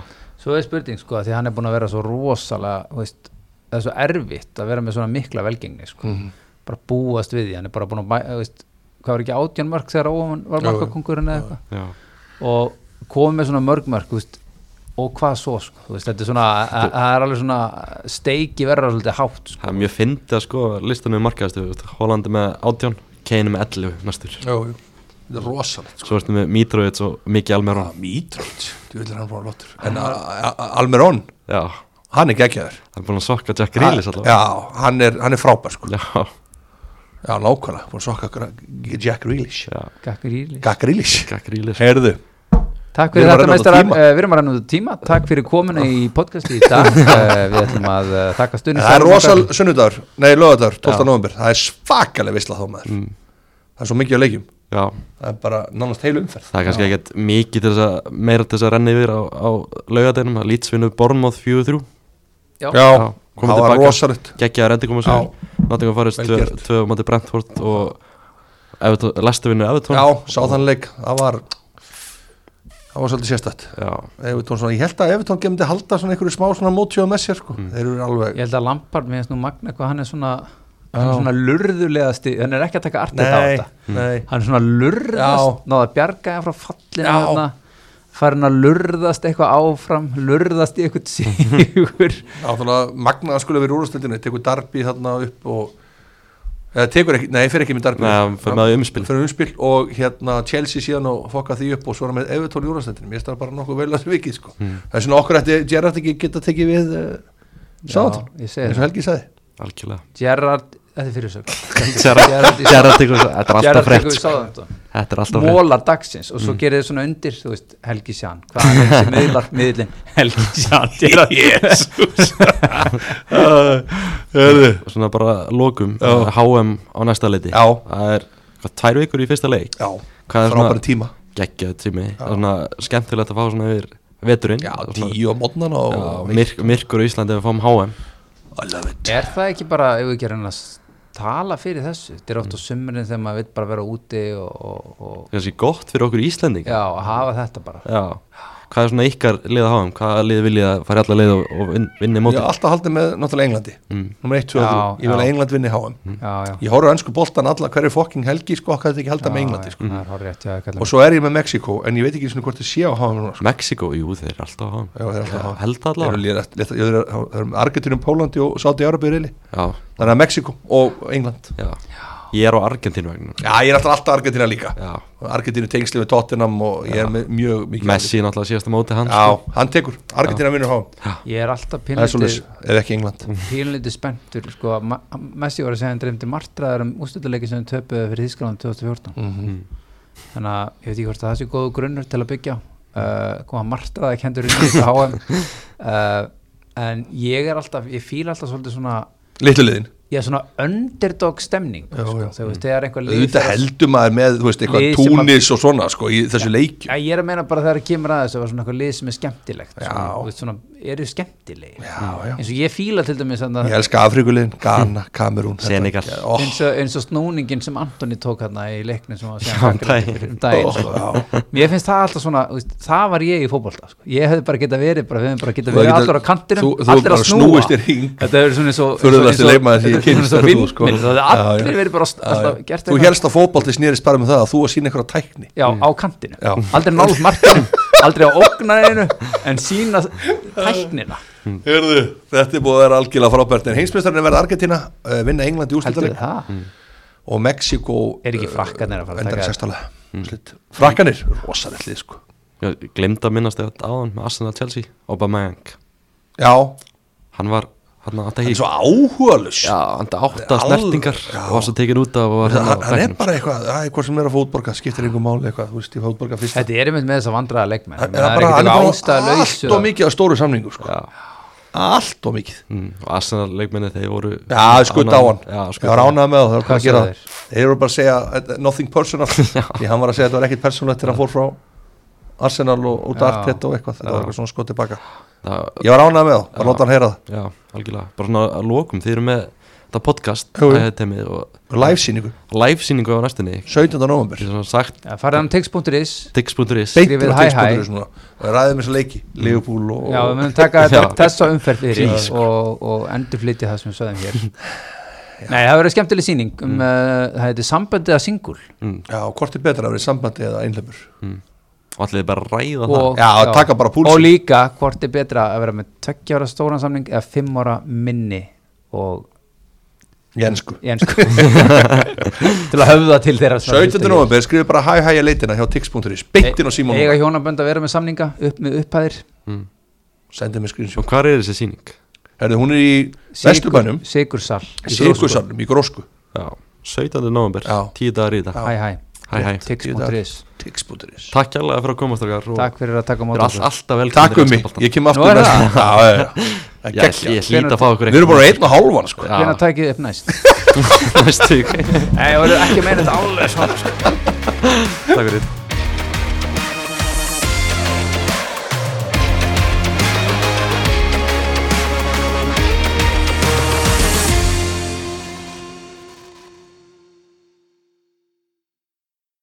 S3: svo er spurning sko að því hann er búin að vera svo rosalega þú veist, það er svo erfitt að vera með svona mikla velgengni sko.
S2: Mhm.
S3: bara búast við því hann er bara búin að bæ- þú veist, hvað var ekki átján mörg þegar óvan var
S2: Jú, jú.
S3: markakongurinn eða eitthvað
S1: já
S3: og komið með svona mörg mörg þú veist, og hvað svo sko, þú veist, þetta er svona að- það er alveg svona steiki verða svolítið hátt sko.
S1: Það er mjög fyndið að sko listanum markaðastu Hólandi með 18, Kane með 11 næstur
S2: Jú, jú Þetta er rosalegt
S1: Svo ertu með Mitrovic og Miki Almerón
S2: Mítröld Þú vil hann bara lottur En Almerón,
S1: Já,
S2: hann er geggjaður
S1: hann er búin að sokka Jack Grealish allavega
S2: Ah, Já, hann er, hann er frábær sko
S1: Já,
S2: Já, nákvæmlega, búin að sokka gra- Jack Grealish
S1: já,
S3: Gakk í ríli.
S2: Jack Grealish
S1: Jack Grealish
S2: Heyrðu
S3: Takk
S2: Við
S3: fyrir
S2: erum að renna út á
S3: þetta meistarar,
S2: tíma. Ah.
S3: uh, við erum að renna út á tíma Takk fyrir komuna í podcasti í dag uh, Við ætlum að uh, þakka stundin
S2: Það er rosal sunnudagur, nei lögadagur, 12. november Það er svakalega visla þá maður Það er svo mikið á leikjum
S1: Já,
S2: Það er bara nánast heilu umferð
S1: það er kannski ekkert mikið til þess að meira til þess að renna yfir á, á laugadeginum að Lítsvinnu Bornmoð 4-3
S2: Já,
S1: Já, komum
S2: það var
S1: tilbaka.
S2: rosalegt
S1: Gekkið að rendi koma sér Nottingham Forest
S2: Vel
S1: 2
S2: gert.
S1: 2 á móti Brentford og Everton- Leicester vinnur Evertón
S2: Já, sá þann leik, það var Það það var svolítið sérstætt
S1: já,
S2: Evertón, svona, ég held að Evertón gemdi halda svona einhverju smá svona mótjóð með sér sko.
S1: Mm.
S2: þeir eru alveg
S3: Ég held að Lampard minnst nú magna hvað hann er svona hann
S2: Já.
S3: er svona lurðulegasti, hann er ekki að taka artið á
S2: nei,
S3: þetta Mm.
S2: nei,
S3: hann er svona lurðast,
S2: Já.
S3: náða að bjarga hann frá fallinu
S2: Já.
S3: þarna, farin að lurðast eitthvað áfram, lurðast í eitthvað sigur
S2: náttúrulega magnaða skulle verið úrstundinu, tekur Darby þarna upp og eða tekur ekki, nei, fyrir ekki með Darby
S1: Nei, hann fer með í umspil.
S2: Fer með umspil og hérna Chelsea síðan og fokka því upp og svo er hann með Evertón í úrstundinu, mér stæði bara nokkuð vel að þessu vikið sko.
S1: Mm.
S2: það er svona okkur ætti Gerrard ekki geta tekið við uh, sátt,
S3: Já, ég segi
S2: eins og
S3: það
S2: Helgi sagði
S1: algjörlega
S3: Gerard, þetta er fyrirsök
S1: Gerard Gerard tekur svo- þetta er alltaf
S3: Gerard
S1: frétt
S3: tekur
S1: sko.
S3: sáðan
S1: þetta er alltaf frétt Mm.
S3: mólar dagsins og svo gerir þið svona undir þú veist, Helgi Sján, hvað er þessi miðlar miðlin, Helgi Sján Gerard
S2: Hörðu
S1: svona bara lokum,
S2: Já.
S1: eh, HM á næsta leiti
S2: Já.
S1: það er hvað, tvær vikur í fyrsta leik
S2: Já,
S1: Hvað er svona-
S2: frábæri tíma
S1: geggjað tími, það er svona skemmtilegt að fá svona yfir veturinn
S2: Já,
S1: Svona-
S2: tíu á mótnana
S1: Já,
S2: og
S1: myrk, myrkur á Íslandi ef við fáum HM
S2: I love it
S3: er það ekki bara, ef við ekki að reyna að s- tala fyrir þessu, þetta er
S1: Mm.
S3: oft á sumurinn þegar maður vil bara vera úti og, og, og
S1: kannski gott fyrir okkur Íslanding
S3: já, að hafa þetta bara
S1: hvað er svona ykkar lið að HM hvaða lið viljið að fara allar leið og, og vin- vinni
S2: Ég
S1: mótið
S2: er alltaf haldið með náttúrulega Englandi mm. Númer 1, 2 og
S3: Já,
S2: 3 Ég vil að
S3: já.
S2: England vinni HM
S3: já, já,
S2: Ég horfði á ennsku boltan alla hverju fokking helgi sko, hvað þetta ekki halda með Englandi sko.
S3: sko. það er horrið að
S2: Og svo er ég með Mexiko, en ég veit ekki svona hvort þið sé á HM núna, sko.
S1: Mexiko, jú þeir eru alltaf á HM
S2: Já, þeir eru alltaf á HM.
S1: held
S2: Þeir eru
S1: allar
S2: lélega- lélega- þeir eru- þeir eru með Argentinum, Pólandi og Sáti Árabi reyli
S1: já,
S2: Þannig að Mexiko og England
S1: já. ég er á Argentínu vegna
S2: Já, ég er alltaf alltaf Argentina líka
S1: já.
S2: Argentina tengsli við Tottenham og ég er með mjög mikið
S1: Messi náttúrulega síðasta móti hans sko.
S2: Já, hann tekur, Argentina vinnur HM
S3: ég er alltaf
S2: Það er svolítið,
S3: pínlítið
S2: ef ekki England
S3: pínlítið spenntur sko, Ma- Messi var að segja hann dreymdi martraðar um ústölduleiki sem hann töpuði fyrir Þískaland 2014
S2: Mhm.
S3: þannig að ég veit ekki hvort að það sé góðu grunnur til að byggja á. uh, koma martraðar kendur inn í þessu HM uh, en ég er alltaf ég fíla alltaf svolítið svona
S2: Litlu liðin
S3: ég er svona underdog stemning
S2: Já,
S3: sko,
S2: já.
S3: þegar þú veist, þegar einhver lið
S2: auðvitað
S3: fer að-
S2: heldur maður með þú veist, eitthvað
S3: Lið sem að-
S2: túnis og svona sko, í þessu leikju
S3: Já, ég er að meina bara þegar það kemur að þessu það var svona eitthvað lið sem er skemmtilegt svona,
S2: Já.
S3: þú veist, svona, eru skemmtilegir
S2: já, já.
S3: eins og ég fíla til dæmis þarna-
S2: ég elska Afrikulegin, Ghana, Kamerún þetta-
S1: Senegal.
S2: Ó,
S3: eins, og, eins og snúningin sem Antoni tók hérna í leiknum sem var
S1: Já, um
S3: síðan gagnrýndur
S1: daginn.
S3: fyrir- um daginn sko. mér finnst það alltaf svona þú veist, það var ég í fótbolta sko. ég hefði bara geta verið bara, við hefðum bara geta
S2: Þú
S3: verið
S2: hefði
S3: allir á
S2: geta-
S3: kantinum
S2: þú- þú
S3: allir
S2: bara
S3: að snúa
S2: snúist í hring.
S3: þetta hefur svona svo
S2: Furðulegasti leikmaður sem ég kynnst er þú,
S3: vimmin
S2: sko.
S3: það hefði
S2: Já,
S3: allir
S2: já.
S3: verið bara st-
S2: já,
S3: alltaf
S2: já.
S3: gert
S2: þú helst að fótbalti snýrist bara með það að þú að sína eitthvað tækni
S3: já, á kantinu,
S2: Já.
S3: aldrei nált markinu aldrei á ógnarinu en sína tæknina
S2: Hörðu, þetta er búið að vera algjörlega frábært en heimsmeistarinn verða Argentina, uh, vinna England í
S3: heldur
S2: úrslitaleg
S3: það,
S2: og Mexiko
S3: er ekki frakkanir að fara að
S2: endar
S3: taka
S2: sextalega frakkanir, rosalegt lið sko
S1: ég glemd að minnast þetta áðan með Arsenal Chelsea Aubameyang,
S2: já,
S1: hann var hann átti
S2: hann
S1: ekki
S2: er svo áhugalus
S1: já, hann átti átta
S2: Alveg,
S1: snertingar
S2: já.
S1: og var svo tekin út af og var hérna á
S2: hann, hann er
S1: bekknum.
S2: bara eitthvað, æ, hvað sem er að fótborga skiptir einhver máli eitthvað, þú veist, ég fótborga fyrst
S3: þetta er einmitt með þess að vandraða leikmenn
S2: Það
S3: Ég meina, það er
S2: bara-
S3: ekkert
S2: hann er
S3: eitthvað
S2: bara
S3: ástæðalaus
S2: allt og mikið á stóru samningu sko. allt og mikið
S1: Mm, og Arsenal leikmenni þeir voru
S2: já, skutt á hann,
S1: já,
S2: ég var ánað með það það var
S3: Hvað
S2: hvað að gera
S3: sögðu
S2: það þeir eru bara að segja uh, nothing personal því hann var að segja að þetta var ekkit personlegt þegar hann fór frá Arsenal og út
S3: Já.
S2: af Arteta og eitthvað þetta
S1: Já.
S2: var eitthvað svona skot tilbaka
S1: það,
S2: ég var ánað með það, bara
S1: Já.
S2: láta hann heyra það
S1: Já, algjörlega, bara svona að lokum þið eru með þetta podcast
S2: Jú, jú.
S1: æðitemið og
S2: live síningu,
S1: live sýningu á næstunni
S2: 17. november
S1: Þið er svona sagt
S3: Já, farið hann um tix.is
S1: tix.is
S3: Skrifið
S2: beintur á
S3: hæ, hæ.
S2: textbútur og ræðum eins og leiki, Leopold og
S3: Já, við munum taka þetta,
S1: Já.
S3: þessa umferð fyrir
S1: Jeez.
S3: og, og endurflytja það sem við sögðum hér Nei, það verður skemmtileg sýning
S2: Mm.
S3: um, uh, það heitir sambandið að singul
S1: Mm.
S2: já, hvort er betra að vera í sambandi eða einleipur
S1: og allir bara að ræða
S3: og,
S2: Já, taka bara púlsinn.
S3: og líka hvort er betra að vera með tveggja ára stóran samning eða fimm ára minni og
S2: jensku
S3: ég ensku til að höfða til þeirra sem
S2: 17.
S3: að hlusta hér.
S2: november, skrifið bara hæ hæ að leitina hjá tix.is, beintin og símónum
S3: eiga hjónabönd að vera með samninga upp með upphæðir
S2: sendið mér
S1: og
S2: skrinsjók
S1: hvað Mm. er þessi sýning?
S2: Herðu, hún er í Vesturbænum
S3: Sigursal
S2: Sigursalnum í Grósku
S1: Já, 17. november,
S2: Já.
S1: 10 dagar í þetta
S3: Hæ, hæ,
S1: Hæ, hæ.
S3: Tix.is
S2: Tix.is
S1: Takk hérlega fyrir að komast okkar og
S3: Takk fyrir að taka á
S1: fyrir
S3: móti
S1: all,
S3: okkur.
S1: alltaf velkomin
S2: Takk um mig, ég kem aftur
S3: Nú er
S2: næst- Já,
S3: það.
S2: já, já.
S1: Já, ég,
S2: Gekkja
S1: ég hlýt að fá okkur
S2: Við erum bara einn og hálfan sko
S1: Já.
S3: Hvenær tækið þið upp næst?
S1: næstu viku.
S3: Nei, ég verður ekki að meina þetta alveg svona
S1: Takk fyrir